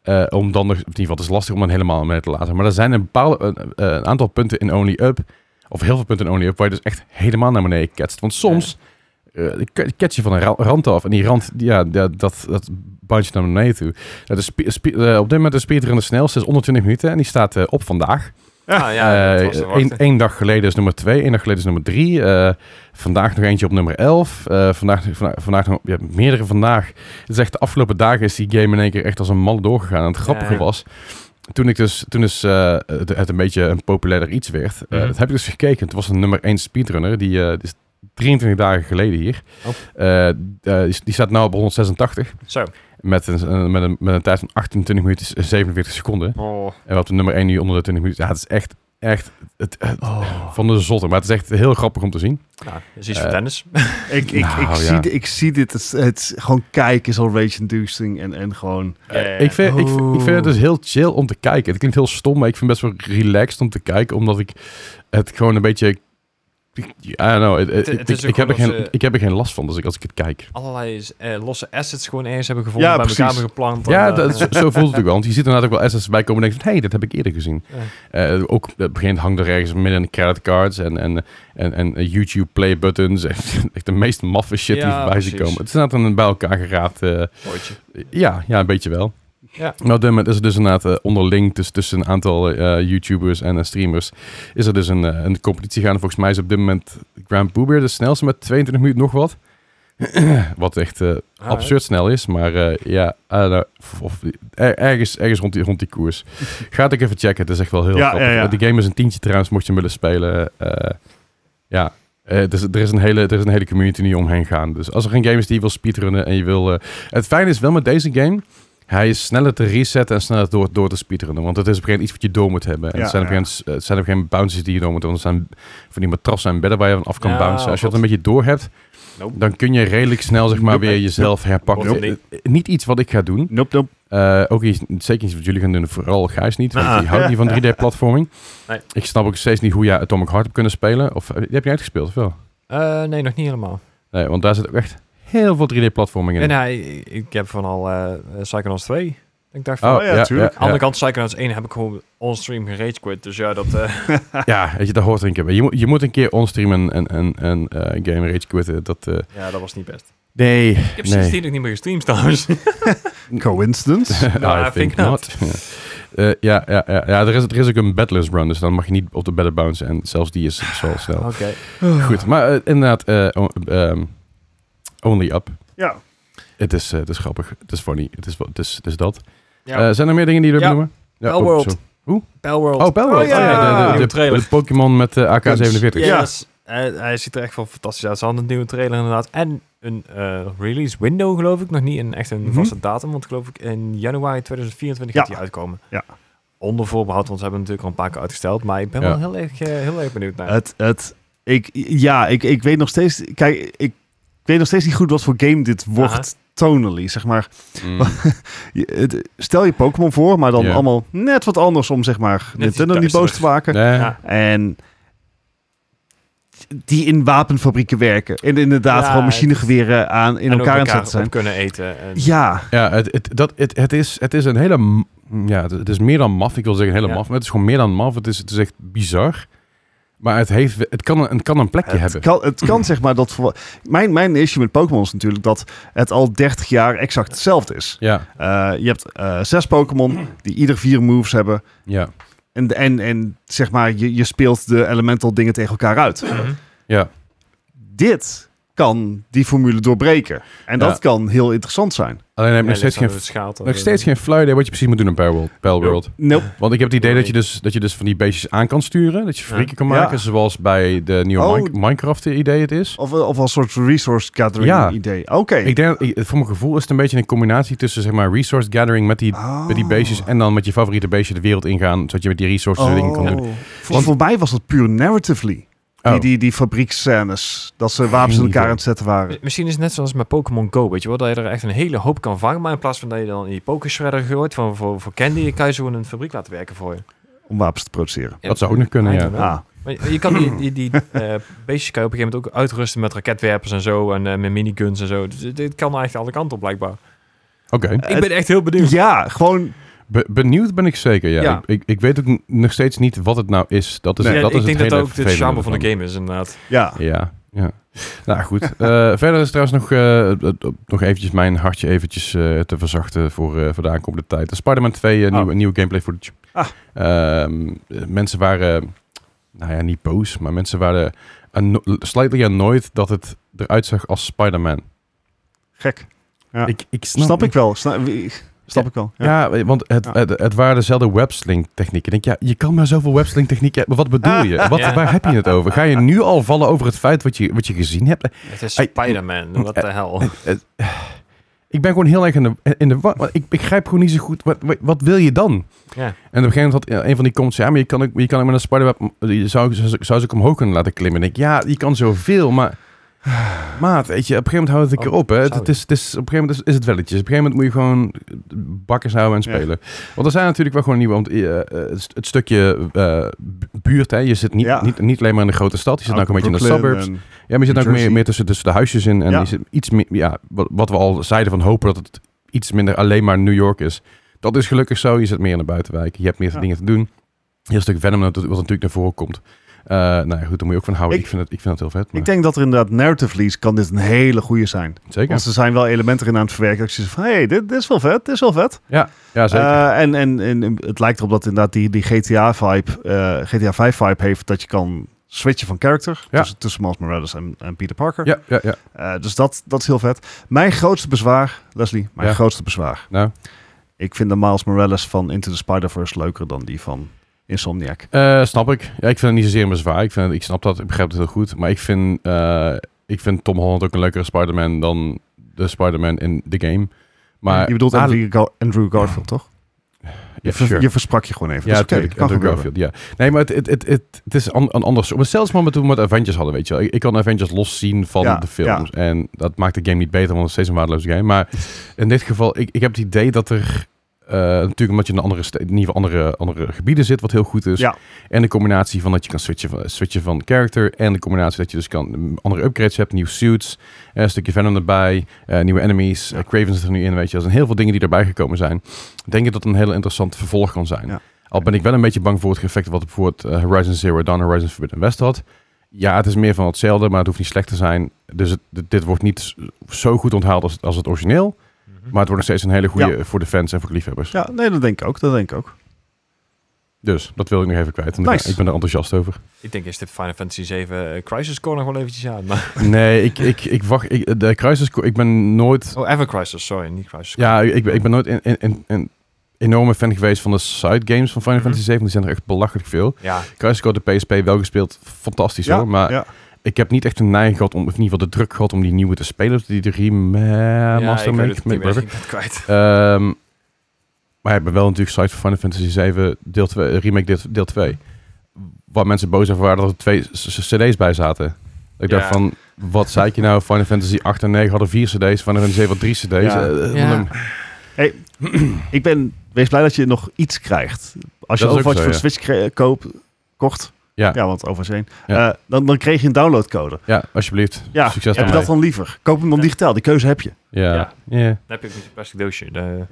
eh, om dan nog... In ieder geval, het is lastig om dan helemaal mee te laten. Maar er zijn een, bepaalde, een- eh, een aantal punten in Only Up, of heel veel punten in Only Up, waar je dus echt helemaal naar beneden ketst. Want soms eh ke- catch je van een ra- rand af en die rand, die- ja, dat, dat, dat bounce je naar beneden toe. Nou, de spe- spe- eh, op dit moment de speedrun de snelste is 120 minuten en die staat eh, op vandaag. Ah, ja, dat was te Eén wachten. Eh, één dag geleden is nummer 2, één dag geleden is nummer 3. vandaag nog eentje op nummer 11. eh, vandaag, vanda- vandaag nog ja, meerdere vandaag. Het is echt de afgelopen dagen is die game in één keer echt als een malle doorgegaan. En het grappige Ja. was, toen ik dus, toen is, eh, het, het een beetje een populairder iets werd, eh, Mhm. dat heb ik dus gekeken. Het was een nummer 1 speedrunner, die, eh, die is 23 dagen geleden hier. Oh. Eh, eh, die, die staat nu op 186 Zo. met een, een- met, een, met een tijd van 28 minuten en 47 seconden. Oh. En wat de nummer 1 nu onder de 20 minuten. Ja, het is echt, echt het, het- van de zotte. Maar het is echt heel grappig om te zien. Nou, dat is iets Eh, voor tennis. Ik, ik, Nou, ik, ja. zie, di- ik zie dit. Het, is- het is- gewoon kijken is al rage-inducing. En, en gewoon... Eh, ik, vind, ik, oeh. ik vind het dus heel chill om te kijken. Het klinkt heel stom, maar ik vind het best wel relaxed om te kijken. Omdat ik het gewoon een beetje... I don't know. het- Het- ik- het is ik- ook ik, heb er omdat geen, ze- ik heb er geen last van dus ik, als ik het kijk. Allerlei eh, losse assets gewoon ergens hebben gevonden, Ja, bij elkaar precies. hebben geplant. Ja, en, eh, dat, zo, zo voelt het ook wel. Want je ziet inderdaad ook wel assets bij komen en denkt van... Hé, hey, dit heb ik eerder gezien. Ja. Eh, ook op het begin hangt er ergens midden in creditcards en, en, en, en YouTube play buttons. Echt de meest maffe shit die Ja, voorbij zien precies. komen. Het is inderdaad een bij elkaar geraad... eh, Potje. Ja, ja, een beetje wel. Ja. Nou, op dit moment is er dus inderdaad eh, onderling dus tussen een aantal eh, YouTubers en eh, streamers is er dus een, eh, een competitie gaande. Volgens mij is op dit moment Grand Pooh Bear de snelste met 22 minuten nog wat. wat echt eh, Ah, absurd snel is, maar eh, ja, I don't know. Of- of, er- ergens, ergens rond, die, rond die koers. Ga het ook even checken, het is echt wel heel Ja, grappig. ja, ja. Die game is een tientje trouwens, mocht je hem willen spelen. Eh, ja, Eh, dus, er, is een hele, er is een hele community nu omheen gaan. Dus als er een game is die je wil speedrunnen en je wil... eh, het fijne is wel met deze game, hij is sneller te resetten en sneller door, door te speedrunnen. Want het is op een gegeven moment iets wat je door moet hebben. En Ja, het, zijn op een ja. gegeven moment, eh, het zijn op een gegeven moment bounces die je door moet hebben. Want er zijn van die matrassen en bedden waar je van af kan Ja, bouncen. Als je dat wat- een beetje door hebt, Nope. dan kun je redelijk snel zeg maar, Nope. weer jezelf herpakken. Nope. Eh, Niet iets wat ik ga doen. Nope, nope. Eh, ook iets, zeker iets wat jullie gaan doen, vooral Gijs niet. Want Ah. die houdt niet van 3D-platforming. Nee. Ik snap ook steeds niet hoe jij Atomic Heart hebt kunnen spelen. Of, eh, die heb je uitgespeeld of wel? Eh, nee, nog niet helemaal. Nee, want daar zit ook echt heel veel 3D-platforming in. En hij, ik heb van al eh eh, Psychonauts 2. Ik dacht van, Oh, Oh ja, ja, ja, tuurlijk. ja. aan de andere kant, Psychonauts 1 heb ik gewoon onstream geragequit. Dus ja, dat... eh, Ja, weet je, dat hoort er een keer bij. Je moet, je moet een keer onstream en, en, en, en eh, game rage quitten. Dat, eh, ja, dat was niet best. nee. Ik heb Nee. sindsdien ook niet Ah, meer gestreamd trouwens. Ah, Coincidence? Nou, I think not. Ja. Eh, ja, ja, ja, ja er, is, er is ook een bedless run, dus dan mag je niet op de bedden bouncen. En zelfs die is zo snel. Oké. Goed, maar eh, inderdaad, eh, o- ehm, Only Up. Ja. Het is, eh, het is grappig, het is funny, het is, wa- het is, het is dat. Ja. Eh, zijn er meer dingen die je wil Ja. noemen? Ja, oh, Palworld. zo. Palworld. Oh, Palworld. Oh, Oh, ja. ja. de- de, de, Nieuwe trailer. de Pokémon met eh, de AK-47. Ja. Yes. Eh, hij ziet er echt wel fantastisch uit. Ze hadden een nieuwe trailer inderdaad. En een eh, release window, geloof ik. Nog niet een, echt een Mhm. vaste datum. Want geloof ik in januari 2024 Ja. gaat die uitkomen. Ja. Onder voorbehoud, want ze hebben natuurlijk al een paar keer uitgesteld. Maar ik ben Ja. wel heel erg, eh, heel erg benieuwd naar. Het, het, ik, ja, ik, ik weet nog steeds. Kijk, ik, ik weet nog steeds niet goed wat voor game dit wordt. Aha. Tonally, zeg maar. Mm. Je- het- stel je Pokémon voor, maar dan Ja. allemaal net wat anders om zeg maar Net iets Nintendo niet boos te duisterder. maken. Nee. Ja. En die in wapenfabrieken werken. En inderdaad Ja, gewoon het is- machinegeweren aan in En ook elkaar aan het zetten zijn. op kunnen eten. En, Ja, Ja, het, het, dat, het, het, is, het is een hele... m- Ja, het, het is meer dan maf. Ik wil zeggen een hele Ja. maf, maar het is gewoon meer dan maf. Het is, het is echt bizar. Maar het, heeft, het, kan, een- het kan een plekje hebben. Het kan, het kan zeg maar dat... voor- Mijn, mijn issue met Pokémon is natuurlijk dat het al 30 jaar exact hetzelfde is. Ja, Eh, je hebt eh, zes Pokémon die ieder vier moves hebben. ja, En, en, en zeg maar, je, je speelt de elemental dingen tegen elkaar uit. Mhm. ja. Dit kan die formule doorbreken. En dat Ja. kan heel interessant zijn. Alleen heb ik Ja, nog steeds ligt geen... aan het schaalt. Nog steeds geen flauw idee wat je precies moet doen in Palworld. Palworld. Nope. Want ik heb het idee Nee. dat je, dus, dat je dus van die beestjes aan kan sturen. Dat je fabrieken kan Ja. maken. Zoals bij de nieuwe Oh. Min- Minecraft idee het is. Of, eh, of als soort resource gathering Ja. idee. Oké. Ik denk, ik- voor mijn gevoel is het een beetje een combinatie tussen zeg maar resource gathering met die, met Ah. die beestjes. En dan met je favoriete beestje de wereld ingaan. Zodat je met die resources Oh. dingen kan doen. Want voor mij was dat puur narratively. Oh. Die, die, die fabrieksscènes. Dat ze wapens Geen in elkaar idee. aan het zetten waren. Mi- Misschien is het net zoals met Pokémon Go, weet je wel, dat je er echt een hele hoop kan vangen, maar in plaats van dat je dan in die Pokéshredder gooit van, voor, voor candy, kan je zo in een fabriek laten werken voor je. om wapens te produceren. Dat zou ook nog kunnen, I ja. don't know. Ah, Maar je, je kan die, die, die eh, beestjes kan je op een gegeven moment ook uitrusten met raketwerpers en zo, en eh, met miniguns en zo. Dus dit- dit kan eigenlijk alle kanten op, blijkbaar. Oké. ik ben echt heel benieuwd. Ah. ja, gewoon. Be- benieuwd ben ik zeker, ja. Ja. Ik, ik, ik weet ook n- nog steeds niet wat het nou is. Dat is, Nee, Ja, dat ik is denk het dat dat hele ook de charme vervelende van de game is, inderdaad. Ja. ervan. Ja, ja. Nou goed. Eh, verder is trouwens nog, eh, eh, eh, nog eventjes mijn hartje eventjes eh, te verzachten voor, eh, voor de aankomende tijd. Spider-Man 2, eh, Oh. nieuwe, nieuwe gameplay footage. Ah. Ehm, eh, mensen waren, nou ja, niet boos, maar mensen waren anno- slightly annoyed dat het eruit zag als Spider-Man. Gek. Ja. Ik, ik Snap niet- ik wel. Sna- wie- Snap ik wel. Ja. Ja, want het, Ja. het, het waren dezelfde websling technieken. Ik denk, ja, je kan maar zoveel websling technieken hebben. Wat bedoel je? Wat, Ja. Waar heb je het over? Ga je nu al vallen over het feit wat je, wat je gezien hebt? Het is Ai, Spider-Man, what the hell. Ik ben gewoon heel erg in de... In de wa- want ik begrijp gewoon niet zo goed. Wat, wat, wat wil je dan? Ja. En op een gegeven moment had een van die comments... Ja, maar je kan ook, je kan ook met een spiderweb... Je zou, zou, zou ze ook omhoog kunnen laten klimmen. En ik denk, ja, je kan zoveel, maar... Maat, weet je, op een gegeven moment houdt het een Oh, keer op. Hè. Het, sorry. het is, het is, op een gegeven moment is, is het welletjes. Op een gegeven moment moet je gewoon bakkers houden en Ja. spelen. Want er zijn natuurlijk wel gewoon nieuwe... Want, eh, eh, het, st- het stukje eh, bu- buurt, hè. Je zit niet, Ja. niet, niet alleen maar in de grote stad. Je zit nou ook een beetje in de Brooklyn suburbs. en- Ja, maar je zit New ook meer, Jersey. meer tussen, tussen de huisjes in. En Ja. je zit iets meer, ja, wat, wat we al zeiden van hopen dat het iets minder alleen maar New York is. Dat is gelukkig zo. Je zit meer in de buitenwijk. Je hebt meer Ja. dingen te doen. Heel een stuk Venom, dat- wat natuurlijk naar voren komt. Eh, nou ja, goed, daar moet je ook van houden. Ik, Ik- vind, het, ik vind het heel vet. Maar Ik denk dat er inderdaad narratively kan dit een hele goede zijn. zeker. Want er zijn wel elementen in aan het verwerken. Dat je zegt van, hé, hey, dit, dit is wel vet, dit is wel vet. Ja, zeker. Eh, en, en, en het lijkt erop dat inderdaad die, die GTA-vibe, eh, GTA 5 vibe heeft dat je kan switchen van character. Ja. Tussen, tussen Miles Morales en, en Peter Parker. ja, ja, ja. Eh, dus dat, dat is heel vet. Mijn grootste bezwaar, Leslie, mijn Ja. grootste bezwaar. Nou. Ik vind de Miles Morales van Into the Spider-Verse leuker dan die van Insomniac. Eh, snap ik. Ja, ik vind het niet zozeer een bezwaar. Ik, vind het, ik snap dat, ik begrijp het heel goed. Maar ik vind, eh, ik vind Tom Holland ook een leukere Spider-Man dan de Spider-Man in de game. Maar je bedoelt Ah, Andrew, Gar- Andrew Garfield, toch? ja, je, ver- sure. je versprak je gewoon even. Ja, dat is oké, natuurlijk. dat kan Andrew gebeuren. Garfield, ja. Nee, maar het, het, het, het, het is an, an- anders. Maar Zelfs maar met toen we het Avengers hadden, weet je wel. Ik, ik kan Avengers los zien van Ja, de films. En dat maakt de game niet beter, want het is steeds een waardeloze game. Maar in dit geval, ik, ik heb het idee dat er... eh, natuurlijk omdat je in, een andere, ste- in ieder geval andere, andere gebieden zit, wat heel goed is. Ja. En de combinatie van dat je kan switchen van, switchen van character. En de combinatie dat je dus kan mm, andere upgrades hebt. Nieuwe suits, eh, een stukje Venom erbij. eh, nieuwe enemies. eh, Craven zit er nu in, weet je. wel. Er zijn heel veel dingen die erbij gekomen zijn. Ik Denk ik dat het een heel interessant vervolg kan zijn. Ja. Al ben ik wel een beetje bang voor het effect wat bijvoorbeeld eh, Horizon Zero Dawn, Horizon Forbidden West had. Ja, het is meer van hetzelfde, maar het hoeft niet slecht te zijn. Dus het- dit- dit wordt niet zo goed onthaald als, als het origineel. Maar het wordt nog steeds een hele goede voor de fans en voor de liefhebbers. Ja, nee, dat denk ik ook. Dat denk ik ook. Dus dat wil ik nog even kwijt. Want ik ben- Nice. ik ben er enthousiast over. Ik denk, is dit Final Fantasy 7 Crisis Core nog wel eventjes aan? Maar... Nee, ik, ik, ik wacht. Ik, de Crisis Core, ik ben nooit. Oh, Ever Crisis, sorry, niet Crisis Core. Ja, ik, ben- ik ben nooit een, een, een, een enorme fan geweest van de side games van Final Mhm. Fantasy 7. Die zijn er echt belachelijk veel. Ja, Crisis Core Eh, de PSP wel gespeeld. Fantastisch Ja, hoor. Maar ja. ik heb niet echt een neiging gehad om, of in ieder geval de druk gehad om die nieuwe te spelen. Of die de ja, remaster ik weet ja, het, ik ben het niet kwijt. Ehm maar ja, ik ben wel natuurlijk site van Final Fantasy 7 deel 2, remake deel, deel 2. Waar mensen boos over waren dat er twee c- c- cd's bij zaten. Ik Ja. dacht van, wat zei ik je nou? Final Fantasy 8 en 9 hadden vier cd's, Final Fantasy 7 had drie cd's. Ja. Eh, eh, Ja. dan- Ik ben, wees blij dat je nog iets krijgt. Als je Dat is ook Overwatch zo, voor ja. Switch kre- koopt, kocht. Ja. ja, want Overwatch 1. Ja. eh, dan, dan kreeg je een downloadcode. ja, alsjeblieft. Ja, Succes heb je daarmee. dat dan liever? Koop hem dan Ja. digitaal, die keuze heb je. Ja. Ja. Ja. Dan heb je ook niet zo'n plastic doosje. De...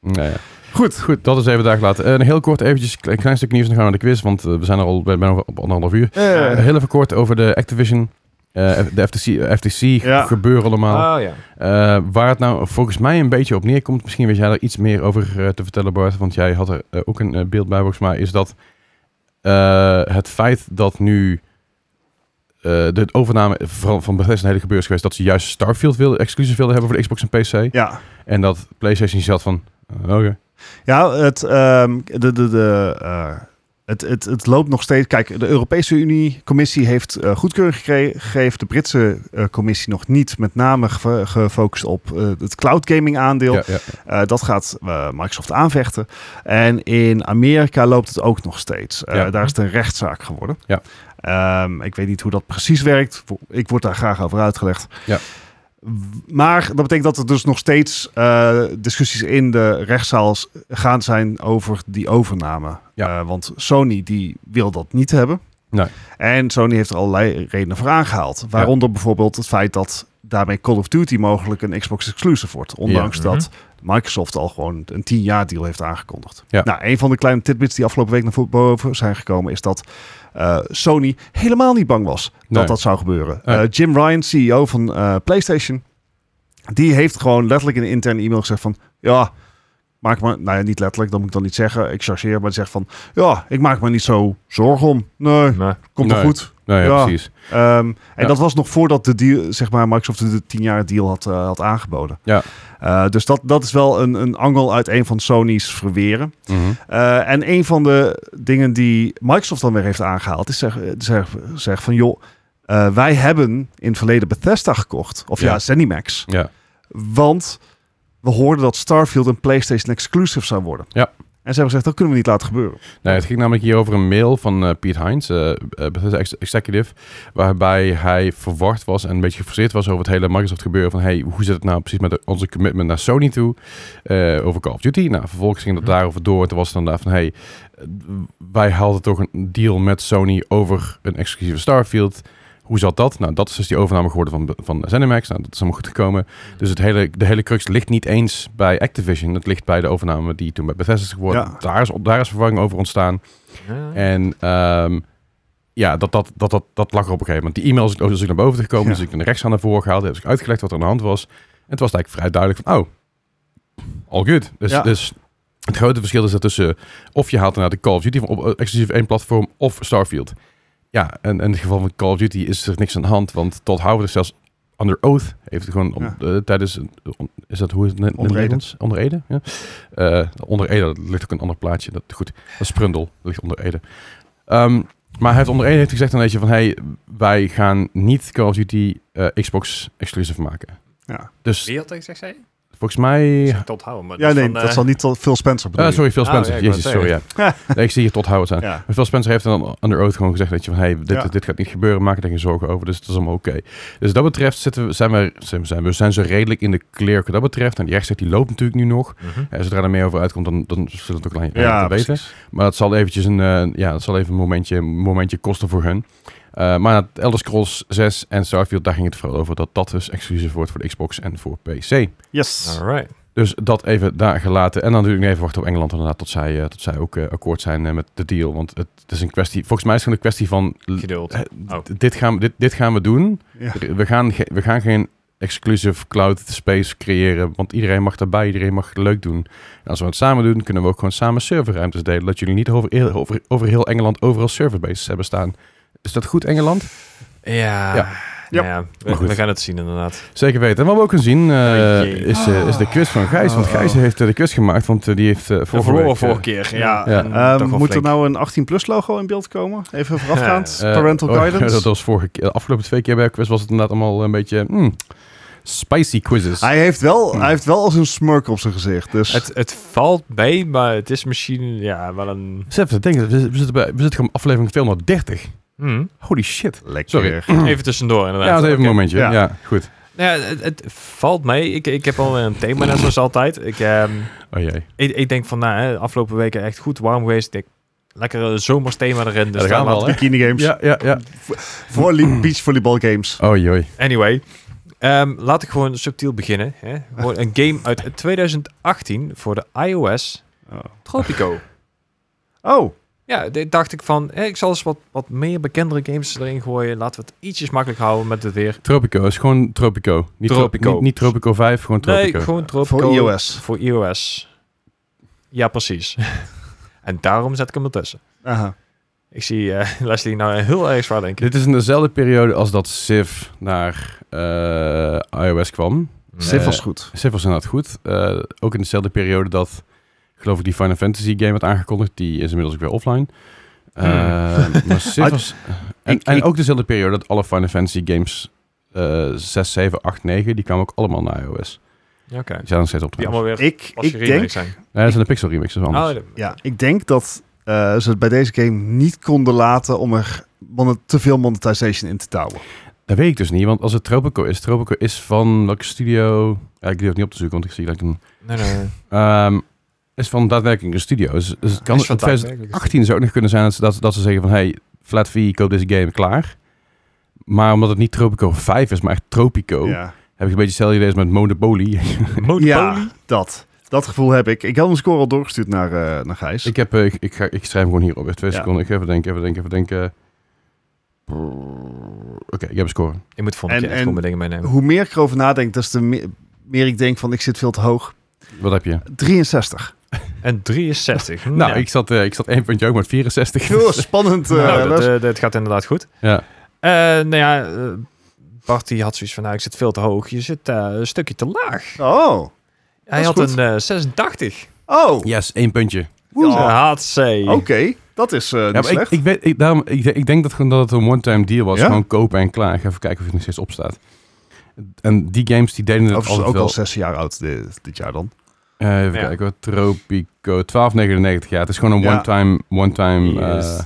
Nou ja. Goed. Goed, dat is even dagen later. Eh, heel kort eventjes een klein stuk nieuws en dan gaan we naar de quiz. Want eh, we zijn er al bij, bijna op anderhalf uur. Eh, Eh, heel even kort over de Activision, eh, de FTC, FTC Ja. Ah. gebeuren allemaal. Oh ja. Eh, waar het nou volgens mij een beetje op neerkomt, misschien weet jij daar iets meer over eh, te vertellen, Bart, want jij had er eh, ook een eh, beeld bij, volgens mij, is dat eh, het feit dat nu eh, de overname vooral van Bethesda een hele gebeur is geweest, dat ze juist Starfield wilden, exclusief wilden hebben voor de Xbox en PC, ja. en dat PlayStation zat van, eh, oké, Ja, het, ehm, de, de, de, eh, het, het, het loopt nog steeds. Kijk, de Europese Unie-commissie heeft eh, goedkeuring gekre- gegeven. De Britse eh, commissie nog niet. Met name gef- gefocust op eh, het cloud gaming aandeel. ja, ja, Eh, dat gaat eh, Microsoft aanvechten. En in Amerika loopt het ook nog steeds. Eh, Ja. Daar is het een rechtszaak geworden. Ja. Ehm, ik weet niet hoe dat precies werkt. Wo- Ik word daar graag over uitgelegd. Ja. W- Maar dat betekent dat er dus nog steeds eh, discussies in de rechtszaal s- gaan zijn over die overname. Ja. Eh, want Sony die wil dat niet hebben. Nee. En Sony heeft er allerlei redenen voor aangehaald. Waaronder bijvoorbeeld het feit dat daarmee Call of Duty mogelijk een Xbox exclusive wordt. Ondanks Ja. dat Mhm. Microsoft al gewoon een 10 jaar deal heeft aangekondigd. Ja. Nou, een van de kleine tidbits die afgelopen week naar boven zijn gekomen is dat eh, Sony helemaal niet bang was dat Nee. dat zou gebeuren. Nee. Eh, Jim Ryan, CEO van eh, PlayStation, die heeft gewoon letterlijk in een interne e-mail gezegd van ja, maak me, nou ja, niet letterlijk, dat moet ik dan niet zeggen, ik chargeer, maar die zegt van ja, ik maak me niet zo zorgen om. Nee, Maar, komt wel Nee. goed. nou ja, Ja. precies. Ehm, en Ja. dat was nog voordat de deal, zeg maar, Microsoft de 10 jaar deal had, eh, had aangeboden. Ja. Eh, dus dat, dat is wel een, een angel uit een van Sony's verweren. Mhm. Eh, en een van de dingen die Microsoft dan weer heeft aangehaald, is zeg, zeg, zeg van joh, eh, wij hebben in het verleden Bethesda gekocht. Of ja, Ja. ZeniMax. Ja, Want we hoorden dat Starfield een PlayStation exclusive zou worden. Ja. En ze hebben gezegd, dat kunnen we niet laten gebeuren. Nee, Nou, het ging namelijk hier over een mail van eh, Piet Heinz, eh eh, Bethesda ex- executive, waarbij hij verward was en een beetje gefrustreerd was over het hele Microsoft gebeuren van hey, hoe zit het nou precies met de- onze commitment naar Sony toe eh, over Call of Duty? Nou, vervolgens ging dat Mhm. daarover door en toen was het dan daar van hey, eh, wij hadden toch een deal met Sony over een exclusieve Starfield. Hoe zat dat? Nou, dat is dus die overname geworden van, van ZeniMax. Nou, dat is allemaal goed gekomen. Dus het hele, de hele crux ligt niet eens bij Activision. Het ligt bij de overname die toen bij Bethesda is geworden. Ja. Daar, is, daar is verwarring over ontstaan. ja. En ehm, ja, dat, dat, dat, dat, dat lag er op een gegeven moment. Die e-mail is ook dus ook naar boven gekomen. Ja. Dus ik ben rechts aan naar voren gehaald. Heb ik uitgelegd wat er aan de hand was. En het was eigenlijk vrij duidelijk van, oh, all good. Dus, Ja. dus het grote verschil is dat tussen of je haalt naar de Call of Duty van op eh, exclusief één platform of Starfield. Ja, en in het geval van Call of Duty is er niks aan de hand. Want Todd Howard is zelfs under oath. Heeft gewoon om- eh, tijdens... een- on- is dat hoe is het in het Onder ede. Nederlands? Onder ede, ja. Eh, onder Ede, dat ligt ook een ander plaatje. Dat, goed, dat is Prundel. Dat ligt onder Ede. Ehm, maar hij heeft onder Ede heeft gezegd een beetje van... Hey, wij gaan niet Call of Duty eh, Xbox exclusive maken. Ja, Dus Wie had dat gezegd, zei je? volgens mij... Ik zeg tot houden, maar ja is nee, van, dat eh, zal niet tot Phil Spencer Eh, bedoelen. sorry, Phil Oh, Spencer. ja, ik wou Jezus, het sorry. Ja. Nee, ik zie hier tot Howard aan. Ja. Maar Phil Spencer heeft dan onder oath gewoon gezegd dat je van, hey, dit, Ja. dit gaat niet gebeuren, maak er geen zorgen over, dus het is allemaal oké. Dus dat betreft zitten we, zijn, we, zijn, we, zijn, we zijn zo redelijk in de clear wat dat betreft. En die rechtszaak die loopt natuurlijk nu nog. mhm. Eh, zodra er meer over uitkomt, dan, dan zullen we het ook aan je- aan Ja, je te weten. precies. Maar dat zal eventjes een, eh, ja, dat zal even een momentje, een momentje kosten voor hun. Eh, maar het Elder Scrolls 6 en Starfield, daar ging het vooral over dat dat dus exclusief wordt voor de Xbox en voor PC. Yes. Alright. Dus dat even daar gelaten. En dan natuurlijk nog even wachten op Engeland inderdaad tot zij, eh, tot zij ook eh, akkoord zijn eh, met de deal. Want het, is een kwestie, volgens mij is het gewoon een kwestie van... eh, l- Geduld. eh, d- dit, gaan, we- dit, dit gaan we doen. Ja. We gaan, ge- we gaan geen exclusive cloud space creëren. Want iedereen mag daarbij, iedereen mag het leuk doen. En als we het samen doen, kunnen we ook gewoon samen serverruimtes delen. Dat jullie niet over, heel- over, over heel Engeland overal serverbases hebben staan. Is dat goed, Engeland? Ja. Ja. Nou ja, Maar we, goed. we gaan het zien inderdaad. Zeker weten. En wat we ook kunnen zien eh, Oh jee. is, eh, is de quiz van Gijs. Want Gijs heeft eh, de quiz gemaakt, want eh, die heeft eh We vorige verloren week, eh, vorige keer. Ja, Ja. en Ehm, toch wel moet er flink. nou een 18-plus logo in beeld komen? Even voorafgaand. eh, Parental oh, guidance. dat was vorige keer. De afgelopen twee keer bij de quiz was het inderdaad allemaal een beetje hmm, spicy quizzes. Hij heeft, Hmm. wel, hij heeft wel als een smurk op zijn gezicht. Dus Het, het valt mee, maar het is misschien ja, wel een... Besef te denken, we we zitten, bij, we zitten gewoon op aflevering 230. Hm. Holy shit. lekker. Sorry. Even tussendoor inderdaad. Ja, dat is even een Oké. momentje. Ja. Ja, goed. Nou ja, het, het valt mee. Ik, ik heb alweer een thema, net zoals altijd. Ik, ehm, Oh jee. ik, ik denk van, nou, hè, de afgelopen weken echt goed warm geweest. Ik denk, lekker een zomers thema erin. Dus daar gaan we dan al, hè? Bikini games. Ja, ja, ja. Volley, beach volleyball games. Oh jee. Anyway, ehm, laat ik gewoon subtiel beginnen. Hè? Gewoon een game uit 2018 voor de iOS Oh. Tropico. Oh, Ja, dit dacht ik van, hè, ik zal eens wat, wat meer bekendere games erin gooien. Laten we het ietsjes makkelijk houden met het weer. Tropico is gewoon Tropico. Niet Tro- Tropico. niet, niet Tropico 5, gewoon Tropico. Nee, gewoon Tropico. voor iOS. Voor iOS. Ja, precies. en daarom zet ik hem ertussen. Aha. Ik zie eh, Leslie nou heel erg zwaar denken. Dit is in dezelfde periode als dat Civ naar eh, iOS kwam. Sif Eh, was goed. Civ was inderdaad goed. Eh, ook in dezelfde periode dat, geloof ik, die Final Fantasy game werd aangekondigd. Die is inmiddels ook weer offline. Eh, maar Civ Ah, was- en, ik- en ik- ook dezelfde periode dat alle Final Fantasy games eh 6, 7, 8, 9, die kwamen ook allemaal naar iOS. Ja, Oké. Die zijn nog steeds op de Die allemaal weer Ik, als je ik, denk, zijn. Nee, dat zijn de pixel remixes anders. Oh, de- ja, ik denk dat eh, ze het bij deze game niet konden laten om er monet- te veel monetization in te touwen. Dat weet ik dus niet, want als het Tropico is, Tropico is van welke studio? Ja, ik durf het niet op te zoeken, want ik zie dat ik een... Nee, nee, nee. Ehm, is van daadwerkelijk een studio. Dus, dus het kan Is in van 2018 zou ook nog kunnen zijn dat, ze- dat, dat ze zeggen van... Hey, flat fee, koop deze game, klaar. Maar omdat het niet Tropico 5 is, maar echt Tropico... Ja. heb ik een beetje hetzelfde idee als met Monopoly. Monopoly? ja, dat. Dat gevoel heb ik. Ik had mijn score al doorgestuurd naar, eh, naar Gijs. ik, heb, eh, ik, ik, ga, ik schrijf hem gewoon hierop. Even twee Ja. seconden. Ik ga even denken, even denken, even denken. Oké, ik heb een score. Je moet volgende En- keer echt en- gewoon mijn dingen meenemen. Hoe meer ik erover nadenk, des te me- meer ik denk van ik zit veel te hoog. Wat heb je? 63. En 63. Nou, ik, zat, eh, ik zat één puntje ook met 64. Heel spannend. eh, Nou, dat, les. eh, dat gaat inderdaad goed. Ja. Eh, nou ja, eh, Bart die had zoiets van, nou, ik zit veel te hoog. Je zit eh, een stukje te laag. eh, Oh. Hij is had goed. een eh, 86. Oh. Yes, één puntje. Oeh. Ja, had ze. Oké. Dat is eh niet Ja, maar ik, slecht. ik, weet, ik, daarom, ik, ik denk dat, gewoon dat het een one-time deal was. Ja? Gewoon kopen en klaar. Ik ga even kijken of het nog steeds opstaat. En die games die deden het Overigens altijd ook wel. al 16 jaar oud dit, dit jaar dan. Eh, even Ja. kijken hoor. Tropico 12,99. Ja, het is gewoon een Ja. one-time one-time Yes. eh,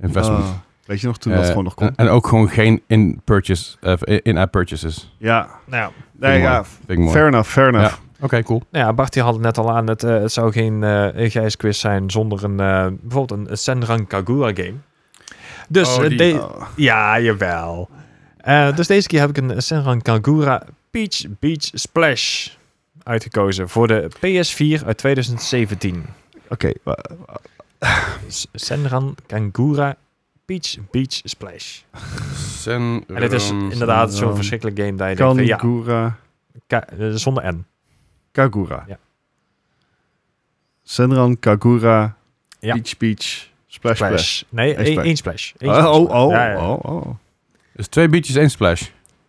investment. Ah, weet je nog toen dat Eh, gewoon nog kon? en, en ook gewoon geen in-purchase, eh, in-app purchases. ja. Nou, Nee, ja. Vind ik mooi. Fair enough, fair enough. Oké, cool. nou ja, Bart die had het net al aan. Het, eh, het zou geen eh Gijs quiz zijn zonder een, eh, bijvoorbeeld een, een Senran Kagura game. Dus, Oh, eh, die- de- Oh. ja, jawel. Eh, dus deze keer heb ik een Senran Kagura Peach Beach Splash uitgekozen voor de PS4 uit 2017. Oké, wa- S- Senran Kangura Peach Beach Splash. Sen- En het is inderdaad zo'n Senran verschrikkelijk game dat je denkt van, ja, Kangura. ka- eh, zonder N. Kagura. Ja. Senran, Kagura, Ja. Peach Peach, Splash Splash. Splash. Nee, Eén één splash. één splash. Eén Oh, splash. oh, oh, Ja, ja. oh, oh. Dus twee beaches, één splash.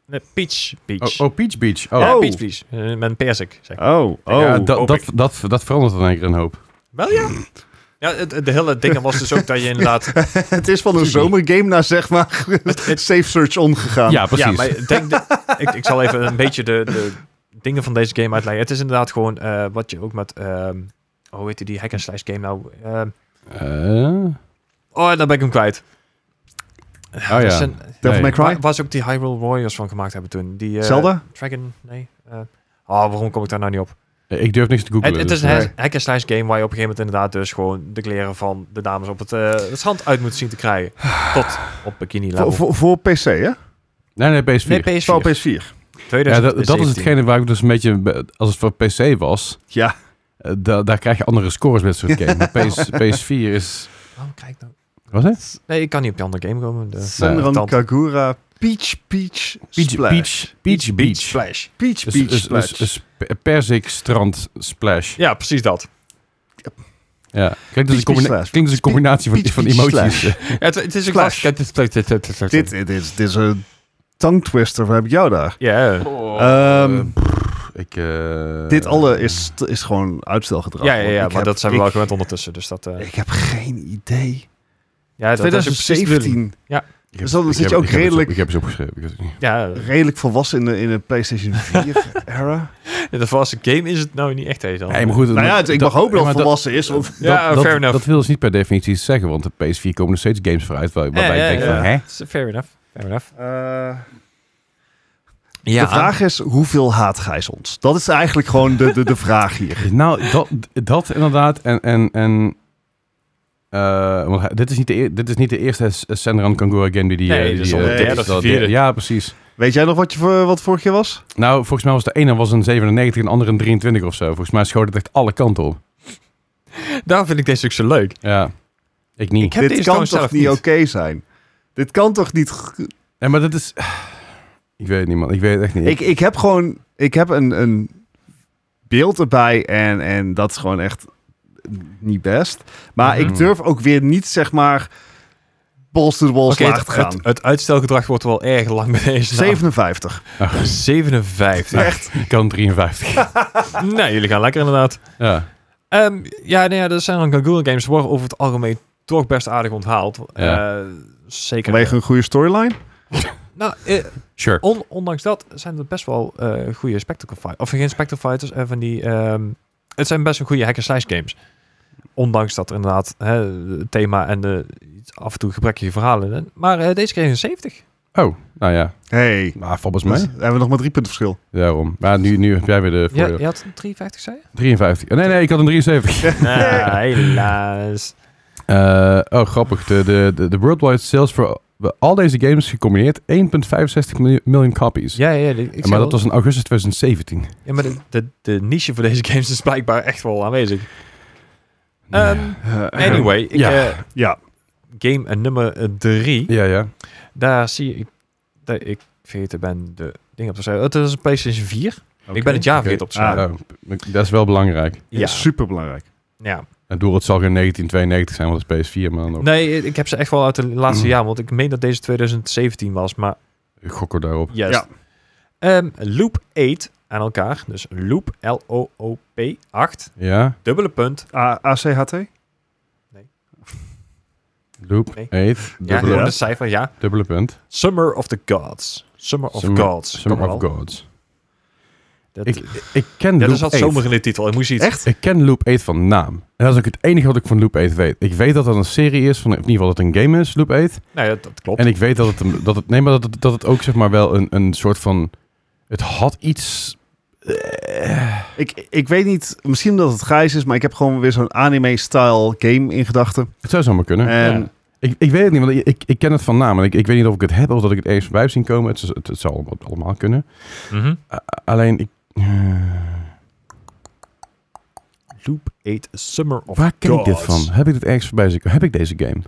Nee, Peach Beach. Oh, oh, Peach Beach. Oh, Ja, Oh. Peach Beach. Eh, Met een persik, zeg. Oh, oh. Ja, dat, hoop dat, dat, dat verandert in één keer een hoop. Wel ja. Ja, het, het- de hele ding was dus ook dat je inderdaad... het is van een zomergame naar zeg maar Safe Search ongegaan. Ja, Ja, precies. maar denk de- ik, ik zal even een beetje de, de dingen van deze game uitleggen. Het is inderdaad gewoon eh, wat je ook met... ehm, hoe heet die, die hack and slash game nou? Ehm, Eh, oh, daar ben ik hem kwijt. oh Dat ja. is een- Devil May Nee. Cry? Waar, waar ze ook die Hyrule Warriors van gemaakt hebben toen. Die, eh, Zelda? Dragon, nee. eh, oh, waarom kom ik daar nou niet op? Ik durf niks te googlen. Het, het is dus- een nee. hack- hack and slash game waar je op een gegeven moment inderdaad dus gewoon de kleren van de dames op het, eh, het strand uit moet zien te krijgen. Tot op bikini Voor, level. voor, voor PC, hè? Nee, nee, PS4. nee, Voor PS4. PS4. ja, 2017. dat, dat is hetgene waar ik dus een beetje... be- Als het voor PC was, Ja. eh, da- daar krijg je andere scores met dit soort games. Maar PS, PS4 is... Waarom kijk nou? Wat is het? Nee, ik kan niet op die andere game komen. dus- de- Senran tand. Kagura, Peach Peach Eh, Peach, Splash. Peach, Peach Beach. Splash. Peach Dus- Peach dus- Splash. dus- dus pe- Perzik strand splash. Ja, precies dat. Ja. Kijk, dus Peach een combina- slash. klinkt dus een combinatie van, Peach van Peach emoties. slash. Ja, het, het is een Splash. klas. dit, dit, is, dit is een tongue twister. Wat heb ik jou daar? Ja, Ehm, Eh, pff, ik, eh, dit alle is, is gewoon uitstelgedrag. ja, ja, want ja ik maar heb- dat zijn we wel ik- gewend ondertussen. Dus dat, eh Ik heb geen idee. ja, dat- dat is precies de bedoeling. 2017. ik dus dan ik zit je heb- ook ik heb het op- redelijk- Ik Oh. heb het opgeschreven. ik weet het niet. Ja, Redelijk volwassen in de, in de PlayStation 4 era. de volwassen game is het nou niet echt. hè, dan. Nee, maar goed. nou ja, het- ik dat- mag hopen dat ja, het maar volwassen is. Want Ja, dat, fair dat, enough. dat wil dus niet per definitie iets zeggen, want op PS4 komen nog steeds games vooruit waar- waarbij Ja, ja, ik denk ja. van, hè? Fair enough. Fair enough. Eh, Ja, De vraag is, hoeveel haat Gijs ons? Dat is eigenlijk gewoon de, de, de vraag hier. Nou, dat, dat inderdaad. En, en, en eh, want hij- dit, is niet de, eer- dit is niet de eerste S- Senran Kangura game die... die Nee, eh, die, dit is eh, al de dat- derde dat- of de vierde. Ja, precies. Weet jij nog wat, je, voor- wat vorig jaar was? Nou, volgens mij was de ene was een 97 en de andere een 23 of zo. Volgens mij schoot het echt alle kanten op. Daarom vind ik deze ook zo leuk. Ja, ik niet. heb Dit deze kan trouwens toch zelf niet oké zijn? Dit kan toch niet... g- Nee, maar dat is... Ik weet het niet, man. Ik weet het echt niet. Ik, ik heb gewoon... Ik heb een, een beeld erbij en, en dat is gewoon echt niet best. Maar Mhm. ik durf ook weer niet, zeg maar, balls to the wall Oké, slaag het, te gaan. het- het uitstelgedrag wordt wel erg lang bij deze. naam. 57. 57. Echt. Ik kan 53. nee, jullie gaan lekker inderdaad. ja. Ehm, ja, nou ja, de Silent Google games worden over het algemeen toch best aardig onthaald. Ja. Eh, zeker. Vanwege een goede storyline? Nou, eh, Sure. on- ondanks dat zijn er best wel eh, goede Spectacle Fighters. Of geen Spectacle Fighters, eh, van die... ehm, het zijn best wel goede hack and slash games. Ondanks dat er inderdaad hè, het thema en de iets af en toe gebrekkige verhalen. in. Maar eh, deze kreeg een 70. Oh, nou ja. Hey. Maar volgens Dus mij. hebben we nog maar drie punten verschil. Daarom. Maar nu, nu heb jij weer de Ja, voordeel. je had een 53, zei je? 53. Oh, nee, nee, ik had een 73. Ah, helaas. Eh, oh, grappig. De, de, de, de worldwide sales voor al deze games gecombineerd 1,65 miljoen- miljoen copies. Ja, ja, ja, ik zei maar al- dat was in augustus 2017. Ja, maar de, de, de niche voor deze games is blijkbaar echt wel aanwezig. Ehm, anyway, ik, Ja. eh, Ja. game en nummer 3. Ja, ja. Daar zie ik dat ik vergeten ben de dingen op te schrijven. Het is een PlayStation 4. Ik ben het jaar vergeten op te schrijven. Nou, dat is wel belangrijk. Ja. Super belangrijk. ja. En door het zal geen 1992 zijn, want het is PS4, maar dan ook. Nee, ik heb ze echt wel uit de laatste jaar, want ik meen dat deze 2017 was, maar Ik gok er daarop. juist. Ja. Ehm, loop 8 aan elkaar, dus Loop, L-O-O-P, 8, Ja, dubbele punt, A- ACHT? loop, Nee. 8, ja, dubbele, gewoon Ja. de cijfer, ja. dubbele punt. Summer of the Gods. Summer of Summer- Gods. Summer Kom of wel. Gods. Dat, eh, Ik, ik ken ja, er loop zat 8. zomer in de titel. Ik moest iets. Echt? Ik ken Loop 8 van naam. En dat is ook het enige wat ik van Loop 8 weet. Ik weet dat dat een serie is, van, of in ieder geval dat het een game is, Loop 8. Nou ja, dat klopt. En ik weet dat het, een- dat het, nee, maar dat het, dat het ook zeg maar wel een, een soort van, het had iets, eh, Ik, ik weet niet, misschien omdat het grijs is, maar ik heb gewoon weer zo'n anime-style game in gedachten. het zou zomaar kunnen. En Ja. Ik, ik weet het niet, want ik, ik ken het van naam. En ik, ik weet niet of ik het heb of dat ik het eens voorbij heb zien komen. Het, is- het, het zou allemaal, allemaal kunnen. Mhm. A- alleen, ik, eh, Loop 8 Summer of waar ken ik dit Gods. van? Heb ik dit ergens voorbij zien komen? Heb ik deze game?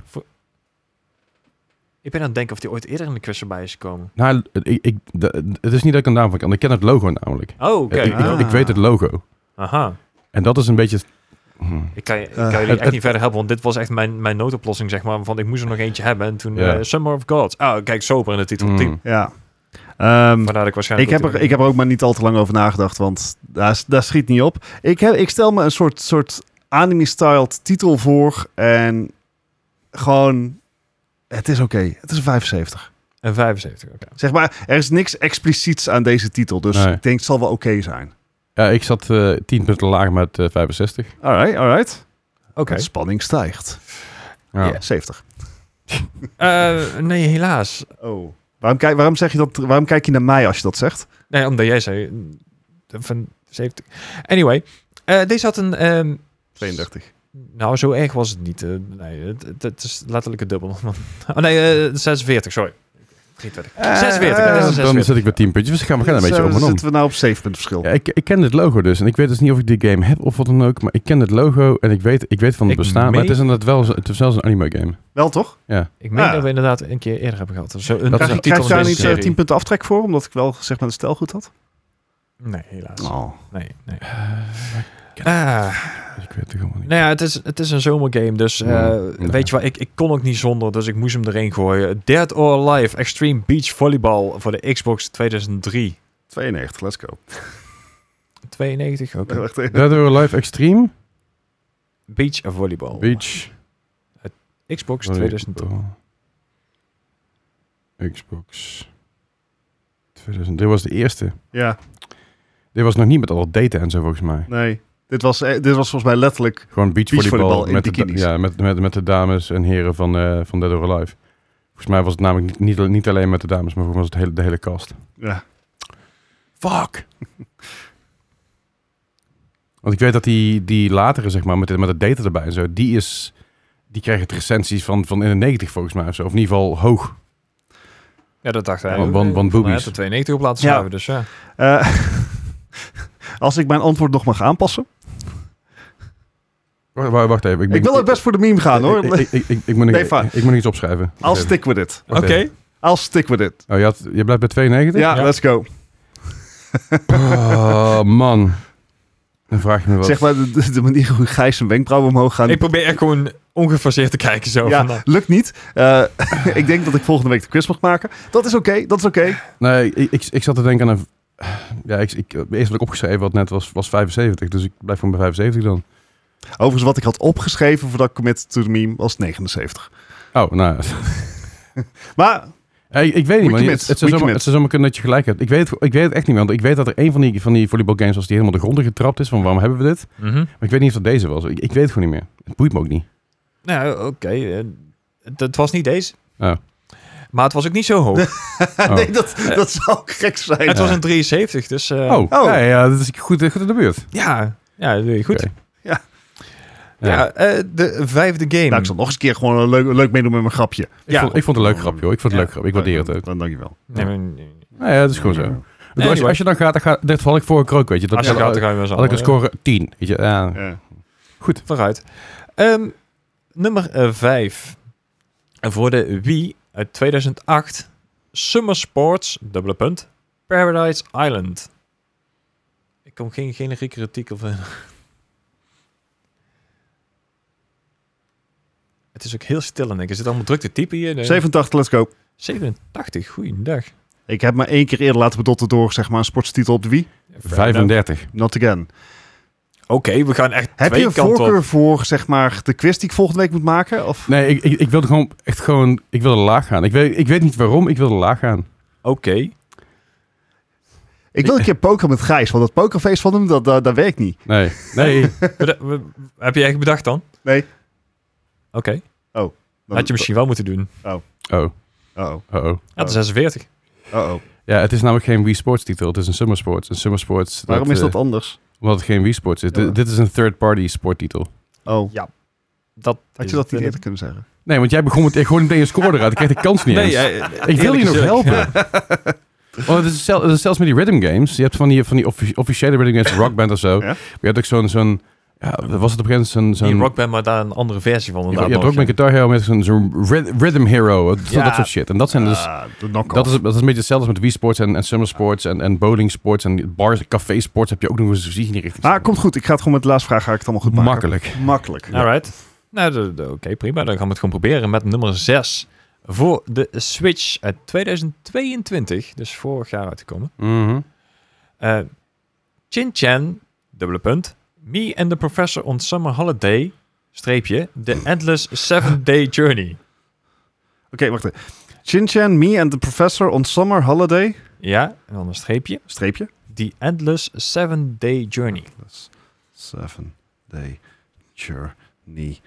Ik ben aan het denken of die ooit eerder in de quiz erbij is gekomen. Nou, ik, ik, de- het is niet dat ik een naam van kan. Ik ken het logo namelijk. Oh, oké. Ik, Ah. ik, ik weet het logo. Aha. En dat is een beetje... hm. Ik kan, je- ik Eh, kan jullie het- echt niet verder helpen, want dit was echt mijn, mijn noodoplossing, zeg maar. Want ik moest er nog eentje hebben. En toen Ja. eh, Summer of Gods. Ah, kijk, sober in de titel. Hmm. Team. ja. Ehm, Vandaar dat ik ik, waarschijnlijk... heb er, ik heb er ook maar niet al te lang over nagedacht, want daar, s- daar schiet niet op. Ik, heb, ik stel me een soort, soort anime-style titel voor en gewoon, het is oké. Het is een 75. Een 75, oké. Zeg maar, er is niks expliciets aan deze titel, dus Nee. ik denk het zal wel oké zijn. Ja, ik zat eh 10 punten lager met eh, 65. Alright, alright. Oké. De spanning stijgt. Ja. Ja, 70. Eh, nee, helaas. Oh. Waarom, kijk, waarom, zeg je dat, waarom kijk je naar mij als je dat zegt? Nee, omdat jij zei... mm, Van 70. Anyway. eh, deze had een... ehm, Nou, zo erg was het niet. eh, nee, het, het- het is letterlijk het dubbel. oh nee, eh, 46, sorry. 43. Eh, 46. eh, dat is een Dan 46. zit ik bij 10 puntjes, dus gaan we gaan een beetje Zo om en om. zitten we nou op 7 punten verschil. Ja, ik, ik ken dit logo dus. En ik weet dus niet of ik die game heb of wat dan ook. Maar ik ken het logo en ik weet, ik weet van het Ik bestaan. Maar het meen- is inderdaad wel, zo- het is zelfs een anime game. Wel toch? Ik meen Ja. dat we inderdaad een keer eerder hebben gehad. Zo een Dat is- Krijg, een ik- krijg titel ik van daar deze niet eh, serie. 10 punten aftrek voor? Omdat ik wel gezegd met een stel goed had. Nee, helaas. Oh. Nee, nee. Eh, ken- Ah, Dus ik weet het gewoon niet. nou ja, het is, het is een zomergame, dus eh, Hmm. Ja, nee. weet je wat, ik, ik kon ook niet zonder, dus ik moest hem erin gooien. Dead or Alive Extreme Beach Volleyball voor de Xbox 2003. 92, let's go. eh. 92, oké. Wacht even. Dead or Alive Extreme? Beach Volleyball. Beach. Oh. Xbox 2003. Xbox. 2000. Dit was de eerste. Ja, Dit was nog niet met al dat data en zo volgens mij. nee. Dit was, eh, dit was volgens mij letterlijk... Gewoon beachvolleybal Beachvolleybal in met, de, da- bikinis. ja, met, met, met de dames en heren van, eh, van Dead or Alive. Volgens mij was het namelijk niet, niet, niet alleen met de dames, maar volgens mij was het hele, de hele cast. Ja. Fuck! Want ik weet dat die, die latere, zeg maar, met, de- met het data erbij en zo, die is... Die krijgen het recensies van, van in de 90 volgens mij of zo. Of in ieder geval hoog. Ja, dat dacht hij. Want- ook. want- want Hij had boobies. de 92 op laten Ja. schuiven, dus ja. Eh, als ik mijn antwoord nog mag aanpassen. Wacht, wacht- wacht even. Ik wil ook best voor de meme gaan hoor. Ik, ik, ik, ik, ik moet nog- e- Nee, va- ik moet nog iets opschrijven. I'll stick with it. Wacht even. I'll stick with it. Oh, je, had- je blijft bij 92? Ja, Ja. let's go. Oh, man. Dan vraag je me wat. Zeg maar de, de- de manier hoe Gijs zijn wenkbrauw omhoog gaan. Ik probeer echt gewoon ongefaseerd te kijken zo. ja, van, nou, lukt niet. Eh, ik denk dat ik volgende week de quiz mag maken. Dat is oké, dat is oké. Nee, ik, ik, ik zat te denken aan een... Ja, ik, ik, het eerste wat ik opgeschreven had net was, was 75. Dus ik blijf gewoon bij 75 dan. Overigens, wat ik had opgeschreven voordat ik commit to the meme was 79. Oh, nou... Maar Hey, ik weet niet, man. commit, Het, het, we zou zomaar, commit. het zou zomaar kunnen dat je gelijk hebt. Ik weet, het- ik weet het echt niet meer. Want ik weet dat er een van die, van die volleybalgames was die helemaal de gronden getrapt is. Van waarom hebben we dit? mhm. Maar ik weet niet of dat deze was. Ik, ik weet het gewoon niet meer. Het boeit me ook niet. Nou, oké. eh, het- het was niet deze. Oh. Maar het was ook niet zo hoog. Oh. nee, dat, dat zou gek zijn. het was een 73, dus... eh, Oh, Oh. Nee, ja, dat is goed, goed in de buurt. Ja, ja dat doe je goed. Oké. Ja. Ja. Ja, eh, de vijfde game. Nou, ik zal nog eens een keer gewoon een leuk, leuk meedoen met mijn grapje. Ik, Ja. vond, ik vond het een leuk grapje, hoor. Ik vond het Ja. leuk grapje. Ik waardeer het ook. Dan dankjewel. Nee, maar- nee, Nou ja, het is gewoon zo. Dus als, je, anyway. als je dan gaat, dan gaat dit val ik voor een krook, weet je. Dat Als je had- gaat, dan ga je wel zo. had ik een eh, score 10, weet je. Ja. Ja. Vooruit. Ehm, nummer 5. Voor de Wii uit 2008. Summer Sports, dubbele punt. Paradise Island. Ik kom geen generieke artikel van. Het is ook heel stil en ik zit allemaal druk te typen hier. Nee. 87, let's go. 87, goeiedag. Ik heb maar één keer eerder laten bedotten door zeg maar, een sportstitel op de Wii. 35. Not again. Oké, we gaan echt Heb twee je een kanten op. voorkeur voor zeg maar, de quiz die ik volgende week moet maken? Of? Nee, ik, ik, ik wilde gewoon echt gewoon... Ik wilde laag gaan. Ik weet, ik weet niet waarom, ik wilde laag gaan. Oké. Ik wil een keer poker met Gijs, want dat pokerface van hem, dat, dat, dat werkt niet. Nee, nee. Beda- we- Heb je echt bedacht dan? Nee. Oké. Had je misschien wel moeten doen. Oh, Oh, oh, oh, oh. Ja, de 46. oh. Ja, het is namelijk geen Wii Sports titel. Het is een Summer Sports. Een Summer Sports... Waarom is eh, dat anders? Omdat het geen Wii Sports is. Ja. Dit- dit is een third-party sporttitel. Oh, Dat had is je dat het, niet eh, eerder kunnen zeggen? Nee, want jij begon met ik gooi meteen een score eruit. Ik kreeg de kans niet eens. Nee, eh, ik wil je nog eerlijk gezegd, helpen. ja. Oh, het, is zelf, het is zelfs met die rhythm games. Je hebt van die, van die offi- officiële rhythm games, Rock Band of zo. Ja. Maar Je hebt ook zo'n... zo'n ja, was het op een gegeven moment zo'n... Die zo'n rockband, maar daar een andere versie van. je inderdaad hebt nog, ook met ja. Guitar Hero met zo'n zo'n ryth- Rhythm Hero. Dat, Ja. dat soort shit. En dat zijn dus... Ah, de knock-off. Dat is, dat is een beetje hetzelfde als met Wii Sports en, en Summer Sports en, en Bowling Sports en bars, café sports heb je ook nog eens gezien in die richting. Maar komt goed, ik ga het gewoon met de laatste vraag, ga ik het allemaal Ah, goed maken. Makkelijk. Makkelijk. Alright. Nou, de- de- oké, prima. Dan gaan we het gewoon proberen met nummer 6. Voor de Switch uit 2022. Dus vorig jaar uitgekomen. Mhm. Eh Chin Chan, dubbele punt. Me and the Professor on Summer Holiday, streepje. The Endless Seven Day Journey. Oké, wacht even. Chin Chan, me and the professor on summer holiday. Ja, en dan een streepje. Streepje. The Endless Seven Day Journey. Seven day journey. Ik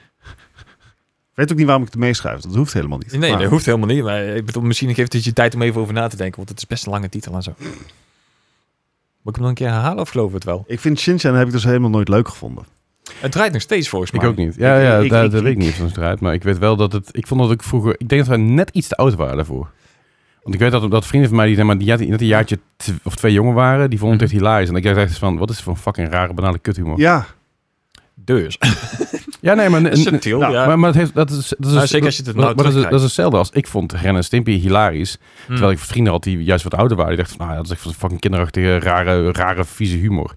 weet ook niet waarom ik het meeschrijf. Dat hoeft helemaal niet. Nee, Maar- dat hoeft helemaal niet. Maar ik bedoel, misschien geeft het je tijd om even over na te denken. Want het is best een lange titel en zo. Moet ik hem nog een keer herhalen of geloof ik het wel? Ik vind Shin Chan heb ik dus helemaal nooit leuk gevonden. Het draait nog steeds volgens mij. Ik ook niet. Ja, Ik- ja ik- daar, ik- daar weet ik ik- niet van het draait. Maar ik weet wel dat het... Ik vond dat ik vroeger... Ik denk dat wij net iets te oud waren daarvoor. Want ik weet dat, dat vrienden van mij, die, zeg maar, die net een jaartje tw- of twee jonger waren, die vonden het echt hilarisch. En ik dacht echt van, wat is het voor een fucking rare, banale kuthumor? Ja, Mhm. Ja, Dus. nee, maar... Subtiel, nou, ja. Nou, Maar, maar het heeft, dat is, dat is Nou, zeker als je het dat, nou maar dat, is, dat is terugkijkt. hetzelfde als ik vond Ren en Stimpy hilarisch. Hmm. Terwijl ik vrienden had die juist wat ouder waren. Die dachten, van, nou, ja, dat is echt van fucking kinderachtige, rare, rare, vieze humor.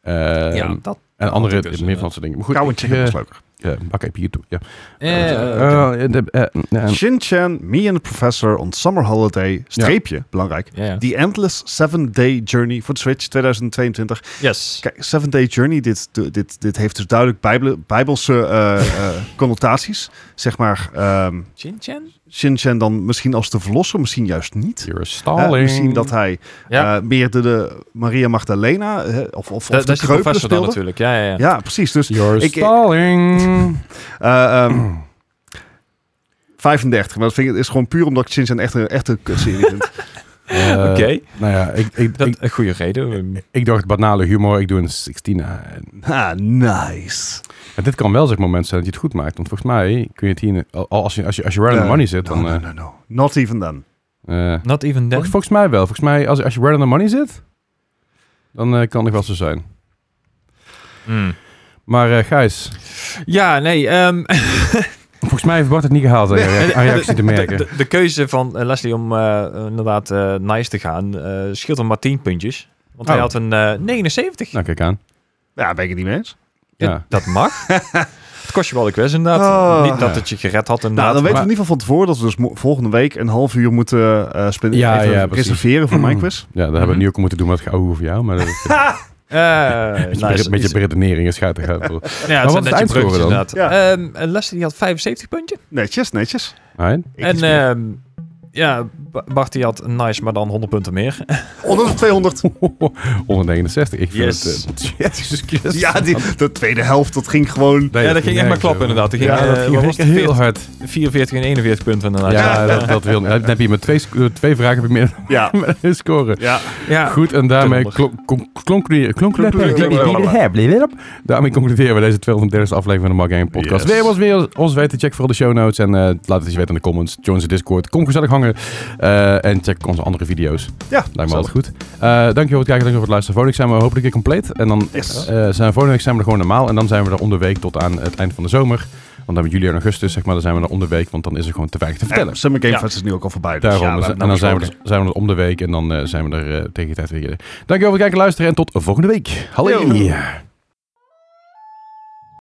Eh, ja, dat... En andere, ik dus, meer van inderdaad. dat soort dingen. Maar goed, Koude ik, chicken eh, was leuker. Ja, bak even YouTube. Ja. Eh, Eh, eh, de- eh, eh, eh, Shin Chan, Me and the Professor on Summer Holiday, streepje, belangrijk. ja, ja. The Endless Seven Day Journey voor de Switch 2022. Yes. Kijk, Seven Day Journey, dit, dit, dit heeft dus duidelijk bijbel- bijbelse eh, eh, connotaties. Zeg maar, ehm Chin Chan? Shin Chan dan misschien als de verlosser, misschien juist niet. You're a Eh, stalling. misschien dat hij Ja. eh, meer de, de Maria Magdalena eh, of, of, Da- of dat de is de kreupel professor dan speelde. natuurlijk. Ja, ja, ja. Ja, precies. Dus You're Ik- stalling. eh, ehm, 35. Maar dat vind ik, is gewoon puur omdat ik Shin Chan echt een echte kutserie vind. Eh, Oké. Nou ja, ik, ik, Dat ik, een goede reden. ik dacht banale humor, ik doe een 16. En Ah, nice. en dit kan wel zo'n moment zijn dat je het goed maakt. Want volgens mij kun je het hier, al- al als je, als je, als je right on the Eh, money zit, no, dan... no, eh, no, no. Not even then. eh, Not even then. volgens, volgens mij wel. Volgens mij, als, als je right on the money zit, dan eh, kan het wel zo zijn. Hmm. Maar eh, Gijs, Ja, nee. ehm, volgens mij heeft Bart het niet gehaald aan je re- aan je reactie te merken. de, de keuze van eh, Leslie om eh, inderdaad eh, nice te gaan eh scheelt hem maar 10 puntjes. Want hij Oh. had een eh, 79. Nou, kijk aan. Ja, ben ik het niet mee eens. Ja. Dat mag. het kost je wel de quest inderdaad. Oh. Niet dat het je gered had inderdaad. Nou, dan weten maar- we in ieder geval van tevoren dat we dus mo- volgende week een half uur moeten eh, spin- Ja, even ja, precies. Hmm. reserveren voor mijn quiz. Ja, daar Mhm. hebben we nu ook moeten doen, maar het gaat ook over jou. Maar dat is, Eh, met, je, nice. beredenering met je beredenering is gaat er Ja, het wat zijn is net je het eindscore bruggetjes dan? inderdaad. Ja. Ehm, en Leslie die had 75 puntje. Netjes, netjes. Ik en iets meer. ehm, ja, Ba- Bart die had nice, maar dan 100 punten meer. eh, Onder de 200. 169. Ik vind Yes. het... eh, Jezus Christus. ja, die, de tweede helft, dat ging gewoon... Nee, ja, dat ging echt maar klappen inderdaad. Dat ging, Ja, eh, dat ging wat echt was het? heel hard. 44 en 41 punten Ja, inderdaad. Ja, dat, dat wil. Dan heb je met twee, sc- eh, twee vragen heb je meer Ja, met een score. ja. ja. Goed, en daarmee Tuurlijk. klonk- klonk- klonk- klonk- Daarmee concluderen we deze 230 aflevering van de Mark Game Podcast. Yes. Weer was weer ons weten. Check vooral de show notes en eh, laat het eens weten in de comments. Join onze Discord. Kom gezellig hangen. Eh, en check onze andere video's. ja. Lijkt me altijd goed. Eh, dankjewel voor het kijken, dankjewel voor het luisteren. Volgende week zijn we hopelijk weer compleet. En dan Yes. eh, zijn we volgende week zijn we er gewoon normaal. En dan zijn we er onder week tot aan het eind van de zomer. Want dan hebben we juli en augustus, zeg maar, dan zijn we er onder week. Want dan is er gewoon te weinig te vertellen. En Summer Game Ja. Fest is nu ook al voorbij. Dus Daarom. ja, Dus- we en hebben dan zijn we, besproken. er, zijn we er om de week. En dan eh, zijn we er eh, tegen die tijd weer. Dankjewel voor het kijken, luisteren. En tot volgende week. Hallo. Yo.